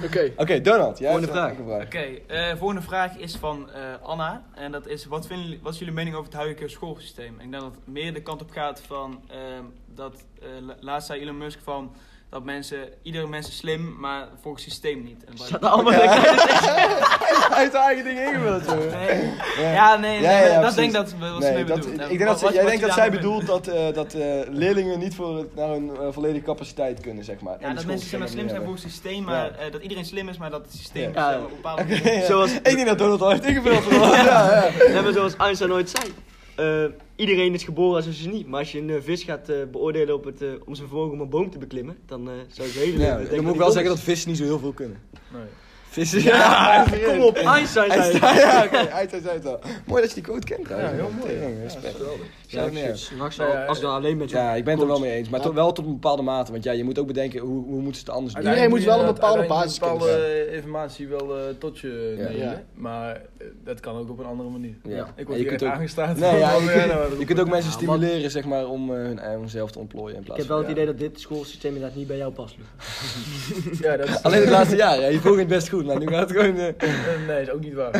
[SPEAKER 5] Oké,
[SPEAKER 2] Oké, Donald. Jij
[SPEAKER 3] Volgende
[SPEAKER 2] hebt ook
[SPEAKER 3] vraag.
[SPEAKER 2] een vraag.
[SPEAKER 8] Oké, eh, volgende vraag is van eh, Anna. En dat is, wat, vinden, jullie- wat is jullie mening over het huidige schoolsysteem? Ik denk dat het meer de kant op gaat van, ehm, dat eh, la- laatst zei Elon Musk van, dat mensen, iedere mens is slim, maar volgens het systeem niet. En
[SPEAKER 3] Zat
[SPEAKER 8] dat-
[SPEAKER 3] allemaal
[SPEAKER 2] Hij heeft zijn eigen ding ingevuld, joh.
[SPEAKER 8] Nee,
[SPEAKER 2] Ja.
[SPEAKER 8] ja,
[SPEAKER 2] Ja,
[SPEAKER 8] nee, nee,
[SPEAKER 2] ja, ja,
[SPEAKER 8] dat
[SPEAKER 2] precies.
[SPEAKER 8] denk ik dat we- wat ze
[SPEAKER 2] Nee,
[SPEAKER 8] mee
[SPEAKER 2] dat,
[SPEAKER 8] bedoelt.
[SPEAKER 2] ik
[SPEAKER 8] En
[SPEAKER 2] denk dat
[SPEAKER 8] wat-
[SPEAKER 2] ze,
[SPEAKER 8] wat-
[SPEAKER 2] jij
[SPEAKER 8] wat
[SPEAKER 2] denkt
[SPEAKER 8] je
[SPEAKER 2] dat zij
[SPEAKER 8] daarmee
[SPEAKER 2] bedoelt
[SPEAKER 8] vindt.
[SPEAKER 2] dat, eh, dat eh, leerlingen niet voor, het- naar hun eh, volledige capaciteit kunnen, zeg maar. En
[SPEAKER 8] Ja,
[SPEAKER 2] de
[SPEAKER 8] dat
[SPEAKER 2] school
[SPEAKER 8] mensen zeg maar
[SPEAKER 2] systeem
[SPEAKER 8] slim zijn
[SPEAKER 2] hebben.
[SPEAKER 8] volgens het systeem, maar
[SPEAKER 2] Ja.
[SPEAKER 8] eh, dat iedereen slim is, maar dat het systeem
[SPEAKER 3] Ja.
[SPEAKER 8] zeg maar, op een bepaalde manier-
[SPEAKER 2] Ja.
[SPEAKER 3] Zoals-
[SPEAKER 2] Ik denk dat Donald al heeft ingevuld. vandaag. ja, ja.
[SPEAKER 3] Nee, maar zoals Einstein nooit zei. eh, iedereen is geboren als een genie. Maar als je een eh, vis gaat eh, beoordelen op het, eh, om zijn vermogen om een boom te beklimmen, dan eh, zou je hele
[SPEAKER 2] Ja,
[SPEAKER 3] leven
[SPEAKER 2] dan moet ik wel zeggen dat vissen niet zo heel veel kunnen.
[SPEAKER 4] Nee.
[SPEAKER 2] Vissen, ja.
[SPEAKER 3] Kom op, Einstein
[SPEAKER 2] Hij
[SPEAKER 3] zei het.
[SPEAKER 2] staat, ja, oké, hij staat, hij staat. Mooi dat je die quote kent trouwens.
[SPEAKER 4] Ja, heel mooi.
[SPEAKER 2] Tering, respect.
[SPEAKER 3] Ja,
[SPEAKER 2] Shout out
[SPEAKER 3] ik
[SPEAKER 2] naar
[SPEAKER 3] zit
[SPEAKER 2] jou.
[SPEAKER 3] Straks wel, als ik dan alleen ben.
[SPEAKER 2] Ja, ik ben het er wel mee eens, maar toch wel tot een bepaalde mate. Want ja, je moet ook bedenken, hoe, hoe moeten ze het anders doen?
[SPEAKER 5] Iedereen moet wel een bepaalde
[SPEAKER 4] basis
[SPEAKER 5] basiskennis
[SPEAKER 4] bepaalde informatie wel eh, tot je
[SPEAKER 2] Ja.
[SPEAKER 4] nemen.
[SPEAKER 5] Ja.
[SPEAKER 4] Maar eh, dat kan ook op een andere manier.
[SPEAKER 2] Ja.
[SPEAKER 4] Ik
[SPEAKER 2] En
[SPEAKER 4] word
[SPEAKER 2] je
[SPEAKER 4] hier
[SPEAKER 2] kunt
[SPEAKER 4] echt
[SPEAKER 2] ook-
[SPEAKER 4] aangestaat.
[SPEAKER 2] Nee, ja,
[SPEAKER 4] Wat
[SPEAKER 2] je,
[SPEAKER 4] ben jij nou aan het
[SPEAKER 2] kunt, je kunt ook
[SPEAKER 4] roepen?
[SPEAKER 2] mensen stimuleren zeg maar, om eh, hun eigen zelf te ontplooien. In
[SPEAKER 3] Ik
[SPEAKER 2] plaats
[SPEAKER 3] heb
[SPEAKER 2] van,
[SPEAKER 3] wel het
[SPEAKER 2] ja.
[SPEAKER 3] idee dat dit schoolsysteem inderdaad niet bij jou past. Luc.
[SPEAKER 4] Ja, dat is...
[SPEAKER 2] Alleen het laatste jaar, hè. je vroeg het best goed, maar nu gaat het gewoon. eh,
[SPEAKER 4] eh, Nee, is ook niet waar.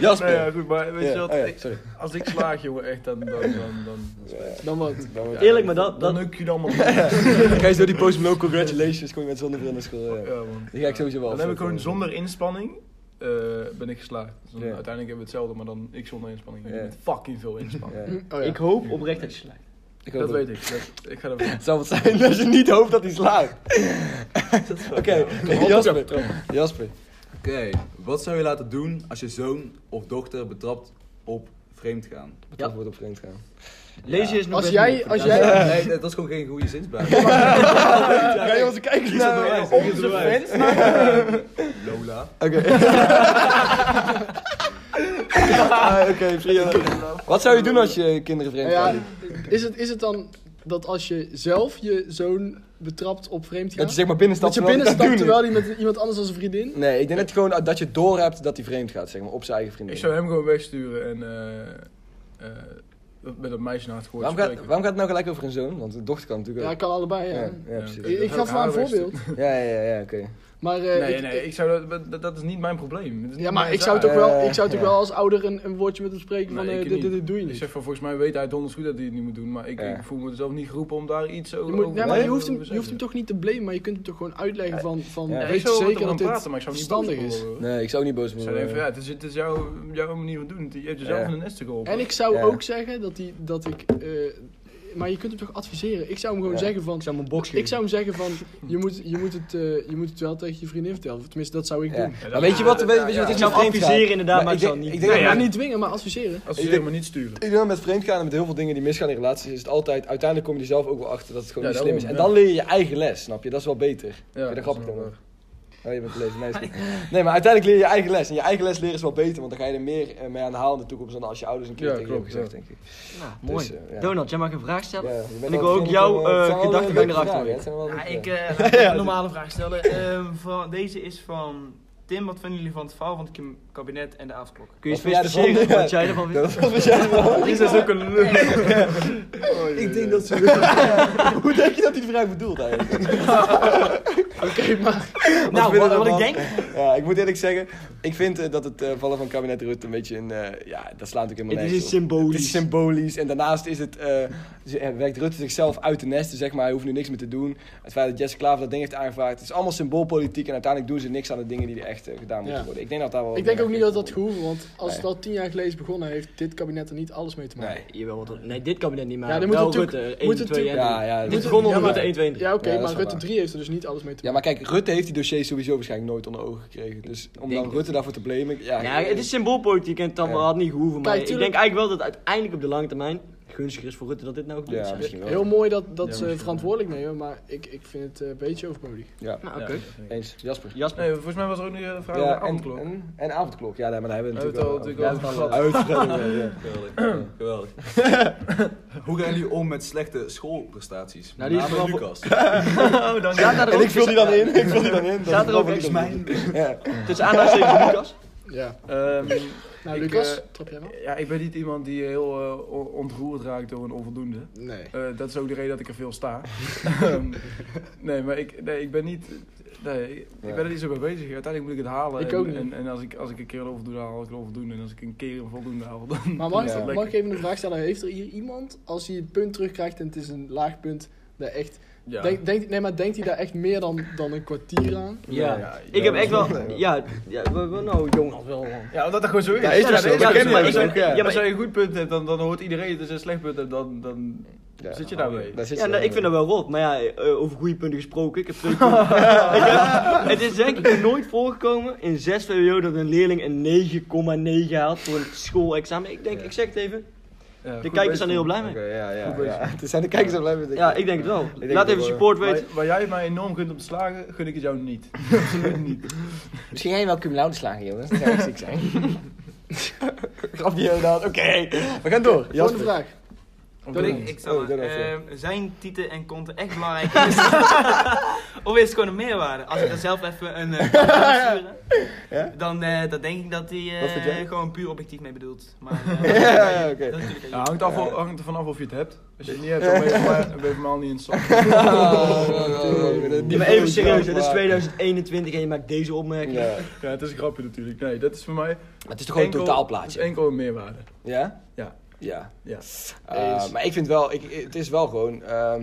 [SPEAKER 2] Jasper!
[SPEAKER 4] Nee, ja, goed, maar weet je
[SPEAKER 2] Ja,
[SPEAKER 4] wat?
[SPEAKER 2] oh ja,
[SPEAKER 4] ik-
[SPEAKER 2] sorry.
[SPEAKER 4] Als ik slaag, jongen, echt, dan... dan, dan, dan,
[SPEAKER 5] dan wat.
[SPEAKER 3] Eerlijk, maar dat,
[SPEAKER 4] dan
[SPEAKER 3] dat,
[SPEAKER 4] neuk ik je allemaal. Ja,
[SPEAKER 2] Ga je zo die post no congratulations, kom je met zonnebril naar school. Ja.
[SPEAKER 4] man.
[SPEAKER 2] Die ga ik sowieso wel.
[SPEAKER 4] Dan heb ik gewoon
[SPEAKER 2] afzetten.
[SPEAKER 4] zonder inspanning eh, ben ik geslaagd. Dus dan
[SPEAKER 2] Ja.
[SPEAKER 4] uiteindelijk hebben we hetzelfde, maar dan ik zonder inspanning. Jullie
[SPEAKER 2] Ja.
[SPEAKER 4] Met fucking veel inspanning.
[SPEAKER 2] Ja.
[SPEAKER 5] Oh ja.
[SPEAKER 3] ik hoop oprecht dat je slaagt.
[SPEAKER 2] Ik hoop
[SPEAKER 4] Dat weet ik. Dat, ik ga dat
[SPEAKER 2] Het zou wat zijn als je niet hoopt dat hij slaagt. Oké, Jasper. Jasper.
[SPEAKER 6] Oké, wat zou je laten doen als je zoon of dochter betrapt op vreemd gaan?
[SPEAKER 2] Dat wordt op vreemd gaan.
[SPEAKER 3] Lezen is nog
[SPEAKER 5] Als
[SPEAKER 3] best Nou,
[SPEAKER 5] jij,
[SPEAKER 3] moeilijk.
[SPEAKER 5] als
[SPEAKER 3] Ja,
[SPEAKER 5] jij,
[SPEAKER 6] Nee, dat is gewoon geen goede zinsbaan.
[SPEAKER 2] Ga je onze kijkers naar
[SPEAKER 4] Onze fans?
[SPEAKER 6] Lola.
[SPEAKER 2] Oké. Ah, Oké, prima. Wat zou je doen als je kinderen vreemd
[SPEAKER 5] ja,
[SPEAKER 2] gaan?
[SPEAKER 5] is, het, is het dan dat als je zelf je zoon betrapt op vreemdgaan,
[SPEAKER 2] Dat je zeg maar binnenstapt
[SPEAKER 5] dat je
[SPEAKER 2] en dan-
[SPEAKER 5] binnenstapt
[SPEAKER 2] dat doen.
[SPEAKER 5] terwijl hij met iemand anders als een vriendin?
[SPEAKER 2] Nee, ik denk dat je gewoon dat je doorhebt dat hij vreemd gaat, zeg maar, op zijn eigen
[SPEAKER 4] Ik
[SPEAKER 2] vriendin.
[SPEAKER 4] zou hem gewoon wegsturen en eh, eh, dat- met dat meisje naar het gehoord
[SPEAKER 2] Waarom gaat,
[SPEAKER 4] spreken.
[SPEAKER 2] waarom gaat het nou gelijk over een zoon? Want de dochter kan natuurlijk
[SPEAKER 5] Ja,
[SPEAKER 2] ook.
[SPEAKER 5] kan allebei, ja.
[SPEAKER 2] Ja, ja,
[SPEAKER 4] Ja.
[SPEAKER 2] precies.
[SPEAKER 5] Ik, ik gaf maar een voorbeeld.
[SPEAKER 2] Ja, ja, ja, ja, oké.
[SPEAKER 5] Maar, eh,
[SPEAKER 4] Nee,
[SPEAKER 5] ik-
[SPEAKER 4] nee, ik zou dat, dat, dat is niet mijn probleem. Het is
[SPEAKER 5] ja,
[SPEAKER 4] niet
[SPEAKER 5] maar
[SPEAKER 4] mijn
[SPEAKER 5] ik zou
[SPEAKER 4] zaak.
[SPEAKER 5] toch wel, ik zou
[SPEAKER 2] Eh,
[SPEAKER 5] toch
[SPEAKER 2] ja.
[SPEAKER 5] wel als ouder een, een woordje met hem spreken van
[SPEAKER 4] Nee,
[SPEAKER 5] eh,
[SPEAKER 4] ik
[SPEAKER 5] dit, dit,
[SPEAKER 4] niet.
[SPEAKER 5] dit doe je
[SPEAKER 4] Ik
[SPEAKER 5] niet.
[SPEAKER 4] zeg van, volgens mij weet hij donders goed dat hij het niet moet doen, maar ik,
[SPEAKER 2] Ja.
[SPEAKER 4] ik voel me zelf niet geroepen om daar iets
[SPEAKER 5] Je,
[SPEAKER 4] over
[SPEAKER 5] moet, nee, maar je,
[SPEAKER 4] over
[SPEAKER 5] hoeft
[SPEAKER 4] te
[SPEAKER 5] hem, je hoeft hem
[SPEAKER 4] zeggen.
[SPEAKER 5] toch niet te blamen, maar je kunt hem toch gewoon uitleggen van, van
[SPEAKER 2] Ja,
[SPEAKER 4] Ja, ik
[SPEAKER 5] weet je
[SPEAKER 4] zou
[SPEAKER 5] zeker
[SPEAKER 4] dat
[SPEAKER 5] dat
[SPEAKER 4] praten,
[SPEAKER 5] dit
[SPEAKER 4] maar ik zou niet boos
[SPEAKER 5] verstandig
[SPEAKER 4] worden,
[SPEAKER 5] is.
[SPEAKER 4] hoor.
[SPEAKER 2] Nee, ik zou ook niet boos
[SPEAKER 4] Ik
[SPEAKER 2] worden.
[SPEAKER 4] zou even, ja, het is, het is jouw, jouw manier van doen. Je hebt jezelf
[SPEAKER 2] Ja.
[SPEAKER 4] in een nest geholpen.
[SPEAKER 5] En ik zou
[SPEAKER 2] Ja.
[SPEAKER 5] ook zeggen dat, die, dat ik... eh, maar je kunt hem toch adviseren? Ik zou hem gewoon
[SPEAKER 2] Ja.
[SPEAKER 5] zeggen van...
[SPEAKER 3] Ik zou hem een box geven.
[SPEAKER 5] Ik zou hem zeggen van, je moet, je, moet het, eh, je moet het wel tegen je vriendin vertellen. Tenminste, dat zou ik
[SPEAKER 2] Ja.
[SPEAKER 5] doen.
[SPEAKER 4] Ja,
[SPEAKER 2] Maar
[SPEAKER 4] dat-
[SPEAKER 2] weet je wat,
[SPEAKER 4] ja,
[SPEAKER 2] weet,
[SPEAKER 4] ja,
[SPEAKER 2] weet je
[SPEAKER 4] ja.
[SPEAKER 2] wat
[SPEAKER 3] Ik
[SPEAKER 2] ik
[SPEAKER 3] zou
[SPEAKER 2] vreemd gaat?
[SPEAKER 3] adviseren inderdaad, maar
[SPEAKER 2] ik
[SPEAKER 3] ik zou
[SPEAKER 2] denk-
[SPEAKER 3] niet-
[SPEAKER 2] Ik
[SPEAKER 5] Nee,
[SPEAKER 2] denk dat
[SPEAKER 5] ja,
[SPEAKER 2] met-
[SPEAKER 5] niet dwingen, maar adviseren.
[SPEAKER 4] Als
[SPEAKER 2] Ik
[SPEAKER 4] ze
[SPEAKER 2] denk-
[SPEAKER 4] maar niet sturen.
[SPEAKER 2] ik denk dat met vreemdgaan en met heel veel dingen die misgaan in relaties, is het altijd, uiteindelijk kom je er zelf ook wel achter dat het gewoon
[SPEAKER 4] Ja,
[SPEAKER 2] niet slim is. En
[SPEAKER 4] daarom,
[SPEAKER 2] dan leer je je eigen les, snap je? Dat is wel beter.
[SPEAKER 4] Ja,
[SPEAKER 2] Vind je dat
[SPEAKER 4] dat is eh,
[SPEAKER 2] grappig
[SPEAKER 4] wel
[SPEAKER 2] dan? nog? Oh, je bent te lezen. Nee, is goed. nee, maar uiteindelijk leer je je eigen les. En je eigen les leren is wel beter, want dan ga je er meer eh, mee aan de haal in de toekomst dan als je ouders een keer
[SPEAKER 4] Ja,
[SPEAKER 2] tegen je hebben
[SPEAKER 4] klopt,
[SPEAKER 2] gezegd,
[SPEAKER 4] ja.
[SPEAKER 2] denk ik.
[SPEAKER 3] Nou, mooi.
[SPEAKER 2] Dus, eh, ja.
[SPEAKER 3] Donald, jij mag een vraag stellen.
[SPEAKER 2] Ja, je bent
[SPEAKER 3] En
[SPEAKER 2] wel
[SPEAKER 3] ik wil ook
[SPEAKER 2] vriendelijk
[SPEAKER 3] jouw
[SPEAKER 2] om, eh, het zijn
[SPEAKER 3] eh
[SPEAKER 2] wel
[SPEAKER 3] gedachtegang
[SPEAKER 2] leuke
[SPEAKER 3] erachter
[SPEAKER 2] vragen, hè.
[SPEAKER 3] weten.
[SPEAKER 2] Het zijn wel
[SPEAKER 8] Ja,
[SPEAKER 2] leuke
[SPEAKER 8] ik
[SPEAKER 2] vragen.
[SPEAKER 8] eh, laat ik een normale vraag stellen. Ehm, van, deze is van Tim. Wat vinden jullie van het verhaal van het kim- kabinet en de avondklok?
[SPEAKER 3] Kun je
[SPEAKER 2] Wat vind jij
[SPEAKER 3] eens
[SPEAKER 2] ervan?
[SPEAKER 3] specificeren
[SPEAKER 2] Ja.
[SPEAKER 3] wat jij ervan vindt?
[SPEAKER 2] Dat was wat jij Oh, wel.
[SPEAKER 4] Is dat ook een lul?
[SPEAKER 2] Ik denk dat ze... Hoe denk je dat hij de vraag bedoelt eigenlijk?
[SPEAKER 3] Nou,
[SPEAKER 2] vinden
[SPEAKER 3] wat,
[SPEAKER 2] we
[SPEAKER 3] wat ik
[SPEAKER 2] ervan?
[SPEAKER 3] denk...
[SPEAKER 2] Ja, ik moet eerlijk zeggen, ik vind eh, dat het eh, vallen van kabinet Rutte een beetje een... eh, ja, dat slaat natuurlijk helemaal
[SPEAKER 3] Het is
[SPEAKER 2] nergens op.
[SPEAKER 3] symbolisch.
[SPEAKER 2] Het is symbolisch. En daarnaast is het, eh, ze- eh, werkt Rutte zichzelf uit de nesten, zeg maar. Hij hoeft nu niks meer te doen. Het feit dat Jesse Klaver dat ding heeft aangevraagd. Het is allemaal symboolpolitiek. En uiteindelijk doen ze niks aan de dingen die hij echt echt eh, gedaan moet
[SPEAKER 5] Ja.
[SPEAKER 2] worden. Ik denk dat daar wel
[SPEAKER 5] Ik
[SPEAKER 2] meer
[SPEAKER 5] denk ook
[SPEAKER 2] aan
[SPEAKER 5] niet dat
[SPEAKER 2] gedaan
[SPEAKER 5] dat
[SPEAKER 2] moet
[SPEAKER 5] gehoeven, want als het
[SPEAKER 2] Nee.
[SPEAKER 5] al tien jaar geleden is begonnen, heeft dit kabinet er niet alles mee te maken.
[SPEAKER 2] Nee.
[SPEAKER 3] Jawel, want dat- nee, dit kabinet niet, maar
[SPEAKER 5] Ja,
[SPEAKER 3] ja,
[SPEAKER 5] dan
[SPEAKER 3] wel
[SPEAKER 5] moet
[SPEAKER 3] moet
[SPEAKER 5] natuurlijk-
[SPEAKER 3] Rutte
[SPEAKER 5] moet
[SPEAKER 3] 1, 2 en
[SPEAKER 5] natuurlijk-
[SPEAKER 2] Ja, ja,
[SPEAKER 3] Dit
[SPEAKER 2] dit-
[SPEAKER 3] begon onder
[SPEAKER 5] ja, maar-
[SPEAKER 3] Rutte 1, 2 en 3.
[SPEAKER 5] Ja, oké,
[SPEAKER 2] Ja, dat is wel
[SPEAKER 5] maar Rutte
[SPEAKER 2] waar.
[SPEAKER 5] 3 heeft er dus niet alles mee te
[SPEAKER 2] Ja,
[SPEAKER 5] maken.
[SPEAKER 2] maar kijk, Rutte heeft die dossiers sowieso waarschijnlijk nooit onder ogen gekregen. Dus om
[SPEAKER 3] denk
[SPEAKER 2] dan
[SPEAKER 3] het.
[SPEAKER 2] Rutte daarvoor te blamen... Ja,
[SPEAKER 3] Ja, het is symboolpolitiek en het had-
[SPEAKER 2] Ja.
[SPEAKER 3] had niet gehoeven. Maar
[SPEAKER 5] Kijk,
[SPEAKER 3] ik
[SPEAKER 5] tuurlijk-
[SPEAKER 3] denk eigenlijk wel dat het uiteindelijk op de lange termijn gunstiger is voor Rutte dat dit nou gebeurt.
[SPEAKER 2] Ja,
[SPEAKER 3] Ja,
[SPEAKER 2] misschien wel.
[SPEAKER 5] Heel mooi dat, dat
[SPEAKER 4] Ja,
[SPEAKER 5] ze
[SPEAKER 4] misschien
[SPEAKER 5] verantwoordelijk nemen, maar ik, ik vind het eh, een beetje overbodig.
[SPEAKER 2] Ja,
[SPEAKER 3] nou,
[SPEAKER 4] Ja,
[SPEAKER 3] oké.
[SPEAKER 4] dat vind ik.
[SPEAKER 2] eens. Jasper.
[SPEAKER 3] Jasper.
[SPEAKER 4] Nee, volgens mij was er ook nu een vraag over
[SPEAKER 2] Ja, en,
[SPEAKER 4] avondklok.
[SPEAKER 2] en, en avondklok. Ja, nee, maar daar hebben we
[SPEAKER 4] Hebben we
[SPEAKER 2] natuurlijk
[SPEAKER 4] het
[SPEAKER 2] wel-
[SPEAKER 4] al natuurlijk
[SPEAKER 2] ja,
[SPEAKER 4] over
[SPEAKER 2] uitgebreid over, ja.
[SPEAKER 6] Geweldig. Geweldig. Hoe gaan jullie om met slechte schoolprestaties?
[SPEAKER 3] Nou, die is
[SPEAKER 6] Met name
[SPEAKER 3] vooral-
[SPEAKER 6] Lucas.
[SPEAKER 4] Oh, dank je.
[SPEAKER 3] Staat daar
[SPEAKER 2] En
[SPEAKER 3] ook-
[SPEAKER 2] ik vul die dan in, ik vul die dan in.
[SPEAKER 3] Staat er ook
[SPEAKER 2] Dat is
[SPEAKER 3] echt-
[SPEAKER 2] mijn- Ja.
[SPEAKER 3] Tussen aanhalingstekens Lucas.
[SPEAKER 5] Ja.
[SPEAKER 4] Ehm,
[SPEAKER 5] Nou,
[SPEAKER 4] Ik,
[SPEAKER 5] Lucas,
[SPEAKER 4] eh,
[SPEAKER 5] trap jij wel?
[SPEAKER 4] ja, ik ben niet iemand die heel eh, on- ontroerd raakt door een onvoldoende.
[SPEAKER 5] Nee.
[SPEAKER 4] Eh, dat is ook de reden dat ik er veel sta. Ehm, nee, maar ik, nee, ik ben niet... Nee, ik
[SPEAKER 2] Ja.
[SPEAKER 4] ben er niet zo mee bezig. Uiteindelijk moet ik het halen.
[SPEAKER 5] Ik
[SPEAKER 4] en,
[SPEAKER 5] ook niet.
[SPEAKER 4] En, en als, ik, als ik een keer een onvoldoende haal, haal ik een onvoldoende. En als ik een keer een voldoende haal, dan...
[SPEAKER 5] Maar mag,
[SPEAKER 4] dan is
[SPEAKER 5] ik-
[SPEAKER 4] dat
[SPEAKER 5] mag ik
[SPEAKER 4] lekker.
[SPEAKER 5] even een vraag stellen? Heeft er hier iemand, als hij een punt terugkrijgt en het is een laag punt, daar echt...
[SPEAKER 4] Ja.
[SPEAKER 5] Denk, denkt- nee, maar denkt hij daar echt meer dan, dan een kwartier aan?
[SPEAKER 3] Ja.
[SPEAKER 4] ja,
[SPEAKER 3] ik heb echt wel...
[SPEAKER 2] wel.
[SPEAKER 3] Ja, ja, we- we- nou jongens wel.
[SPEAKER 4] Ja, omdat dat gewoon zo is.
[SPEAKER 2] Ja, is
[SPEAKER 4] Ja,
[SPEAKER 2] dat zo?
[SPEAKER 4] nee,
[SPEAKER 2] Dat
[SPEAKER 4] ja,
[SPEAKER 2] ken
[SPEAKER 4] maar
[SPEAKER 2] je
[SPEAKER 4] ik
[SPEAKER 2] ook,
[SPEAKER 4] ben-
[SPEAKER 2] ja.
[SPEAKER 4] Ja, maar als jij een goed punt hebt, dan, dan hoort iedereen dat je een slecht punt hebt, dan, dan
[SPEAKER 2] Ja.
[SPEAKER 4] zit je daarmee.
[SPEAKER 2] Daar zit
[SPEAKER 3] Ja,
[SPEAKER 2] je
[SPEAKER 3] nou,
[SPEAKER 2] dan
[SPEAKER 3] ik vind dat
[SPEAKER 2] mee.
[SPEAKER 3] wel rot. Maar ja, eh, over goede punten gesproken. Ik heb twee punten. Ik heb- het is denk ik nooit voorgekomen in 6 VWO dat een leerling een 9,9 haalt voor een schoolexamen. Ik denk, ik zeg het even.
[SPEAKER 4] Ja,
[SPEAKER 3] De
[SPEAKER 4] Eh, goed
[SPEAKER 3] kijkers zijn er heel
[SPEAKER 4] bezig.
[SPEAKER 3] blij mee.
[SPEAKER 2] Oké, ja, ja,
[SPEAKER 4] Goed bezig.
[SPEAKER 2] ja. Het zijn de kijkers al blij met
[SPEAKER 3] Ja, ik denk het wel.
[SPEAKER 2] denk
[SPEAKER 3] Laat
[SPEAKER 2] het
[SPEAKER 3] even
[SPEAKER 2] ook,
[SPEAKER 3] support weten.
[SPEAKER 4] Waar, waar jij mij enorm gunt om te slagen, gun ik het jou niet.
[SPEAKER 2] Misschien ga je wel cum laude slagen, jongens. Dat zou echt ziek zijn. Grap die inderdaad. Oké, we gaan door.
[SPEAKER 5] Volgende
[SPEAKER 2] Jasper.
[SPEAKER 5] vraag.
[SPEAKER 8] Dat ik, ik zal,
[SPEAKER 2] Oh, dat was, ja.
[SPEAKER 8] eh, zijn titel en content echt belangrijk? is? of is het gewoon een meerwaarde? Als ik er zelf even een eh, comment sturen,
[SPEAKER 2] Ja?
[SPEAKER 8] dan, eh, dan denk ik dat hij eh,
[SPEAKER 2] Wat vind jij?
[SPEAKER 8] gewoon puur objectief mee bedoelt. Maar, eh,
[SPEAKER 2] Ja, ja, oké.
[SPEAKER 8] dat is natuurlijk
[SPEAKER 4] Ja, hangt, af, hangt ervan af of je het hebt. Als je het niet hebt, dan ben je voor mij- ben je helemaal niet in het zak.
[SPEAKER 3] Ja, maar even serieus, het is 2021 en je maakt deze opmerking.
[SPEAKER 2] Ja.
[SPEAKER 4] Ja, het is een grapje natuurlijk. Nee, dat is voor mij
[SPEAKER 2] Het is toch gewoon een
[SPEAKER 4] enkel-
[SPEAKER 2] totaalplaatje?
[SPEAKER 4] het is enkel een meerwaarde.
[SPEAKER 2] Ja?
[SPEAKER 4] Ja.
[SPEAKER 2] Ja.
[SPEAKER 4] Ja.
[SPEAKER 2] Eh,
[SPEAKER 5] Eens.
[SPEAKER 2] maar ik vind wel, ik, het is wel gewoon, ehm,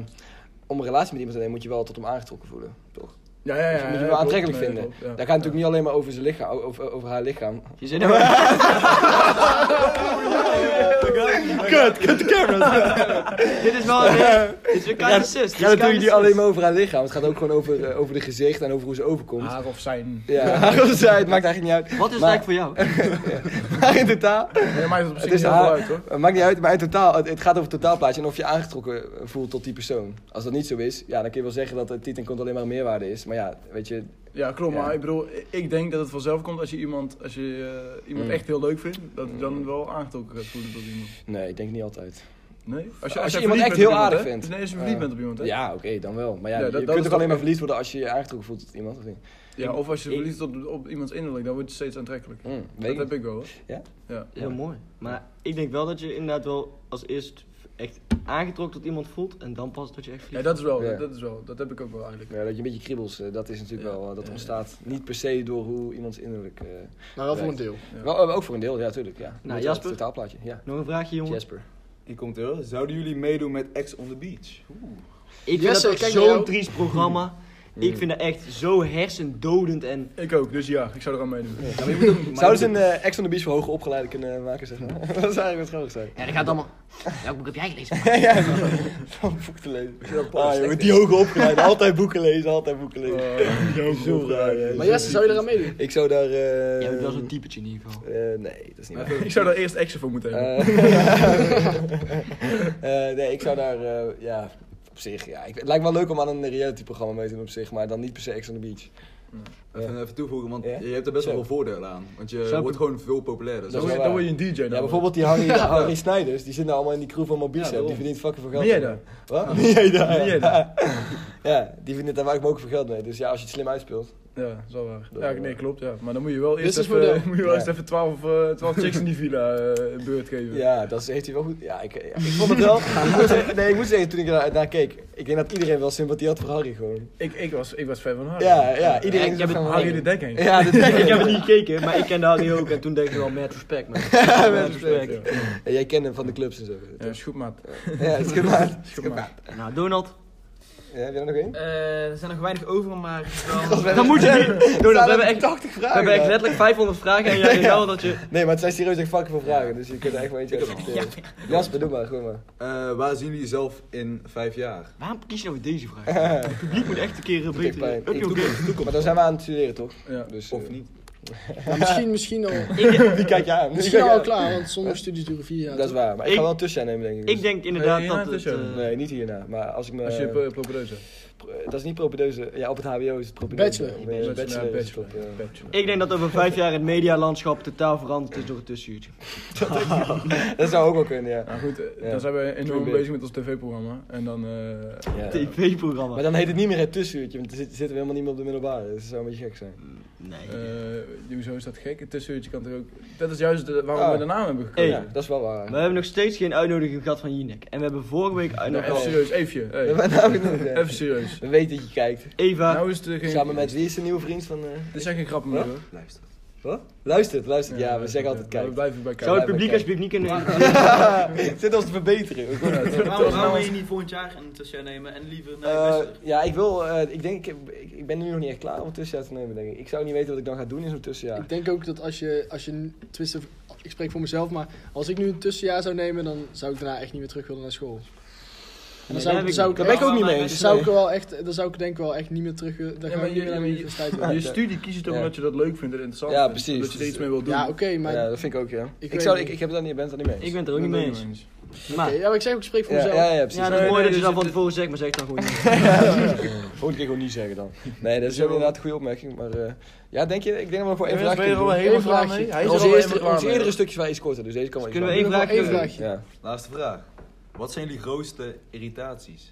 [SPEAKER 2] om een relatie met iemand te nemen moet je wel tot hem aangetrokken voelen, toch?
[SPEAKER 4] Ja, ja, ja.
[SPEAKER 2] Dus je moet je
[SPEAKER 4] ja,
[SPEAKER 2] wel
[SPEAKER 4] klopt.
[SPEAKER 2] aantrekkelijk
[SPEAKER 4] Nee,
[SPEAKER 2] vinden.
[SPEAKER 4] klopt, ja.
[SPEAKER 2] Daar gaat het natuurlijk niet alleen maar over, zijn lichaam, over, over haar lichaam.
[SPEAKER 3] Je zit er
[SPEAKER 2] Kut, kut de camera's!
[SPEAKER 3] Dit is wel een, dit is een
[SPEAKER 2] Ja,
[SPEAKER 3] kind assist.
[SPEAKER 2] Het gaat natuurlijk niet alleen maar over haar lichaam, het gaat ook gewoon over, eh, over de gezicht en over hoe ze overkomt.
[SPEAKER 4] Haar of zijn.
[SPEAKER 2] Ja, haar of zij, het maakt eigenlijk niet uit.
[SPEAKER 3] Wat is het
[SPEAKER 2] Maar-
[SPEAKER 3] eigenlijk voor jou?
[SPEAKER 2] Maar in totaal,
[SPEAKER 4] Nee, maar het op
[SPEAKER 2] Het
[SPEAKER 4] zich
[SPEAKER 2] is
[SPEAKER 4] niet heel
[SPEAKER 2] haar-
[SPEAKER 4] veel uit, hoor.
[SPEAKER 2] het maakt niet uit, maar in totaal, het, het gaat over het totaalplaatje en of je aangetrokken eh, voelt tot die persoon. Als dat niet zo is, ja, dan kun je wel zeggen dat het titel komt alleen maar een meerwaarde is. Maar ja, weet je,
[SPEAKER 4] Ja, klopt.
[SPEAKER 2] Ja.
[SPEAKER 4] Maar ik bedoel, ik denk dat het vanzelf komt als je iemand, als je, eh, iemand
[SPEAKER 2] Mm.
[SPEAKER 4] echt heel leuk vindt. Dat je dan wel aangetrokken gaat voelen tot iemand.
[SPEAKER 2] nee, ik denk niet altijd.
[SPEAKER 4] Nee? Als je,
[SPEAKER 2] je
[SPEAKER 4] jij
[SPEAKER 2] iemand echt
[SPEAKER 4] verliefd bent op
[SPEAKER 2] heel
[SPEAKER 4] iemand,
[SPEAKER 2] aardig
[SPEAKER 4] hè?
[SPEAKER 2] vindt.
[SPEAKER 4] Nee, als je verliefd
[SPEAKER 2] Ja.
[SPEAKER 4] bent op iemand, hè?
[SPEAKER 2] Ja, oké, dan wel. Maar ja,
[SPEAKER 4] Ja, dat-
[SPEAKER 2] je
[SPEAKER 4] dat
[SPEAKER 2] kunt
[SPEAKER 4] is
[SPEAKER 2] toch
[SPEAKER 4] toch-
[SPEAKER 2] alleen maar verliefd worden als je je aangetrokken voelt tot iemand, of niet?
[SPEAKER 4] Ja, of als je
[SPEAKER 3] ik-
[SPEAKER 4] verliefd op, op iemands innerlijk, dan word je steeds aantrekkelijk.
[SPEAKER 2] Hm, weet
[SPEAKER 4] Dat
[SPEAKER 2] ik
[SPEAKER 4] heb
[SPEAKER 2] niet.
[SPEAKER 4] ik wel, hoor.
[SPEAKER 3] Heel mooi. Maar ik denk wel dat je inderdaad wel als eerst echt aangetrokken tot iemand voelt en dan pas dat je echt
[SPEAKER 4] Ja,
[SPEAKER 3] vliegt.
[SPEAKER 4] dat is wel.
[SPEAKER 2] Ja.
[SPEAKER 4] Dat is wel. Dat heb ik ook wel eigenlijk.
[SPEAKER 2] Ja, dat je een beetje kriebels, eh, dat is natuurlijk
[SPEAKER 4] Ja.
[SPEAKER 2] wel, eh, dat
[SPEAKER 4] Ja.
[SPEAKER 2] ontstaat niet per se door hoe iemands innerlijk... eh,
[SPEAKER 5] Maar Nou, wel voor een
[SPEAKER 2] Right.
[SPEAKER 5] deel.
[SPEAKER 4] Ja.
[SPEAKER 2] Wel, eh, ook voor een deel, ja, tuurlijk, ja.
[SPEAKER 3] Nou,
[SPEAKER 2] Het
[SPEAKER 3] Jasper?
[SPEAKER 2] Totaalplaatje, ja.
[SPEAKER 3] Nog een vraagje, jongen.
[SPEAKER 2] Jasper.
[SPEAKER 6] Hier komt heel. Zouden jullie meedoen met Ex on the Beach?
[SPEAKER 3] Ik vind
[SPEAKER 5] Jesse,
[SPEAKER 3] dat
[SPEAKER 5] kijk
[SPEAKER 3] ook
[SPEAKER 5] naar jou.
[SPEAKER 3] zo'n triest programma. Ik vind dat echt zo hersendodend en...
[SPEAKER 4] Ik ook, dus ja, ik zou er aan meedoen.
[SPEAKER 2] Zouden ze een eh, Ex on the Beach voor hoger opgeleiden kunnen eh, maken, zeg maar? dat zou eigenlijk wat grappig zijn.
[SPEAKER 3] Ja, dat gaat allemaal... Welk boek heb jij gelezen?
[SPEAKER 2] ja, van boek te lezen. Ah, joh, met die hoger opgeleiden, altijd boeken lezen, altijd boeken lezen.
[SPEAKER 6] Oh,
[SPEAKER 2] Zo raar, hè.
[SPEAKER 5] Maar Jesse, zou je eraan meedoen?
[SPEAKER 2] Ik zou daar... eh,
[SPEAKER 3] Jij bent wel zo'n typetje in ieder geval.
[SPEAKER 2] eh, nee, dat is niet waar.
[SPEAKER 4] Ik zou daar eerst action voor moeten hebben.
[SPEAKER 2] Eh, eh, nee, ik zou daar, eh, ja, op zich, ja. Ik, het lijkt wel leuk om aan een realityprogramma mee te doen op zich, maar dan niet per se Ex on the Beach.
[SPEAKER 6] Eh, Even, even toevoegen, want
[SPEAKER 2] Ja?
[SPEAKER 6] je hebt er best wel
[SPEAKER 2] Zo.
[SPEAKER 6] veel voordelen aan. Want je
[SPEAKER 2] Zou ik-
[SPEAKER 6] wordt gewoon veel populairder.
[SPEAKER 2] Dat
[SPEAKER 4] dan,
[SPEAKER 6] Zo-
[SPEAKER 2] is
[SPEAKER 4] word je,
[SPEAKER 2] wel
[SPEAKER 4] dan word je een DJ dan.
[SPEAKER 2] Ja, bijvoorbeeld die Harry, Harry Snijders, die zitten allemaal in die crew van Mobicep, die
[SPEAKER 4] daarom.
[SPEAKER 2] verdient fucking veel geld.
[SPEAKER 4] Ben jij
[SPEAKER 2] mee.
[SPEAKER 4] daar?
[SPEAKER 2] Wat? Ben jij daar?
[SPEAKER 4] Ben jij
[SPEAKER 2] Ja. ja, die verdient daar maak ik me ook veel geld mee. Dus ja, als je het slim uitspeelt.
[SPEAKER 4] Ja, dat is wel waar.
[SPEAKER 2] Dat is
[SPEAKER 4] ja,
[SPEAKER 2] wel
[SPEAKER 4] nee,
[SPEAKER 2] waar.
[SPEAKER 4] klopt, ja. Maar dan moet je
[SPEAKER 2] Dus
[SPEAKER 4] wel eerst
[SPEAKER 5] Businessmodel.
[SPEAKER 4] even, moet je wel
[SPEAKER 2] Ja.
[SPEAKER 4] eerst even 12, eh, 12 chicks in die villa eh, een beurt geven.
[SPEAKER 2] Ja, dat is- heeft hij wel goed. Ja, ik, ja, ik vond het wel. ik moet zeggen- nee, ik moet zeggen, toen ik daar naar keek, ik denk dat iedereen wel sympathie had voor Harry gewoon.
[SPEAKER 4] Ik, ik, was, ik was fan van Harry.
[SPEAKER 2] Ja, ja,
[SPEAKER 3] Ja,
[SPEAKER 2] iedereen
[SPEAKER 3] ik heb
[SPEAKER 2] van
[SPEAKER 3] het-
[SPEAKER 4] Harry de Dek heen.
[SPEAKER 2] Ja, dat
[SPEAKER 3] Ik heb het niet gekeken, maar ik kende Harry ook en toen dacht ik wel, met respect man. Met respect.
[SPEAKER 2] Ja, jij kent hem van de clubs en zo.
[SPEAKER 4] Ja, is goed, maat.
[SPEAKER 2] Ja, is goed, maar-
[SPEAKER 4] Is goed, maat.
[SPEAKER 3] Nou, Donald.
[SPEAKER 2] Ja, heb jij er nog één?
[SPEAKER 8] Eh, er zijn nog weinig over, maar
[SPEAKER 2] Als we
[SPEAKER 8] wel...
[SPEAKER 2] hebben-
[SPEAKER 3] moet je-
[SPEAKER 2] Er staan
[SPEAKER 3] we hebben
[SPEAKER 2] letterlijk
[SPEAKER 3] echt-
[SPEAKER 2] 80
[SPEAKER 3] We
[SPEAKER 2] vragen.
[SPEAKER 3] hebben echt
[SPEAKER 2] daar.
[SPEAKER 3] letterlijk 500 vragen en jij weet wel dat je...
[SPEAKER 2] Nee, maar het zijn serieus echt fucking veel vragen, dus je kunt er echt wel eentje
[SPEAKER 6] Ik heb er
[SPEAKER 2] accepteren. Jasper, doe maar, gewoon maar.
[SPEAKER 6] Eh, waar zien jullie jezelf in vijf jaar?
[SPEAKER 3] Waarom kies je nou deze vraag? Het publiek moet echt een keer eh,
[SPEAKER 2] Kijk,
[SPEAKER 3] beter...
[SPEAKER 2] pijn.
[SPEAKER 3] Up your game.
[SPEAKER 2] Maar dan zijn we aan het studeren, toch?
[SPEAKER 4] Ja.
[SPEAKER 2] Dus,
[SPEAKER 6] Of
[SPEAKER 2] eh,
[SPEAKER 6] niet?
[SPEAKER 5] Maar misschien, misschien al,
[SPEAKER 2] Wie kijk je aan?
[SPEAKER 5] misschien
[SPEAKER 2] Wie
[SPEAKER 5] al
[SPEAKER 2] kijk je aan?
[SPEAKER 5] klaar, want sommige studies duren vier jaar.
[SPEAKER 2] Dat is waar, maar ik,
[SPEAKER 3] Ik-
[SPEAKER 2] ga wel een tussenjaar nemen, denk ik. dus-
[SPEAKER 3] Ik denk inderdaad
[SPEAKER 4] Eh,
[SPEAKER 3] dat
[SPEAKER 4] ja,
[SPEAKER 3] het...
[SPEAKER 4] tussen.
[SPEAKER 3] eh,
[SPEAKER 2] Nee, niet hierna, maar als ik me...
[SPEAKER 4] Als je uh, propedeus hebt.
[SPEAKER 2] Eh, Dat is niet propedeuse. Ja, op het HBO is het propedeuse.
[SPEAKER 5] Bachelor.
[SPEAKER 2] Eh,
[SPEAKER 4] Ja,
[SPEAKER 2] Bachelor.
[SPEAKER 4] bachelor,
[SPEAKER 2] is het
[SPEAKER 4] bachelor,
[SPEAKER 2] op, ja.
[SPEAKER 4] bachelor.
[SPEAKER 3] Ik denk dat over vijf jaar het medialandschap totaal veranderd is door het tussenuurtje.
[SPEAKER 2] Dat zou ook wel kunnen, ja.
[SPEAKER 4] Nou goed, eh,
[SPEAKER 2] Ja.
[SPEAKER 4] dan zijn we enorm
[SPEAKER 2] True
[SPEAKER 4] bezig met ons tv-programma. En dan... eh,
[SPEAKER 2] Ja. Maar
[SPEAKER 3] TV-programma.
[SPEAKER 2] dan heet het niet meer het tussenuurtje, want dan zit- zitten we helemaal niet meer op de middelbare. Dus dat zou een beetje gek zijn.
[SPEAKER 3] Nee.
[SPEAKER 4] eh hoezo is dat gek? Het tussenuurtje kan er ook... Dat is juist de- waarom
[SPEAKER 2] Ah.
[SPEAKER 4] we de naam hebben gekozen.
[SPEAKER 3] Hey.
[SPEAKER 2] Ja, dat is wel waar.
[SPEAKER 3] We hebben nog steeds geen uitnodiging gehad van Jinek. En we hebben vorige week
[SPEAKER 4] Nou, even
[SPEAKER 3] uitnodiging
[SPEAKER 4] serieus, Eefje. hey.
[SPEAKER 2] We hebben nou genoeg, hè.
[SPEAKER 4] Even serieus.
[SPEAKER 2] We weten dat je kijkt.
[SPEAKER 3] Eva.
[SPEAKER 4] Nou is het eh, geen...
[SPEAKER 2] Samen met wie is de nieuwe vriend van... eh,
[SPEAKER 4] Dit is echt geen grap meer hoor.
[SPEAKER 6] Luister.
[SPEAKER 2] Wat? Luistert, luistert. Ja, we
[SPEAKER 4] eh,
[SPEAKER 2] zeggen altijd
[SPEAKER 4] ja,
[SPEAKER 2] kijkt.
[SPEAKER 4] We blijven bij
[SPEAKER 3] zou
[SPEAKER 4] kijken.
[SPEAKER 3] het
[SPEAKER 2] wij
[SPEAKER 3] publiek
[SPEAKER 2] kijken.
[SPEAKER 3] alsjeblieft niet kunnen...
[SPEAKER 2] Zit ons te verbeteren. ook.
[SPEAKER 8] Waarom, waarom wil je niet volgend jaar een tussenjaar nemen en liever naar
[SPEAKER 2] Eh,
[SPEAKER 8] de
[SPEAKER 2] ja, ik wil, eh, ik denk, ik, ik- ik ben nu nog niet echt klaar om een tussenjaar te nemen, denk ik. Ik zou niet weten wat ik dan ga doen in zo'n tussenjaar.
[SPEAKER 5] Ik denk ook dat als je, als je, tenminste, ik spreek voor mezelf, maar als ik nu een tussenjaar zou nemen, dan zou ik daarna echt niet meer terug willen naar school. En dan
[SPEAKER 3] Nee,
[SPEAKER 5] zou,
[SPEAKER 3] dat
[SPEAKER 5] ik,
[SPEAKER 3] heb
[SPEAKER 5] zou
[SPEAKER 3] ik
[SPEAKER 5] ik,
[SPEAKER 2] Daar ben ik ook niet mee
[SPEAKER 5] dan
[SPEAKER 2] eens.
[SPEAKER 5] zou ik wel echt, dan zou ik denk ik wel echt niet meer terug willen. Dan
[SPEAKER 4] Ja,
[SPEAKER 5] ga
[SPEAKER 4] maar
[SPEAKER 5] ik niet
[SPEAKER 4] je-
[SPEAKER 5] meer naar de
[SPEAKER 4] je-
[SPEAKER 5] universiteit.
[SPEAKER 4] Ja, Je
[SPEAKER 5] willen.
[SPEAKER 4] studie kies je toch
[SPEAKER 2] Ja.
[SPEAKER 4] omdat je dat leuk vindt en interessant
[SPEAKER 2] Ja,
[SPEAKER 4] vindt.
[SPEAKER 2] precies.
[SPEAKER 4] Dat je er iets mee wil doen.
[SPEAKER 5] Ja, oké, maar
[SPEAKER 2] Ja, dat vind ik ook, ja. Ik,
[SPEAKER 5] weet
[SPEAKER 2] zou,
[SPEAKER 5] niet.
[SPEAKER 2] ik, ik heb dat niet, ben het er niet mee eens.
[SPEAKER 3] Ik ben het er ook
[SPEAKER 4] Dat
[SPEAKER 3] niet
[SPEAKER 4] ben
[SPEAKER 3] mee
[SPEAKER 4] ik
[SPEAKER 3] eens.
[SPEAKER 4] niet eens.
[SPEAKER 3] Maar,
[SPEAKER 5] oké, ja, maar ik zeg ook, ik spreek voor
[SPEAKER 2] ja,
[SPEAKER 5] mezelf.
[SPEAKER 2] ja, ja, precies.
[SPEAKER 3] ja, dat is mooi dat
[SPEAKER 4] nee,
[SPEAKER 3] je
[SPEAKER 4] dus
[SPEAKER 3] dat
[SPEAKER 4] het-
[SPEAKER 3] van tevoren zegt, maar zeg dan gewoon niet.
[SPEAKER 2] Volgende keer gewoon niet zeggen dan. Nee, dat is wel inderdaad een goede opmerking. Maar eh, ja, denk je, ik denk dat we nog wel één vraag
[SPEAKER 4] ben je er
[SPEAKER 2] kunnen
[SPEAKER 4] al
[SPEAKER 2] doen.
[SPEAKER 4] helemaal
[SPEAKER 5] Eén
[SPEAKER 4] klaar
[SPEAKER 5] vraagje.
[SPEAKER 4] mee? Hij is er al
[SPEAKER 2] Onze,
[SPEAKER 4] helemaal
[SPEAKER 2] eerste,
[SPEAKER 4] klaar
[SPEAKER 2] onze
[SPEAKER 4] mee.
[SPEAKER 2] eerdere stukjes waren iets korter, dus deze kan wel iets
[SPEAKER 3] Kunnen we
[SPEAKER 5] Ik
[SPEAKER 3] één
[SPEAKER 5] wil nog wel
[SPEAKER 3] vraagje
[SPEAKER 5] één
[SPEAKER 3] doen?
[SPEAKER 5] vraagje.
[SPEAKER 2] langer. Ja.
[SPEAKER 6] Laatste vraag. Wat zijn jullie grootste irritaties?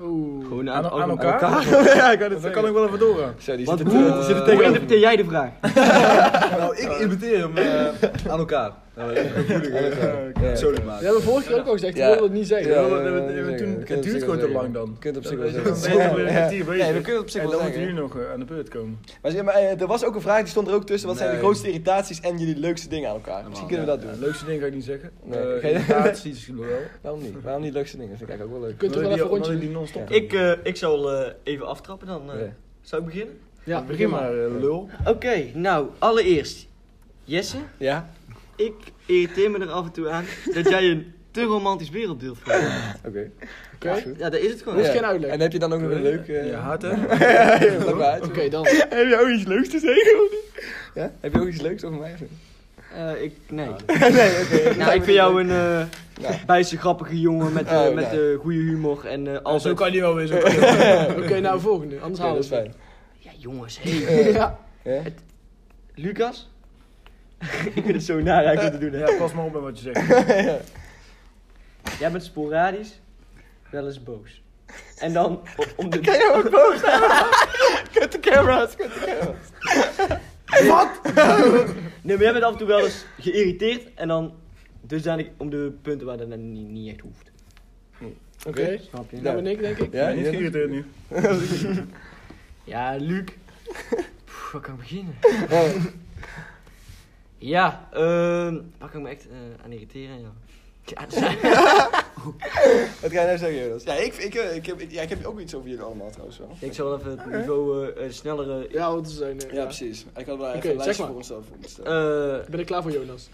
[SPEAKER 5] Oeh.
[SPEAKER 3] Gewoon
[SPEAKER 4] Aan,
[SPEAKER 3] aan,
[SPEAKER 4] aan
[SPEAKER 3] elkaar.
[SPEAKER 4] elkaar?
[SPEAKER 2] ja, ik kan het
[SPEAKER 4] Dat kan ik wel even doorgaan.
[SPEAKER 2] Zo, die
[SPEAKER 3] Wat,
[SPEAKER 2] zitten
[SPEAKER 3] hoe-
[SPEAKER 2] te- die zitten
[SPEAKER 3] Hoe
[SPEAKER 2] tegenover
[SPEAKER 3] interpreteer jij de vraag?
[SPEAKER 6] nou, ik imiteer hem eh, aan elkaar. Nou, dat is moeilijk, hè?
[SPEAKER 2] me. Ja.
[SPEAKER 6] Persoonlijk
[SPEAKER 5] Dat
[SPEAKER 6] maken.
[SPEAKER 5] hebben we vorige keer ook al gezegd, we
[SPEAKER 2] Ja.
[SPEAKER 5] wilden het niet zeggen.
[SPEAKER 2] Ja,
[SPEAKER 4] Ja,
[SPEAKER 2] ja,
[SPEAKER 4] dat-
[SPEAKER 2] ja,
[SPEAKER 4] dat-
[SPEAKER 2] ja,
[SPEAKER 4] dat-
[SPEAKER 2] ja,
[SPEAKER 4] toen-
[SPEAKER 2] ja,
[SPEAKER 4] het
[SPEAKER 2] ja,
[SPEAKER 4] duurt
[SPEAKER 2] ja,
[SPEAKER 4] gewoon
[SPEAKER 2] ja,
[SPEAKER 4] te
[SPEAKER 2] ja.
[SPEAKER 4] lang dan.
[SPEAKER 2] Je kunt het op zich
[SPEAKER 4] Dat-
[SPEAKER 2] wel
[SPEAKER 4] dat-
[SPEAKER 2] zeggen.
[SPEAKER 4] dat- dat- dat- dat- dat- dat-
[SPEAKER 2] Nee, we kunnen het op zich
[SPEAKER 4] En
[SPEAKER 2] wel
[SPEAKER 4] dan moet je
[SPEAKER 2] zeggen.
[SPEAKER 4] hier nog eh, aan de beurt komen.
[SPEAKER 2] Maar, zeg maar, eh, er was ook een vraag, die stond er ook tussen. Wat zijn de
[SPEAKER 6] Nee.
[SPEAKER 2] grootste irritaties en jullie leukste dingen aan elkaar? Misschien kunnen we dat
[SPEAKER 4] Ja,
[SPEAKER 2] doen.
[SPEAKER 4] leukste ding ga ik niet zeggen.
[SPEAKER 2] Nee,
[SPEAKER 4] Eh,
[SPEAKER 2] oké.
[SPEAKER 4] irritaties wel.
[SPEAKER 2] Waarom niet? Waarom niet leukste dingen? Dat vind ik eigenlijk ook wel
[SPEAKER 5] Je kunt
[SPEAKER 4] Omdat
[SPEAKER 5] er
[SPEAKER 4] ik
[SPEAKER 5] wel
[SPEAKER 4] die-
[SPEAKER 5] even een
[SPEAKER 4] omdat ik
[SPEAKER 5] rondje doen.
[SPEAKER 4] die non-stop doe.
[SPEAKER 3] Ik, eh, ik zal eh, even aftrappen dan. eh.
[SPEAKER 2] leuk. Ja.
[SPEAKER 3] Zou ik beginnen?
[SPEAKER 5] Ja,
[SPEAKER 4] Begin maar, eh, lul.
[SPEAKER 3] Oké, nou, allereerst. Jesse,
[SPEAKER 2] Ja?
[SPEAKER 3] ik irriteer me er af en toe aan dat jij een te romantisch wereldbeeld hebt.
[SPEAKER 2] Oké.
[SPEAKER 5] Oké,
[SPEAKER 2] Ja, is goed.
[SPEAKER 3] Ja, dat is het gewoon.
[SPEAKER 5] Dat is
[SPEAKER 2] Ja.
[SPEAKER 5] geen uitleg.
[SPEAKER 2] En eh, heb je dan ook nog een leuk... eh,
[SPEAKER 4] Je haat hè?
[SPEAKER 2] leuk verhaal?
[SPEAKER 5] Oké, dan.
[SPEAKER 2] Heb je ook iets leuks te zeggen? of niet? Ja? Heb je ook iets leuks over mij?
[SPEAKER 3] Eh, ik, nee.
[SPEAKER 2] nee, oké.
[SPEAKER 3] nou, ik vind jou een eh
[SPEAKER 2] Ja.
[SPEAKER 3] bijster grappige jongen met, eh,
[SPEAKER 2] Oh,
[SPEAKER 3] met
[SPEAKER 2] nee.
[SPEAKER 3] eh, goede humor en eh altijd...
[SPEAKER 4] Zo kan die wel weer zo.
[SPEAKER 5] Oké, nou volgende, anders
[SPEAKER 2] Ja,
[SPEAKER 5] halen
[SPEAKER 2] dat
[SPEAKER 5] we
[SPEAKER 2] is
[SPEAKER 5] het.
[SPEAKER 2] fijn.
[SPEAKER 3] Ja, jongens, hé.
[SPEAKER 5] Ja,
[SPEAKER 2] Ja?
[SPEAKER 3] Lucas? ik vind het zo naar eigenlijk om te doen, hè.
[SPEAKER 4] Ja, pas maar op met wat je zegt.
[SPEAKER 3] Jij bent sporadisch, wel eens boos. En dan, o- om de...
[SPEAKER 2] Kan je ook boos Cut the camera's, cut the camera's.
[SPEAKER 3] Nee, maar jij bent af en toe wel eens geïrriteerd en dan... Dus dan om de punten waar dat dan niet, niet echt hoeft.
[SPEAKER 5] oké.
[SPEAKER 3] Snap je?
[SPEAKER 5] Nou ben ik, denk ik.
[SPEAKER 2] Ja,
[SPEAKER 4] niet
[SPEAKER 2] die-
[SPEAKER 4] geïrriteerd nu.
[SPEAKER 3] Ja, Luc. Pff, waar kan ik beginnen?
[SPEAKER 2] Oh,
[SPEAKER 3] Ja, ehm waar kan ik me echt eh, aan irriteren? Ja. Ja, dat zijn-
[SPEAKER 2] Wat ga je nou zeggen, Jonas? Ja, ik, ik, eh, ik, heb, ik, ja, ik heb ook iets over jullie allemaal trouwens wel.
[SPEAKER 3] ik zal even het niveau eh, eh, sneller... eh,
[SPEAKER 5] Ja, want ze zijn... eh,
[SPEAKER 2] Ja, precies. Ik had wel even
[SPEAKER 5] Oké,
[SPEAKER 2] een lijstje
[SPEAKER 5] zeg maar.
[SPEAKER 2] voor onszelf voor moeten stellen.
[SPEAKER 3] eh,
[SPEAKER 5] Ik ben er klaar voor, Jonas.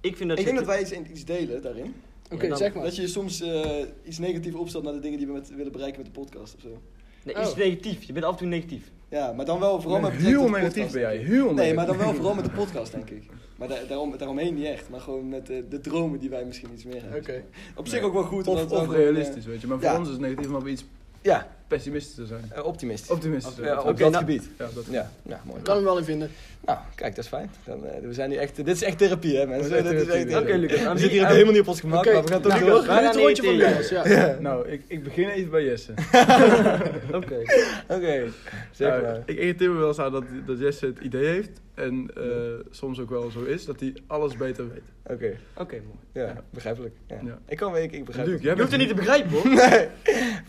[SPEAKER 3] ik vind dat
[SPEAKER 2] ik
[SPEAKER 3] je-
[SPEAKER 2] denk dat wij iets, iets delen daarin.
[SPEAKER 5] Oké,
[SPEAKER 3] Ja, dan-
[SPEAKER 5] zeg maar.
[SPEAKER 2] Dat je soms eh, iets negatiefs opstelt naar de dingen die we met, willen bereiken met de podcast of zo.
[SPEAKER 3] Nee, iets
[SPEAKER 5] Oh.
[SPEAKER 3] negatief. Je bent af en toe negatief.
[SPEAKER 2] Ja, maar dan wel vooral met betrekking
[SPEAKER 4] Heel
[SPEAKER 2] tot de
[SPEAKER 4] negatief
[SPEAKER 2] podcast,
[SPEAKER 4] ben jij.
[SPEAKER 2] denk ik.
[SPEAKER 4] Heel
[SPEAKER 2] Nee,
[SPEAKER 4] negatief.
[SPEAKER 2] maar dan wel vooral met de podcast, denk ik. Maar daar, daarom, daaromheen niet echt. Maar gewoon met eh, de dromen die wij misschien iets meer hebben.
[SPEAKER 5] Oké.
[SPEAKER 2] Op zich ook wel goed. omdat
[SPEAKER 4] Of,
[SPEAKER 2] het wel
[SPEAKER 4] of
[SPEAKER 2] gewoon, eh,
[SPEAKER 4] realistisch, weet je. Maar voor
[SPEAKER 2] ja.
[SPEAKER 4] ons is het negatief om iets
[SPEAKER 2] Ja,
[SPEAKER 4] pessimistisch te zijn.
[SPEAKER 2] eh, optimistisch.
[SPEAKER 4] Optimistisch. te zijn.
[SPEAKER 2] Ja, op
[SPEAKER 3] Oké,
[SPEAKER 2] dat
[SPEAKER 3] nou-
[SPEAKER 2] gebied.
[SPEAKER 4] Ja, dat
[SPEAKER 2] Ja, ja mooi.
[SPEAKER 5] Ik kan hem wel in vinden.
[SPEAKER 2] Nou, kijk, dat is fijn. Dan, eh, we zijn nu echt, dit is echt therapie, hè mensen.
[SPEAKER 4] Dit is echt
[SPEAKER 2] Dit is echt
[SPEAKER 4] therapie.
[SPEAKER 3] Oké,
[SPEAKER 2] therapie.
[SPEAKER 3] Lucas. aan
[SPEAKER 2] We
[SPEAKER 3] wie-
[SPEAKER 2] zitten hier ook
[SPEAKER 3] aan-
[SPEAKER 2] helemaal niet op ons gemak,
[SPEAKER 5] Oké,
[SPEAKER 2] maar we gaan toch
[SPEAKER 5] Lucas,
[SPEAKER 2] door.
[SPEAKER 3] Wij gaan
[SPEAKER 5] het rondje van
[SPEAKER 3] irriteren.
[SPEAKER 5] Jonas, ja.
[SPEAKER 4] Nou, ik, ik begin even bij Jesse.
[SPEAKER 3] Oké.
[SPEAKER 2] Oké, zeg
[SPEAKER 4] Nou,
[SPEAKER 2] maar.
[SPEAKER 4] Ik irriteer me wel eens aan dat, dat Jesse het idee heeft. En eh, soms ook wel zo is, dat hij alles beter weet.
[SPEAKER 2] Oké,
[SPEAKER 3] Oké, mooi.
[SPEAKER 2] ja, begrijpelijk. Ja.
[SPEAKER 4] Ja.
[SPEAKER 2] Ik kan wel, ik, ik begrijp
[SPEAKER 4] Luc,
[SPEAKER 2] het.
[SPEAKER 4] jij
[SPEAKER 3] Je hoeft het niet
[SPEAKER 4] bent
[SPEAKER 3] te begrijpen, hoor.
[SPEAKER 2] Nee,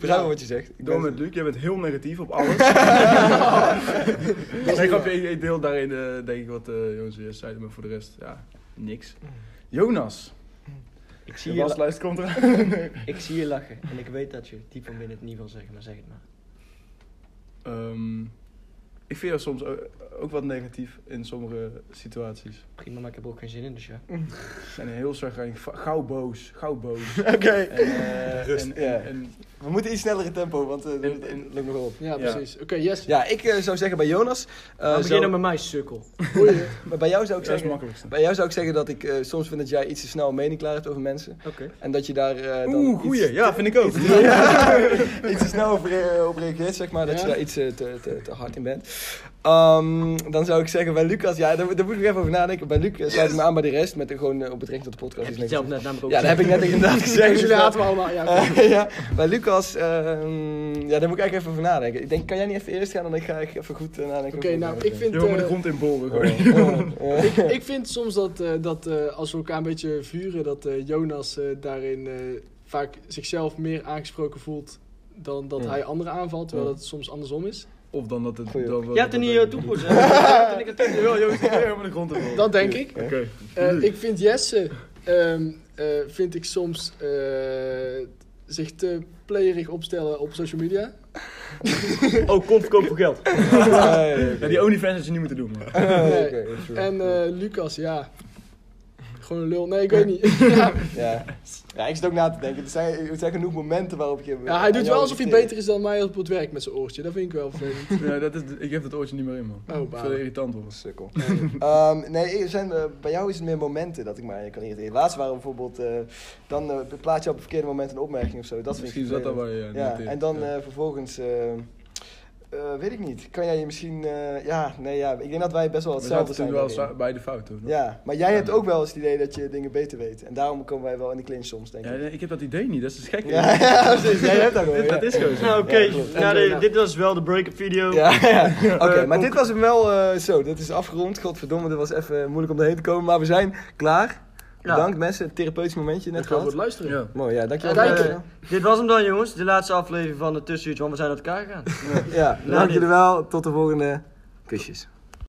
[SPEAKER 2] begrijp wel wat je zegt. Ik
[SPEAKER 4] Door
[SPEAKER 2] ben-
[SPEAKER 4] met Luc, jij bent heel negatief op alles. nee, grapje, ik, ik deel daarin
[SPEAKER 2] Mm.
[SPEAKER 4] eh, denk ik wat eh Jonas en Jess zeiden, maar voor de rest, ja, niks. Jonas.
[SPEAKER 3] Ik zie,
[SPEAKER 4] De
[SPEAKER 3] je, la-
[SPEAKER 4] waslijst komt eraan.
[SPEAKER 3] ik zie je lachen en ik weet dat je diep van binnen het niet wil zeggen, maar zeg het maar.
[SPEAKER 4] Ehm, ik vind jou soms o- ook wat negatief in sommige situaties.
[SPEAKER 3] Prima, maar ik heb er ook geen zin in, dus ja.
[SPEAKER 4] En heel chagrijnig. Va- Gauw boos. Gauw boos.
[SPEAKER 2] Oké,
[SPEAKER 4] En, eh,
[SPEAKER 2] Rust,
[SPEAKER 4] en- en-
[SPEAKER 2] ja.
[SPEAKER 4] en-
[SPEAKER 2] we moeten iets sneller in tempo, want eh
[SPEAKER 4] In-
[SPEAKER 2] dat dat lukt nog wel op.
[SPEAKER 5] Ja, precies. Oké, yes.
[SPEAKER 2] Ja, ik eh, zou zeggen bij Jonas. eh,
[SPEAKER 3] We
[SPEAKER 4] Nou,
[SPEAKER 2] zou-
[SPEAKER 3] beginnen met mij, sukkel.
[SPEAKER 5] Goeie.
[SPEAKER 2] maar bij jou zou ik
[SPEAKER 4] dat is het
[SPEAKER 2] zeggen.
[SPEAKER 4] makkelijkste.
[SPEAKER 2] Bij jou zou ik zeggen dat ik eh, soms vind dat jij iets te snel een mening klaar hebt over mensen.
[SPEAKER 3] Oké.
[SPEAKER 2] En dat je daar eh, dan
[SPEAKER 4] Oeh,
[SPEAKER 2] iets-
[SPEAKER 4] goeie. Ja, vind ik ook.
[SPEAKER 2] iets te snel op,
[SPEAKER 1] eh,
[SPEAKER 2] re- op reageert, zeg maar. Dat
[SPEAKER 5] Ja.
[SPEAKER 2] je daar iets eh, te, te, te hard in bent. Ehm, dan zou ik zeggen bij Lucas, ja, daar, moet- daar moet ik even over nadenken. Bij Luc eh, sluit ik me aan bij de rest, met de, gewoon eh, op betrekking tot de podcast.
[SPEAKER 3] Heb je
[SPEAKER 2] Dus
[SPEAKER 3] het zelf net namelijk ook
[SPEAKER 2] ja, dat heb ik net inderdaad gezegd.
[SPEAKER 5] Dus jullie haten me allemaal. Ja, oké.
[SPEAKER 2] Eh, ja, bij Lucas, ehm, ja, daar moet ik eigenlijk even over nadenken. Ik denk, kan jij niet even eerst gaan, dan ik ga ik even goed eh, nadenken.
[SPEAKER 5] Oké,
[SPEAKER 2] over-
[SPEAKER 5] nou, ik vind...
[SPEAKER 4] Je wil me de
[SPEAKER 5] eh,
[SPEAKER 4] grond in boren.
[SPEAKER 2] Oh,
[SPEAKER 4] gewoon.
[SPEAKER 2] eh, eh.
[SPEAKER 5] ik vind soms dat, eh, dat eh, als we elkaar een beetje vuren, dat eh, Jonas eh, daarin eh, vaak zichzelf meer aangesproken voelt dan dat
[SPEAKER 2] Ja.
[SPEAKER 5] hij anderen aanvalt, terwijl
[SPEAKER 2] Ja.
[SPEAKER 5] dat het soms andersom is.
[SPEAKER 4] Of dan dat het...
[SPEAKER 2] Goeie.
[SPEAKER 4] Dan, wel-
[SPEAKER 3] Jij hebt er
[SPEAKER 4] dat-
[SPEAKER 3] niet eh, toekomst, hè? Ja, vind ik het
[SPEAKER 4] Ja, jongens, ik wil helemaal de grond in boren.
[SPEAKER 5] Dat denk ik.
[SPEAKER 4] Oké.
[SPEAKER 5] Eh, ik vind Jesse, ehm, eh, vind ik soms eh, zich te playerig opstellen op social media.
[SPEAKER 3] Oh, kom verkoop voor geld.
[SPEAKER 4] Ja, die OnlyFans had je niet moeten doen, man.
[SPEAKER 5] Nee.
[SPEAKER 2] Oké, true.
[SPEAKER 5] En eh, Lucas, ja, gewoon een lul. Nee, ik weet niet. ja.
[SPEAKER 2] Ja. ja, ik zit ook na te denken. Er zijn, er zijn genoeg momenten waarop je...
[SPEAKER 5] Ja, hij doet wel alsof hij beter is dan mij op het werk met zijn oortje. Dat vind ik wel vervelend.
[SPEAKER 4] Ja, dat is, ik heb dat oortje niet meer in, man.
[SPEAKER 5] Oh,
[SPEAKER 4] Dat is
[SPEAKER 5] balen.
[SPEAKER 4] wel irritant, hoor.
[SPEAKER 2] Sukkel. Ehm, nee, er zijn, eh, bij jou is het meer momenten dat ik maar je kan irriteren. Laatst waren we bijvoorbeeld, eh, dan eh plaats je op het verkeerde moment een opmerking of zo. Dat vind
[SPEAKER 4] Misschien
[SPEAKER 2] ik
[SPEAKER 4] is dat dan
[SPEAKER 2] vervelend.
[SPEAKER 4] waar je aan
[SPEAKER 2] Ja,
[SPEAKER 4] irriteert.
[SPEAKER 2] en dan
[SPEAKER 4] Ja.
[SPEAKER 2] eh, vervolgens, eh, eh, weet ik niet, kan jij je misschien, eh, ja, nee, ja, ik denk dat wij best wel
[SPEAKER 4] We zaten
[SPEAKER 2] hetzelfde zijn.
[SPEAKER 4] toen wel
[SPEAKER 2] daarin.
[SPEAKER 4] zwa- bij de fout, hoor.
[SPEAKER 2] Ja, maar jij hebt ook wel eens het idee dat je dingen beter weet. En daarom komen wij wel in de clinch soms, denk
[SPEAKER 4] Ja,
[SPEAKER 2] ik.
[SPEAKER 4] nee, ik heb dat idee niet, dat is dus gek.
[SPEAKER 2] Ja, ja, precies, jij hebt dat wel.
[SPEAKER 4] Dit-
[SPEAKER 2] ja.
[SPEAKER 4] Dat is gewoon zo.
[SPEAKER 3] Nou, oké.
[SPEAKER 2] Ja, klopt.
[SPEAKER 3] nou, de- dit was wel de break-up video.
[SPEAKER 2] Ja, ja. Oké,
[SPEAKER 3] Eh,
[SPEAKER 2] maar
[SPEAKER 3] ook-
[SPEAKER 2] dit was hem wel eh, zo. Dit is afgerond. Godverdomme, dit was even moeilijk om erheen te komen. Maar we zijn klaar.
[SPEAKER 3] Ja.
[SPEAKER 2] Bedankt mensen. Een therapeutisch momentje net
[SPEAKER 5] Dankjewel voor
[SPEAKER 2] gehad.
[SPEAKER 5] het luisteren.
[SPEAKER 4] Ja.
[SPEAKER 2] Mooi, ja. Dankjewel.
[SPEAKER 3] En,
[SPEAKER 2] voor
[SPEAKER 3] eh, Dit was hem dan, jongens. De laatste aflevering van de Tussenuurtje, want we zijn uit elkaar gegaan.
[SPEAKER 2] ja, dank jullie wel. Tot de volgende. Kusjes.